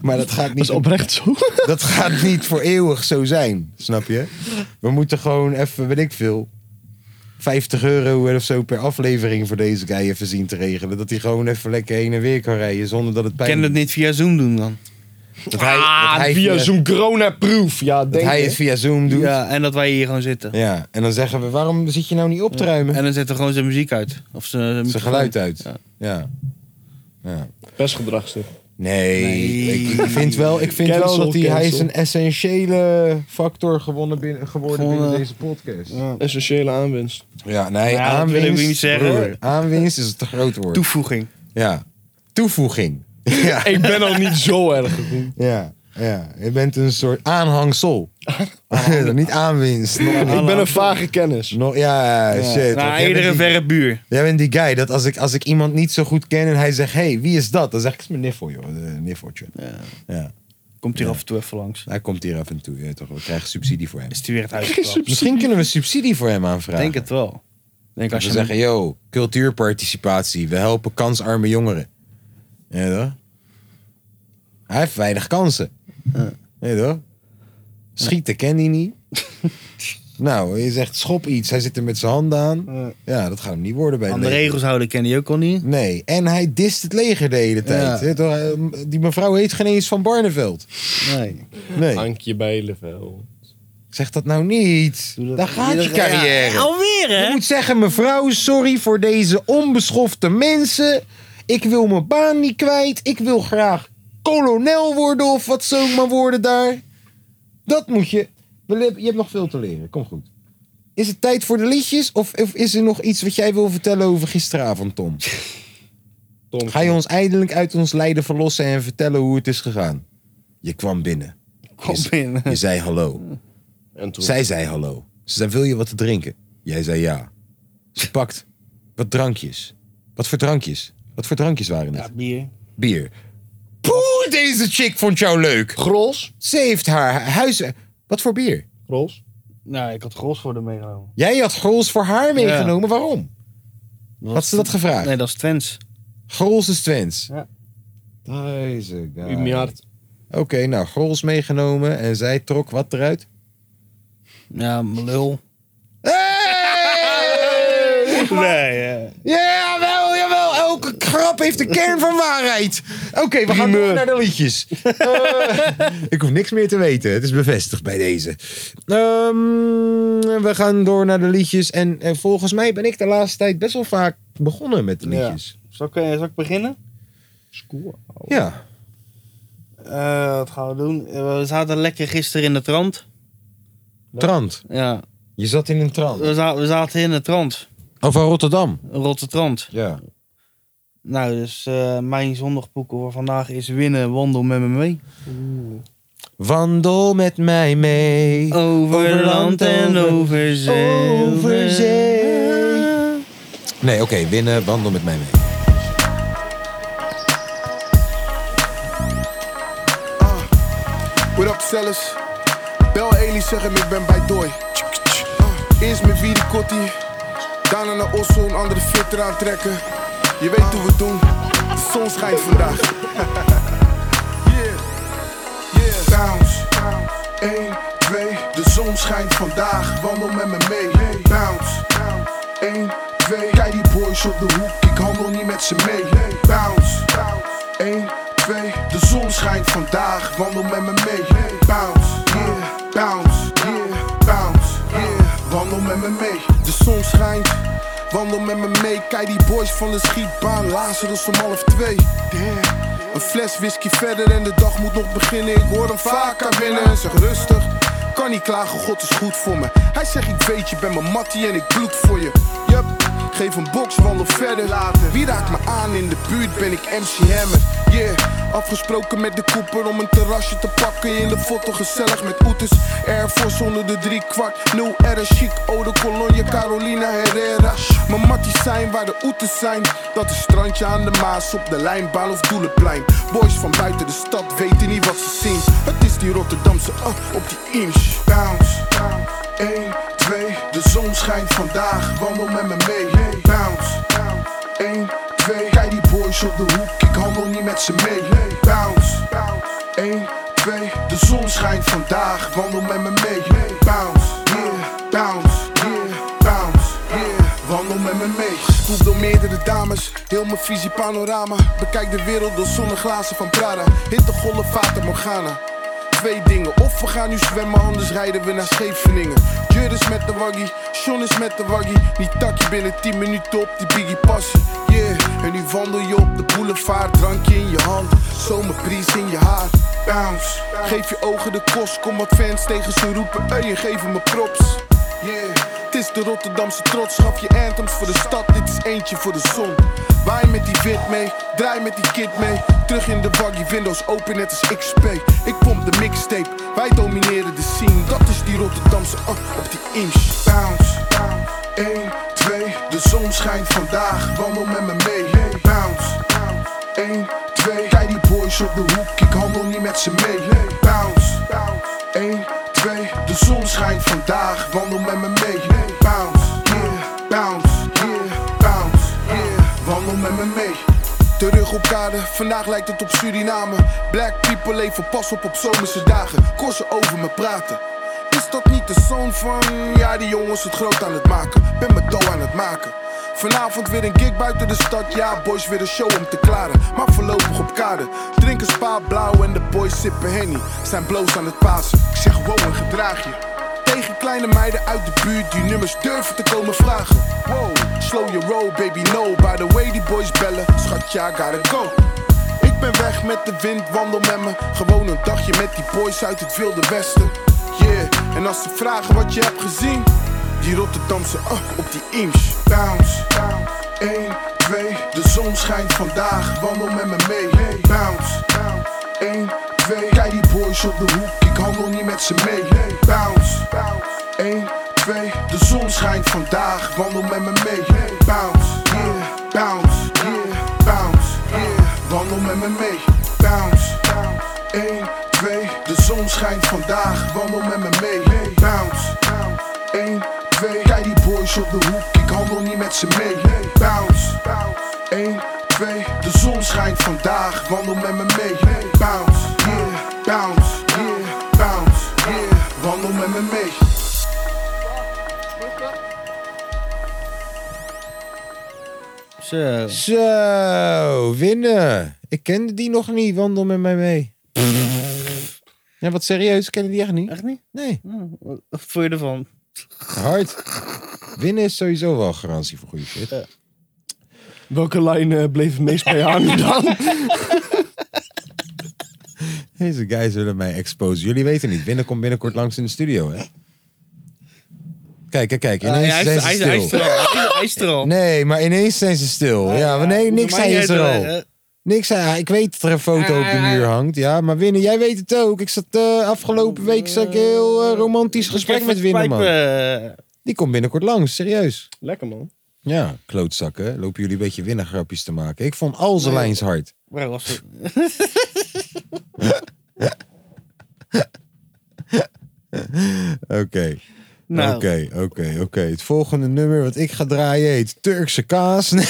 Speaker 4: maar dat gaat
Speaker 7: Dat
Speaker 4: niet
Speaker 7: is oprecht zo.
Speaker 4: dat gaat niet voor eeuwig zo zijn, snap je? We moeten gewoon even, weet ik veel, 50 euro of zo per aflevering voor deze guy even zien te regelen. Dat hij gewoon even lekker heen en weer kan rijden zonder dat het
Speaker 5: Ik
Speaker 4: pijn
Speaker 5: kan het niet via Zoom doen dan.
Speaker 4: Dat hij, dat hij
Speaker 7: via zo'n corona-proof. Ja,
Speaker 4: Dat
Speaker 7: denk
Speaker 4: hij het
Speaker 7: ik.
Speaker 4: via Zoom doet. Ja.
Speaker 5: Ja, en dat wij hier gewoon zitten.
Speaker 4: en dan zeggen we, waarom zit je nou niet op te ruimen?
Speaker 5: En dan zet er gewoon zijn muziek uit. Of zijn,
Speaker 4: Zijn geluid uit. Ja.
Speaker 5: Ja.
Speaker 4: ja.
Speaker 7: Best gedragster.
Speaker 4: Nee,
Speaker 5: Nee.
Speaker 4: Ik, ik vind wel, ik vind
Speaker 7: Cancel,
Speaker 4: wel dat hij, hij is
Speaker 7: cancel.
Speaker 4: een essentiële factor gewonnen binnen, geworden binnen
Speaker 5: Gewonnen.
Speaker 4: deze podcast.
Speaker 7: Essentiële aanwinst.
Speaker 4: Ja, nee,
Speaker 5: Ja, dat wil
Speaker 4: aanwinst,
Speaker 5: ik niet zeggen.
Speaker 4: broer, aanwinst is het groot woord.
Speaker 5: Toevoeging.
Speaker 4: Ja. Toevoeging. Ja.
Speaker 7: Ik ben al niet zo erg.
Speaker 4: ja. Ja. Je bent een soort aanhangsel. niet aanwinst. Nog niet.
Speaker 7: Ik ben een vage kennis.
Speaker 4: Nog- ja, shit.
Speaker 5: Nou,
Speaker 4: Want jij,
Speaker 5: eerder
Speaker 4: bent
Speaker 5: een
Speaker 4: die,
Speaker 5: verre buur.
Speaker 4: jij bent die guy dat als ik, als ik iemand niet zo goed ken en hij zegt: hey, wie is dat? Dan zeg ik: het is mijn niffel, joh. Eh, Een niffeltje. Ja.
Speaker 5: Komt hier af en toe even langs.
Speaker 4: Hij komt hier af en toe. je weet toch, we krijgen subsidie voor hem.
Speaker 5: Is hij weer het huis geklapt?
Speaker 4: Misschien kunnen we subsidie voor hem
Speaker 5: Ik
Speaker 4: aanvragen.
Speaker 5: denk het wel. Ik Denk als
Speaker 4: Als
Speaker 5: je
Speaker 4: we zeggen: yo, cultuurparticipatie. We helpen kansarme jongeren. Ja, toch? Hij heeft weinig kansen. Nee, toch? Schieten ken hij niet. nou, je zegt schop iets. Hij zit er met zijn handen aan. Ja, dat gaat hem niet worden bij
Speaker 5: aan
Speaker 4: het
Speaker 5: de
Speaker 4: leger.
Speaker 5: regels houden ken hij ook al niet.
Speaker 4: Nee, en hij dist het leger de hele tijd.
Speaker 5: Ja.
Speaker 4: Hè, toch? Hij- Die mevrouw heet geen eens Van Barneveld.
Speaker 5: Nee.
Speaker 4: Nee,
Speaker 7: Hankje Bijlevel.
Speaker 4: zeg dat nou niet. Daar gaat je carrière.
Speaker 5: Alweer
Speaker 4: Je
Speaker 5: hè?
Speaker 4: moet zeggen, mevrouw, sorry voor deze onbeschofte mensen. Ik wil mijn baan niet kwijt. Ik wil graag kolonel worden of wat zo ook maar worden daar. Dat moet je. We le- Je hebt nog veel te leren. Kom goed. Is het tijd voor de liedjes? Of, of is er nog iets wat jij wil vertellen over gisteravond, Tom?
Speaker 7: Tom.
Speaker 4: Ga je ons eindelijk uit ons lijden verlossen en vertellen hoe het is gegaan? Je kwam binnen.
Speaker 5: Kom
Speaker 4: Je-
Speaker 5: binnen.
Speaker 4: Je zei hallo.
Speaker 7: En toen.
Speaker 4: Zij zei hallo. Ze zei, wil je wat te drinken? Jij zei ja. Ze pakt wat drankjes. Wat voor drankjes? Wat voor drankjes waren het?
Speaker 5: Ja, bier.
Speaker 4: Bier. Poeh, deze chick vond jou leuk.
Speaker 7: Gros.
Speaker 4: Ze heeft haar huis... Wat voor bier?
Speaker 7: Gros.
Speaker 5: Nou, ik had gros voor hem meegenomen.
Speaker 4: Jij had Grols voor haar meegenomen. Waarom?
Speaker 5: Dat
Speaker 4: Had ze dat gevraagd?
Speaker 5: Nee, dat is Twents.
Speaker 4: Grols is Twents.
Speaker 5: Ja.
Speaker 4: Deze guy.
Speaker 7: Miljard.
Speaker 4: Oké, nou, Grols meegenomen. En zij trok wat eruit?
Speaker 5: Ja, mijn lul.
Speaker 4: Hey!
Speaker 5: Nee, eh. ja.
Speaker 4: Ja, wel, jawel. Elke grap heeft de kern van waarheid. Oké, we gaan door naar de liedjes. Eh, ik hoef niks meer te weten. Het is bevestigd bij deze. Ehm, we gaan door naar de liedjes. En, eh, volgens mij ben ik de laatste tijd best wel vaak begonnen met de liedjes.
Speaker 5: Zo Zal ik, eh, zal ik beginnen?
Speaker 4: Ja.
Speaker 5: Eh, wat gaan we doen? Eh, We zaten lekker gisteren in de trant.
Speaker 4: Trant.
Speaker 5: Ja,
Speaker 4: Je zat in een trant.
Speaker 5: we, za- we zaten in de trant.
Speaker 4: Oh, van Rotterdam.
Speaker 5: Een rotte trant.
Speaker 4: Ja.
Speaker 5: Nou, dus eh, mijn zondagboeken voor vandaag is winnen, wandel met me mee.
Speaker 4: Wandel met mij mee.
Speaker 5: Over land en
Speaker 4: over-
Speaker 5: over zee.
Speaker 4: Over zee. Nee, oké. winnen, wandel met mij mee.
Speaker 10: What up, fellas? Bel Eli, zeg hem ik ben bij Dooi. Eh, Eerst met wie de kotti, daarna naar Osso een andere flitter aantrekken. Je weet hoe we het doen, de zon schijnt vandaag. yeah, yeah. Bounce, bounce. 1, 2, de zon schijnt vandaag, wandel met me mee. Bounce, bounce. 1, 2, kijk die boys op de hoek, ik handel niet met ze mee. Bounce, bounce. 1, 2, de zon schijnt vandaag, wandel met me mee. Bounce, yeah, bounce, yeah, bounce, yeah, wandel met me mee. De zon schijnt, wandel met me mee. Kijk die boys van de schietbaan, Lazarus om half twee. Damn. Een fles whisky verder en de dag moet nog beginnen. Ik hoor hem vaker binnen en zeg rustig. Kan niet klagen, God is goed voor me. Hij zegt ik weet je, ben mijn mattie en ik bloed voor je. Yup, geef een box, wandel verder. Later. Wie raakt me aan in de buurt, ben ik MC Hammer. Yeah, afgesproken met de koeper om een terrasje te pakken. In de foto gezellig met oeters. Air Force onder de drie kwart. New Era chic, Ode Cologne, Carolina Herrera. Mijn matties zijn waar de oeters zijn. Dat is strandje aan de Maas op de lijnbaan of Doelenplein. Boys van buiten de stad weten niet wat ze zien. Het is die Rotterdamse uh, op die inch. Bounce, bounce. 1, 2, de zon schijnt vandaag. Wandel met me mee. Bounce, bounce. 1, 2, kijk die boys op de hoek. Ik handel niet met ze mee. Bounce, bounce. 1, 2, de zon schijnt vandaag. Wandel met me mee. Bounce, yeah, bounce, yeah, bounce, yeah. Wandel met me mee. Gestoeld door meerdere dames. Heel mijn visie panorama. Bekijk de wereld door zonneglazen van Prada. Hittegolven, Fata Morgana twee dingen. Of we gaan nu zwemmen, anders rijden we naar Scheveningen. Jur is met de waggie, Sean is met de waggie. Die takje binnen 10 minuten op die biggie passie. Yeah, en nu wandel je op de boulevard. Drankje in je hand, zomerpries in je haar. Bounce, geef je ogen de kost. Kom wat fans tegen ze roepen, hey, en geef hem een props. Yeah, het is de Rotterdamse trots. Schaf je anthems voor de stad, dit is eentje voor de zon. Waai met die wit mee, draai met die kid mee. Terug in de buggy, windows open net als XP. Ik pomp de mixtape, wij domineren de scene. Dat is die Rotterdamse uh, op die inch. Bounce, bounce. 1, 2, de zon schijnt vandaag. Wandel met me mee. Bounce, bounce. 1, 2, kijk die boys op de hoek, ik handel niet met ze mee. Bounce, bounce. 1, 2, de zon schijnt vandaag, wandel met me mee. Bounce, yeah, bounce, yeah, bounce, yeah, wandel met me mee. Terug op kade, vandaag lijkt het op Suriname. Black people leven pas op op zomerse dagen, kon ze over me praten. Is dat niet de zoon van? Ja, die jongens het groot aan het maken. Ben mijn dough aan het maken. Vanavond weer een gig buiten de stad. Ja, boys, weer een show om te klaren. Maar voorlopig op kade. Drink een spa blauw en de boys sippen henny. Zijn bloos aan het pasen. Ik zeg wow en gedraag je. Tegen kleine meiden uit de buurt die nummers durven te komen vragen. Wow, slow your roll, baby, no. By the way, die boys bellen, schatje, I gotta go. Ik ben weg met de wind, wandel met me. Gewoon een dagje met die boys uit het wilde westen. Yeah, en als ze vragen wat je hebt gezien, die Rotterdamse uh, op die inch. Bounce, bounce. 1, 2, de zon schijnt vandaag, wandel met me mee. Bounce, bounce. 1, 2, kijk die boys op de hoek, ik handel niet met ze mee. Bounce, bounce. 1, 2, de zon schijnt vandaag, wandel met me mee. Bounce, yeah, bounce, yeah, bounce, yeah, wandel met me mee. Bounce, bounce. 1, 2, de zon schijnt vandaag, wandel met me mee. Bounce, bounce. 1, 2, kijk die boys op de hoek, ik handel niet met ze mee. Bounce, bounce. 1, 2, de zon schijnt vandaag, wandel met me mee. Bounce, yeah, bounce, yeah, bounce, yeah, wandel met me mee.
Speaker 5: Zo.
Speaker 4: Zo, winnen. Ik kende die nog niet. Wandel met mij mee. Ja, wat serieus. Ik kende die echt niet.
Speaker 5: Echt niet?
Speaker 4: Nee,
Speaker 5: Nou, wat wat vond je ervan? Eh.
Speaker 4: hard. Winnen is sowieso wel garantie voor goede shit.
Speaker 6: Welke lijn eh, bleef het meest bij je hangen dan?
Speaker 4: Deze guys willen mij exposen. Jullie weten niet. Binnen komt binnenkort langs in de studio, hè? Kijk, kijk, kijk. Ineens
Speaker 5: Eh, hij,
Speaker 4: zijn
Speaker 5: is,
Speaker 4: ze
Speaker 5: hij,
Speaker 4: stil.
Speaker 5: hij is er al. Hij, hij is er al.
Speaker 4: Nee, maar ineens zijn ze stil. ja, maar nee, niks
Speaker 5: Maar
Speaker 4: hij is
Speaker 5: jij
Speaker 4: er
Speaker 5: doet-
Speaker 4: al.
Speaker 5: eh,
Speaker 4: Niks hij. Ik weet dat er een foto op de
Speaker 5: Ah.
Speaker 4: muur hangt. Ja, maar Winnen, jij weet het ook. Ik zat eh, afgelopen week zat ik een heel eh, romantisch gesprek
Speaker 5: Kijk, eh,
Speaker 4: met Winnen, man.
Speaker 5: pijpen.
Speaker 4: Die komt binnenkort langs, serieus.
Speaker 6: Lekker man.
Speaker 4: Ja, klootzakken. Lopen jullie een beetje winnengrapjes te maken. Ik vond al zijn lijns hard.
Speaker 5: Waar was het?
Speaker 4: Oké.
Speaker 5: Nou,
Speaker 4: Oké, oké, oké. Het volgende nummer wat ik ga draaien heet Turkse kaas. Nee.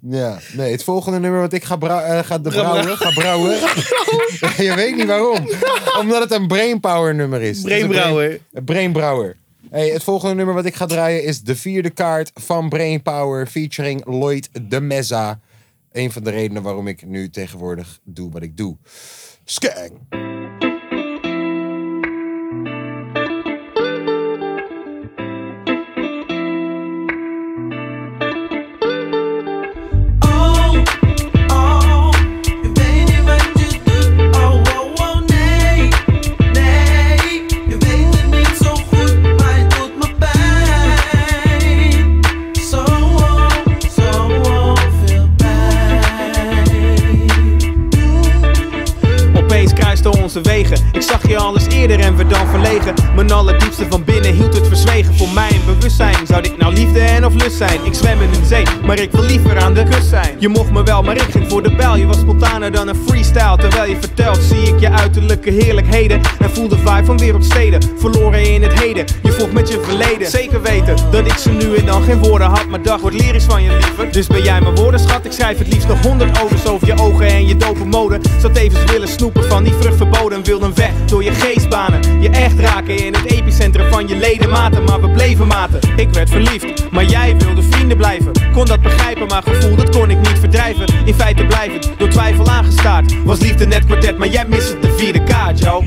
Speaker 4: ja, nee. Het volgende nummer wat ik ga, bra- eh, ga de brouwen. Ga brouwen. Je weet niet waarom. Omdat het een brainpower nummer is. Het is een
Speaker 5: Brainbrouwer.
Speaker 4: brain- Brainbrouwer. Hey, het volgende nummer wat ik ga draaien is de vierde kaart van Brainpower featuring Lloyd de Meza. Een van de redenen waarom ik nu tegenwoordig doe wat ik doe. Skang.
Speaker 9: Oh. oh, oh.
Speaker 11: Opeens kruisten onze wegen. Ik zag je alles eerder en werd dan verlegen. Mijn allerdiepste van binnen hield het verzwegen. Voor mijn bewustzijn zou dit nou liefde en of lust zijn. Ik zwem in een zee, maar ik wil liever aan de kust zijn. Je mocht me wel, maar ik ging voor de bel. Je was spontaner dan een freestyle. Terwijl je vertelt, zie ik je uiterlijke heerlijkheden. En voel de vibe van wereldsteden. Verloren in het heden, je vocht met je verleden. Zeker weten dat ik ze nu en dan geen woorden had. Maar dag wordt lyrisch van je liever. Dus ben jij mijn woordenschat. Ik schrijf het liefst nog honderd overs over je ogen en je dope mode. Zou tevens willen snoepen van die vrucht verboden. Wilden weg door je geestbanen. Je echt raken in het epicentrum van je ledematen. Maar we bleven maten. Ik werd verliefd, maar jij wilde vrienden blijven. Kon dat begrijpen, maar gevoel dat kon ik niet verdrijven. In feite blijvend, door twijfel aangestaard. Was liefde net kwartet, maar jij miste de vierde kaart, joh.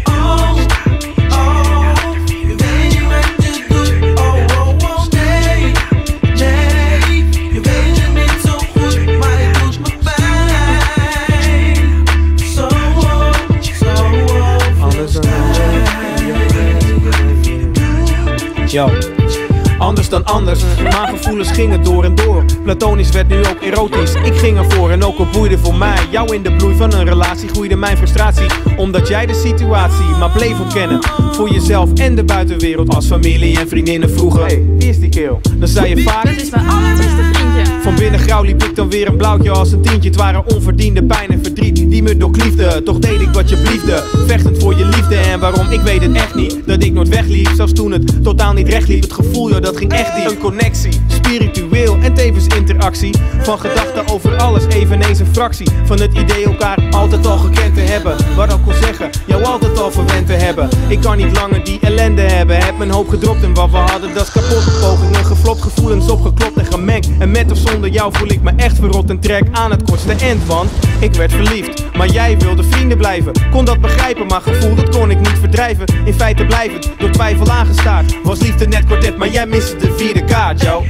Speaker 11: Yo. Anders dan anders, maar gevoelens gingen door en door. Platonisch werd nu ook erotisch. Ik ging ervoor en ook al boeide voor mij. Jou in de bloei van een relatie groeide mijn frustratie. Omdat jij de situatie maar bleef ontkennen. Voor jezelf en de buitenwereld als familie en vriendinnen vroegen. Hey, wie is die keel? Dan zei je vaak.
Speaker 12: Dat is mijn allerbeste vriendje.
Speaker 11: Van binnen grauw liep ik dan weer een blauwtje als een tientje. Het waren onverdiende pijn en verdriet die me doorkliefde. Toch deed ik wat je bliefde, vechtend voor je liefde. En waarom, ik weet het echt niet. Dat ik nooit wegliep, zelfs toen het totaal niet recht liep. Het gevoel, joh, dat ging echt niet. Een connectie, spiritueel en tevens interactie. Van gedachten over alles, eveneens een fractie. Van het idee elkaar altijd al gekend te hebben. Wat ook al zeggen, jou altijd al verwend te hebben. Ik kan niet langer die ellende hebben. Heb mijn hoop gedropt en wat we hadden, dat is kapot. Pogingen geflopt, gevoelens opgeklopt en gemengd. En met of zonder jou voel ik me echt verrot en trek aan het kortste end. Want ik werd verliefd, maar jij wilde vrienden blijven. Kon dat begrijpen, maar gevoel dat kon ik niet verdrijven. In feite blijvend, door twijfel aangestaard. Was liefde net kwartet, maar jij miste de vierde kaart, jou.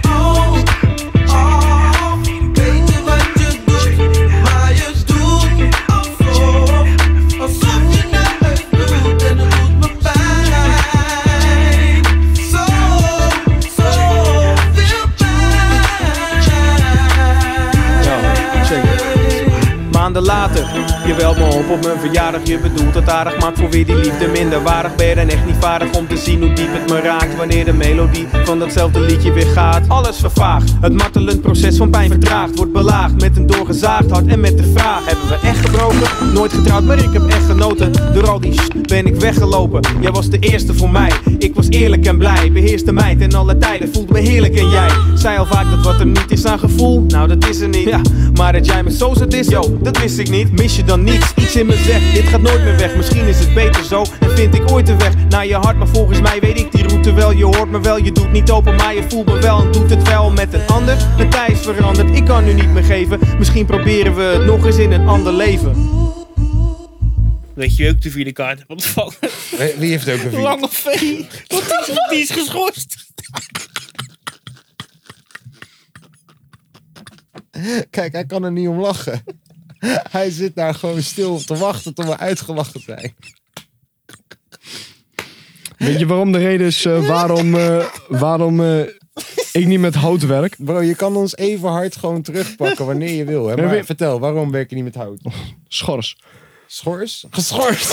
Speaker 11: Maanden later, je belt me op op mijn verjaardag. Je bedoelt het aardig, maakt voor weer die liefde minder waardig. Ben je dan echt niet vaardig om te zien hoe diep het me raakt. Wanneer de melodie van datzelfde liedje weer gaat. Alles vervaagt, het martelend proces van pijn vertraagt. Wordt belaagd met een doorgezaagd hart en met de vraag: Hebben we echt gebroken? Nooit getrouwd, maar ik heb echt genoten. Door al die sh- ben ik weggelopen. Jij was de eerste voor mij. Ik was eerlijk en blij, beheerste mij ten alle tijden. Voelt me heerlijk en jij zei al vaak dat wat er niet is aan gevoel. Nou, dat is er niet. Ja, maar dat jij me zo zat is, yo, dat wist ik niet. Mis je dan niets? Iets in me zegt, dit gaat nooit meer weg. Misschien is het beter zo en vind ik ooit de weg naar je hart. Maar volgens mij weet ik die route wel. Je hoort me wel, je doet niet open, maar je voelt me wel en doet het wel met een ander. De tijd is veranderd, ik kan nu niet meer geven. Misschien proberen we het nog eens in een ander leven.
Speaker 5: Weet je, ook de vierde kaart hebt ontvangen.
Speaker 4: Wie heeft ook een vier?
Speaker 5: Lange vee. Want die is, die is geschorst.
Speaker 4: Kijk, hij kan er niet om lachen. Hij zit daar gewoon stil op te wachten tot we uitgelachen zijn.
Speaker 7: Weet je waarom de reden is eh, waarom, eh, waarom eh, ik niet met hout werk?
Speaker 4: Bro, je kan ons even hard gewoon terugpakken wanneer je wil. Hè?
Speaker 7: Nee,
Speaker 4: Maar
Speaker 7: Wim-
Speaker 4: vertel, waarom werk je niet met hout?
Speaker 7: Schors.
Speaker 4: Schors? Geschorst!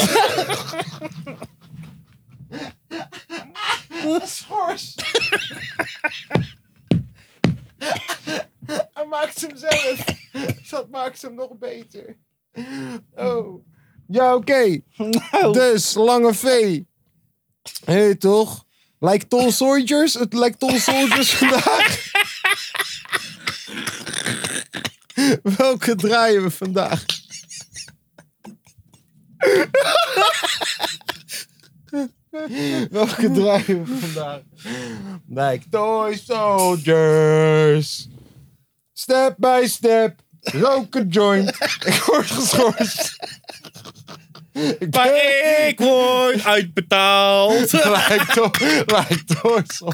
Speaker 4: Schors! Hij maakt hem zelf. Dat maakt hem nog beter. Oh. Ja, oké. Dus, Lange V. Hé, toch? Lijkt Tol Soldiers? Het lijkt Tol Soldiers vandaag. Welke draaien we vandaag? Welke draaien we vandaag? Lijkt Toy Soldiers. Step by step. Roken joint. Ik word geschorst. Ik
Speaker 5: Maar
Speaker 4: ben-
Speaker 5: ik word uitbetaald.
Speaker 4: Lijkt op, lijkt op.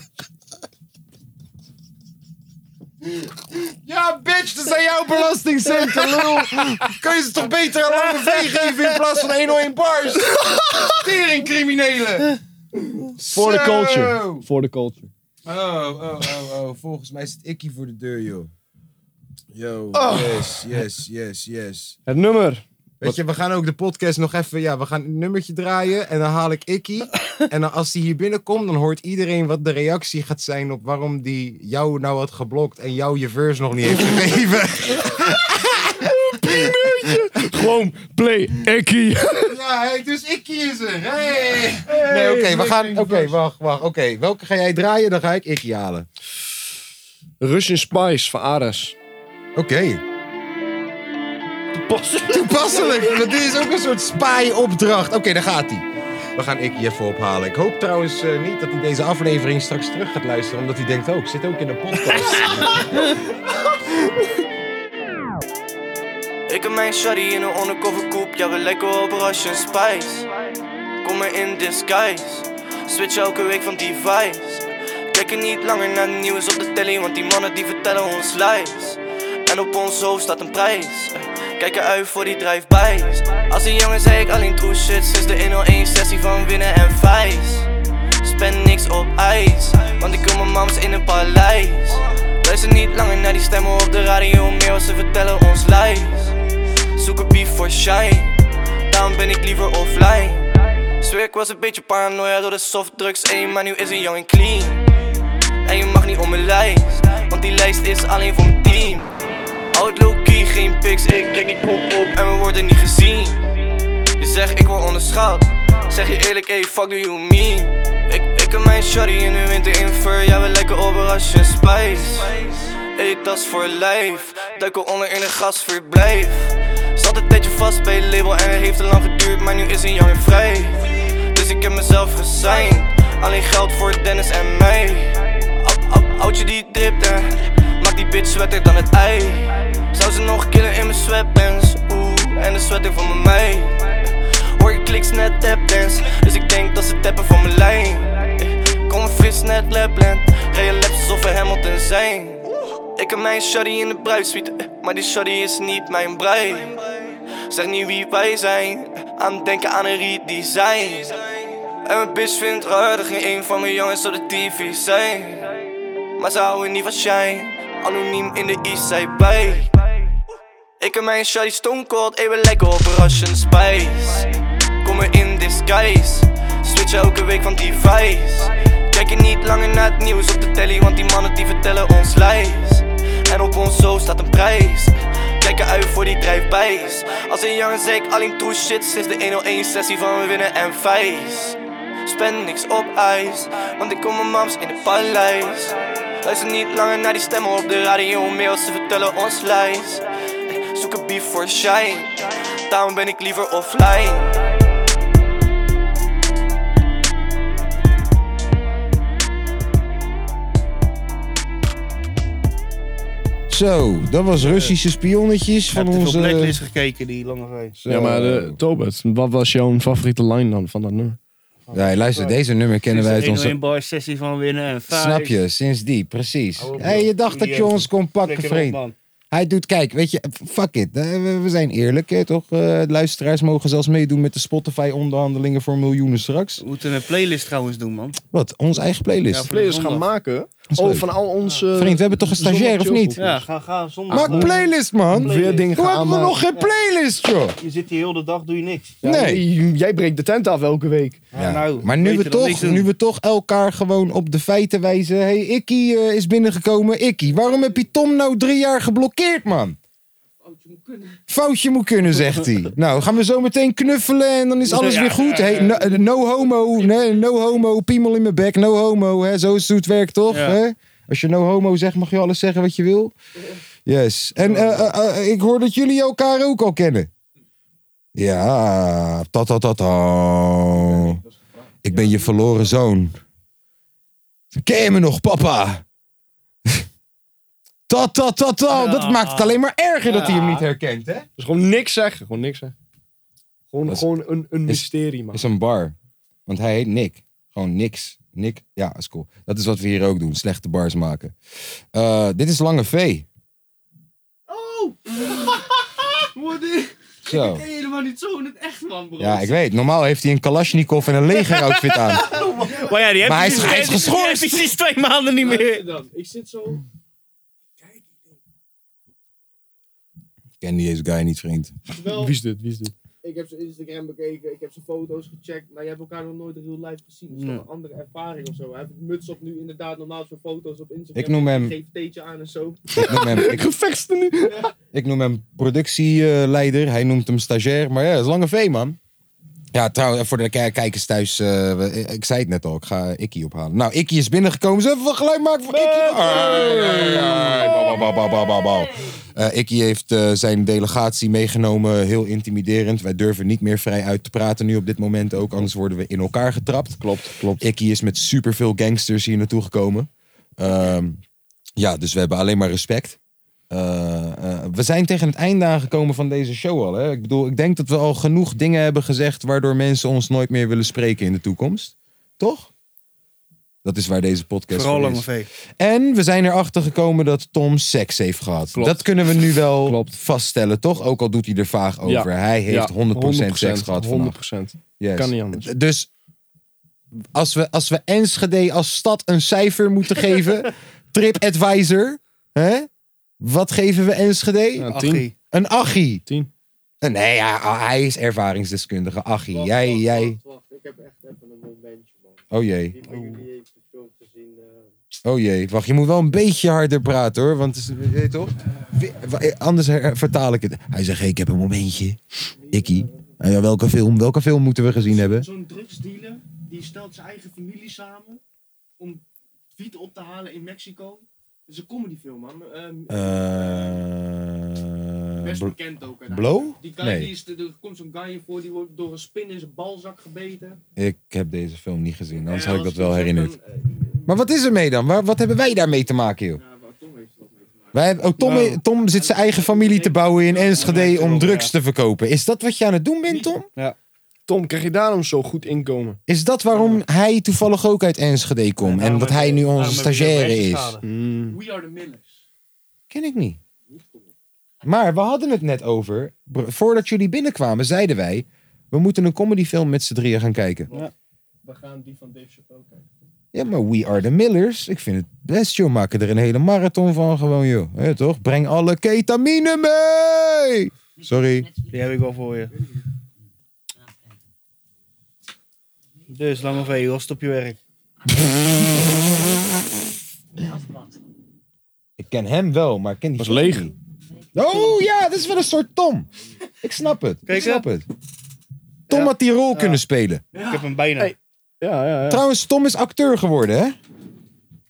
Speaker 4: Ja, bitch, dat zijn jouw belastingcenten, lul. Kun je ze toch beter aan lange vee geven in plaats van 101 bars? Tering criminelen.
Speaker 7: Voor de culture. Voor de culture.
Speaker 4: Oh, oh, oh, oh. Volgens mij zit Ikkie voor de deur, joh. Yo, yes, yes, yes, yes.
Speaker 7: Het nummer.
Speaker 4: Weet je, we gaan ook de podcast nog even. Ja, we gaan een nummertje draaien. En dan haal ik Ikkie. en dan als die hier binnenkomt, dan hoort iedereen wat de reactie gaat zijn. op waarom die jou nou had geblokt. en jou je verse nog niet heeft gegeven.
Speaker 7: Gewoon play Ekkie.
Speaker 4: ja, hey, dus Ikkie is er. Hey. nee, oké, we gaan. Oké, wacht, wacht. Oké, welke ga jij draaien? Dan ga ik Ikkie halen.
Speaker 7: Russian Spice van Ares.
Speaker 4: Oké. Toepasselijk. Want dit is ook een soort spy-opdracht. Oké, daar gaat hij. We gaan Ikkie even ophalen. Ik hoop trouwens eh, niet dat hij deze aflevering straks terug gaat luisteren. Omdat hij denkt, oh, ik zit ook in de podcast.
Speaker 11: Ik en mijn shawty in een undercover coupe, ja we lekker op Russian Spice Kom maar in disguise, switch elke week van device Kijken niet langer naar de nieuws op de telly, want die mannen die vertellen ons lies En op ons hoofd staat een prijs, kijken uit voor die drive-bys Als een jongen zei ik alleen true shit, sinds de 101 sessie van winnen en vice Spend niks op ijs, want ik kom mijn mams in een paleis. Luister niet langer naar die stemmen op de radio, meer wat ze vertellen ons lies. Zoek een beef voor shine, daarom ben ik liever offline. Zweer ik was een beetje paranoia door de softdrugs, ey, maar nu is hij young en clean. En je mag niet om mijn lijst, want die lijst is alleen voor mijn team. Oud low key, geen pics, ik kijk niet pop op en we worden niet gezien. Je zegt ik word onderschat Zeg je eerlijk, hey, fuck do you mean? Ik, ik en mijn shawty in de winter in fur Ja, we lijken op Russian Spice Eet dat voor lijf Duiken onder in een gasverblijf Zat een tijdje vast bij het label en het heeft te lang geduurd Maar nu is een jaar vrij Dus ik heb mezelf gesigned Alleen geld voor Dennis en mij Ab, ab, oudje die dipte Maakt die bitch sweater dan het ei Zou ze nog killen in mijn sweatpants? Oeh, en de sweater van mijn meid Hoor je kliks net tapdance Dus ik denk dat ze tappen van mijn lijn Kom fris net Lapland Rijden laps alsof we Hamilton zijn Ik heb mijn shawty in de bruidsuite eh, Maar die shawty is niet mijn bruid Zeg niet wie wij zijn Aan het denken aan een redesign En mijn bitch vindt raar Dat geen een van mijn jongens op de tv zijn Maar ze houden niet van shine Anoniem in de eastside bij ik en mijn shawty stone cold, even lekker op Russian Spice Kom er in disguise, switch elke week van device Kijk je niet langer naar het nieuws op de telly, want die mannen die vertellen ons lies En op ons zo staat een prijs, kijken uit voor die drijfbijs Als een jongen zei ik alleen true shit, sinds de 101 sessie van we winnen en vijs Spend niks op ijs, want ik kom mijn mams in het paleis. Luister niet langer naar die stemmen op de radio, meer als ze vertellen ons lies. Zoek een beef voor shine, daarom ben ik liever offline.
Speaker 4: Zo, dat was Russische spionnetjes
Speaker 5: Ik
Speaker 4: van
Speaker 5: heb te veel Blacklist
Speaker 4: onze...
Speaker 5: gekeken die lange reis.
Speaker 4: Zo.
Speaker 6: Ja, maar eh, Tobert, wat was jouw favoriete line dan van dat nummer?
Speaker 4: Ja, luister, deze nummer kennen wij uit onze...
Speaker 5: 1 bar sessie van winnen en vijf.
Speaker 4: Snap je, sinds die, precies.
Speaker 5: Hou op,
Speaker 4: Hey, je dacht dat je
Speaker 5: Jullie,
Speaker 4: ons kon pakken,
Speaker 5: flikker op,
Speaker 4: vriend.
Speaker 5: man.
Speaker 4: Hij doet, kijk, weet je, fuck it. Eh, We we zijn eerlijk, hè, toch? Eh, luisteraars mogen zelfs meedoen met de Spotify-onderhandelingen voor miljoenen straks.
Speaker 5: We moeten een playlist trouwens doen, man.
Speaker 4: Wat? Onze eigen
Speaker 5: Ja,
Speaker 4: playlist.
Speaker 5: voor de
Speaker 6: Players gaan
Speaker 5: zondag.
Speaker 6: maken.
Speaker 4: is
Speaker 6: Oh,
Speaker 4: leuk.
Speaker 6: van al onze...
Speaker 4: Vriend, we hebben toch een stagiair, of niet?
Speaker 5: Ja, ga, ga zondag.
Speaker 4: Maak
Speaker 5: eh,
Speaker 4: playlist, man.
Speaker 5: Playlist.
Speaker 6: Weer dingen
Speaker 4: Hoe
Speaker 6: gaan
Speaker 4: hebben we
Speaker 6: aanmaken.
Speaker 4: nog geen playlist, joh?
Speaker 5: Je zit hier heel de dag, doe je niks.
Speaker 6: Ja,
Speaker 4: Nee.
Speaker 6: j- Jij breekt de tent af elke week.
Speaker 4: Ja,
Speaker 5: nou,
Speaker 4: maar nu
Speaker 5: beter
Speaker 4: we,
Speaker 5: dan niks
Speaker 4: toch,
Speaker 5: doen.
Speaker 4: nu we toch elkaar gewoon op de feiten wijzen. Hé, hey, Ikkie eh, is binnengekomen. Ikkie, waarom heb je Tom nou drie jaar geblokkeerd, man? Foutje moet kunnen, zegt hij. Nou, gaan we zo meteen knuffelen en dan is alles weer goed. Hey, no, eh, no homo, nee, no homo, piemel in mijn bek, no homo. Hè? Zo is het hoe het werkt, toch?
Speaker 5: Ja.
Speaker 4: Hè? Als je no homo zegt, mag je alles zeggen wat je wil. Yes. En eh, eh, eh, ik hoor dat jullie elkaar ook al kennen. Ja, ta ta ta ta. Ik ben je verloren zoon. Ken je me nog, papa? Ta ta ta ta. Dat maakt het alleen maar erger dat hij hem niet herkent, hè?
Speaker 6: Dus gewoon niks zeggen. Gewoon niks zeggen. Gewoon,
Speaker 4: Is-
Speaker 6: gewoon een, een mysterie, man.
Speaker 4: is een bar. Want hij heet Nick. Gewoon niks. Nick, ja, is cool. Dat is wat we hier ook doen. Slechte bars maken. Eh, dit is Lange V. Oh! Zo.
Speaker 12: helemaal niet zo in het echt, man, bro.
Speaker 4: Ja, ik weet. Normaal heeft hij een Kalashnikov en een legeroutfit aan.
Speaker 5: Maar ja, die heb
Speaker 4: Maar hij
Speaker 5: je
Speaker 4: is-
Speaker 5: sinds-
Speaker 4: hij is geschorst.
Speaker 5: die heb je sinds twee maanden niet meer.
Speaker 7: Ik zit zo...
Speaker 4: Ik ken deze guy niet, vriend.
Speaker 6: Wie is dit? Wie is dit?
Speaker 7: Ik heb zijn Instagram bekeken, ik heb zijn foto's gecheckt, maar je hebt elkaar nog nooit in real life gezien. Dus dat is een andere ervaring of zo. Hij heeft muts op nu, inderdaad, normaal zijn foto's op Instagram.
Speaker 4: Ik noem hem-
Speaker 7: Geef theetje aan en zo.
Speaker 4: Ik noem hem, ik,
Speaker 6: Gevechten nu.
Speaker 4: ik noem hem productieleider. Hij noemt hem stagiair. Maar ja, dat is Lange V, man. Ja, trouwens, voor de k- kijkers thuis. eh, we- ik zei het net al. Ik ga Ikkie ophalen. Nou, Ikkie is binnengekomen. Zullen we wat geluid maken voor Ikkie? Hey, hey, bouw, bouw, bouw, bouw, bouw, bouw. Eh, Ikkie heeft eh, zijn delegatie meegenomen. Heel intimiderend. Wij durven niet meer vrij uit te praten nu op dit moment ook. Anders worden we in elkaar getrapt.
Speaker 6: Klopt, klopt.
Speaker 4: Ikkie is met superveel gangsters hier naartoe gekomen. Ehm, ja, dus we hebben alleen maar respect. Eh, eh, we zijn tegen het einde aangekomen van deze show al. Hè? Ik bedoel, ik denk dat we al genoeg dingen hebben gezegd... waardoor mensen ons nooit meer willen spreken in de toekomst. Toch? Dat is waar deze podcast
Speaker 5: Vooral
Speaker 4: voor
Speaker 5: lange
Speaker 4: is.
Speaker 5: V.
Speaker 4: En we zijn erachter gekomen dat Tom seks heeft gehad. Dat kunnen we nu wel
Speaker 6: Klopt.
Speaker 4: vaststellen, toch? Ook al doet hij er vaag over.
Speaker 6: Ja.
Speaker 4: Hij heeft
Speaker 6: Ja,
Speaker 4: 100%, seks gehad
Speaker 6: 100%.
Speaker 4: vannacht. Yes.
Speaker 6: Kan niet anders.
Speaker 4: Dus als we, als we Enschede als stad een cijfer moeten geven, TripAdvisor, hè? Wat geven we Enschede?
Speaker 6: Ja, tien.
Speaker 5: Achie.
Speaker 4: Een achie.
Speaker 6: Tien.
Speaker 4: Eh, Nee, ja, hij is ervaringsdeskundige. Achie,
Speaker 7: Wacht,
Speaker 4: jij,
Speaker 7: wacht,
Speaker 4: jij.
Speaker 7: Wacht, wacht. Ik heb echt even een momentje, man.
Speaker 4: Oh jee,
Speaker 7: Die van jullie heeft de film gezien. eh.
Speaker 4: oh jee. Wacht, je moet wel een beetje harder praten hoor, want het is- je weet toch? Wie- wa- eh, Anders her- vertaal ik het. Hij zegt, hey, ik heb een momentje. Ikkie. Nou ja, welke film, welke film moeten we gezien hebben?
Speaker 13: Zo'n drugsdealer die stelt zijn eigen familie samen om wiet op te halen in Mexico. Dat is een comedyfilm, man. Ehm, best
Speaker 4: Eh
Speaker 13: bekend ook. hè.
Speaker 4: Blow?
Speaker 13: Die guy,
Speaker 4: Nee.
Speaker 13: die is, er komt zo'n guy in voor, die wordt door een spin in zijn balzak gebeten.
Speaker 4: Ik heb deze film niet gezien, anders
Speaker 13: En
Speaker 4: had Nou,
Speaker 13: als
Speaker 4: ik dat wel
Speaker 13: hij zegt,
Speaker 4: herinnerd.
Speaker 13: dan, eh,
Speaker 4: Maar wat is er mee dan? Waar- wat hebben wij daarmee te maken, joh?
Speaker 13: ja, maar Tom heeft er wat mee te maken.
Speaker 4: Wij hebben, oh, Tom,
Speaker 5: Nou.
Speaker 4: Tom zit zijn eigen familie te bouwen in Enschede om drugs te verkopen. Is dat wat je aan het doen bent, Tom?
Speaker 6: Tom, krijg je daarom zo goed inkomen?
Speaker 4: Is dat waarom hij toevallig ook uit Enschede komt?
Speaker 5: Nou,
Speaker 4: En dat hij nu onze stagiaire is?
Speaker 6: Hmm.
Speaker 13: We are the Millers.
Speaker 4: Ken ik niet. Maar we hadden het net over. br- Voordat jullie binnenkwamen, zeiden wij. We moeten een comedyfilm met z'n drieën gaan kijken.
Speaker 13: We gaan die van Dave Chappelle kijken.
Speaker 4: Ja, maar We Are The Millers. Ik vind het best, joh. Maken er een hele marathon van gewoon, joh. Hè, toch? Breng alle ketamine mee! Sorry.
Speaker 5: Die heb ik wel voor je. Dus, lange V, was het op je werk?
Speaker 4: Ik ken hem wel, maar ik ken die...
Speaker 6: Dat is leeg.
Speaker 4: niet. Oh ja, dat is wel een soort Tom. Ik snap het.
Speaker 5: Kijk,
Speaker 4: ik snap het. Tom had die rol kunnen spelen.
Speaker 5: Ik heb hem bijna.
Speaker 6: Hey, Ja, ja, ja.
Speaker 4: Trouwens, Tom is acteur geworden, hè?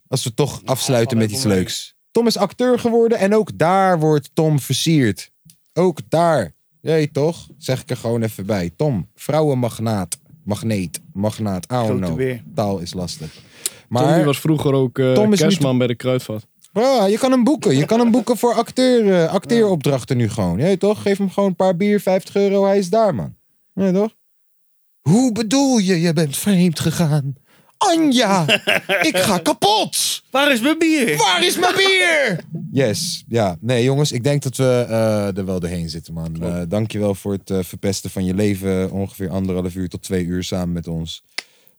Speaker 4: Als we toch afsluiten met iets leuks. Tom is acteur geworden en ook daar wordt Tom versierd. Ook daar. Jee, toch? Zeg ik er gewoon even bij. Tom, vrouwenmagnaat. Magneet, magnaat. I don't
Speaker 5: Grote
Speaker 4: know.
Speaker 5: weer.
Speaker 4: Taal is lastig.
Speaker 6: Tom die
Speaker 4: Maar
Speaker 6: was vroeger ook eh
Speaker 4: Tom is nu
Speaker 6: kerstman bij de Kruidvat.
Speaker 4: Ja, je kan hem boeken. Je kan hem boeken voor acteur, eh, acteeropdrachten nu gewoon. Ja, toch? Geef hem gewoon een paar bier, 50 euro, hij is daar, man. Ja, toch? Hoe bedoel je, je bent vreemd gegaan? Anja, ik ga kapot!
Speaker 5: Waar is mijn bier?
Speaker 4: Waar is mijn bier? Yes, ja. Nee, jongens, ik denk dat we eh, er wel doorheen zitten, man. Eh dankjewel voor het eh, verpesten van je leven. Ongeveer anderhalf uur tot twee uur samen met ons.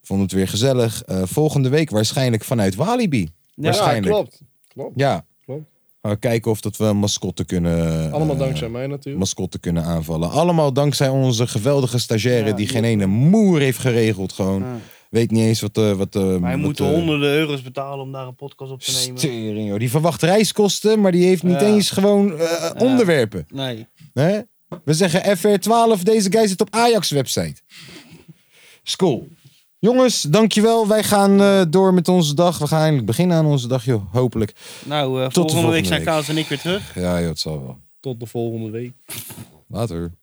Speaker 4: Vond het weer gezellig. Eh, volgende week waarschijnlijk vanuit Walibi. waarschijnlijk.
Speaker 6: klopt. klopt.
Speaker 4: Ja.
Speaker 6: Klopt.
Speaker 4: Gaan we kijken of dat we mascotten kunnen... eh,
Speaker 6: Allemaal dankzij mij natuurlijk.
Speaker 4: mascotten kunnen aanvallen. Allemaal dankzij onze geweldige stagiaire die geen ene moer heeft geregeld gewoon. Weet niet eens wat... eh wat eh,
Speaker 5: Wij
Speaker 4: wat,
Speaker 5: moeten
Speaker 4: eh,
Speaker 5: honderden euro's betalen om daar een podcast op te nemen.
Speaker 4: Tering, joh. Die verwacht reiskosten, maar die heeft niet
Speaker 5: Ja.
Speaker 4: eens gewoon eh, onderwerpen.
Speaker 5: Nee.
Speaker 4: Hè? We zeggen FR12, deze guy zit op Ajax-website. School. Jongens, dankjewel. Wij gaan eh, door met onze dag. We gaan eindelijk beginnen aan onze dag, joh. Hopelijk.
Speaker 5: Nou, eh,
Speaker 4: Tot de
Speaker 5: volgende,
Speaker 4: volgende
Speaker 5: week zijn
Speaker 4: week.
Speaker 5: Kaas en ik weer terug.
Speaker 4: Ja, joh, het zal wel.
Speaker 6: Tot de volgende week.
Speaker 4: Later.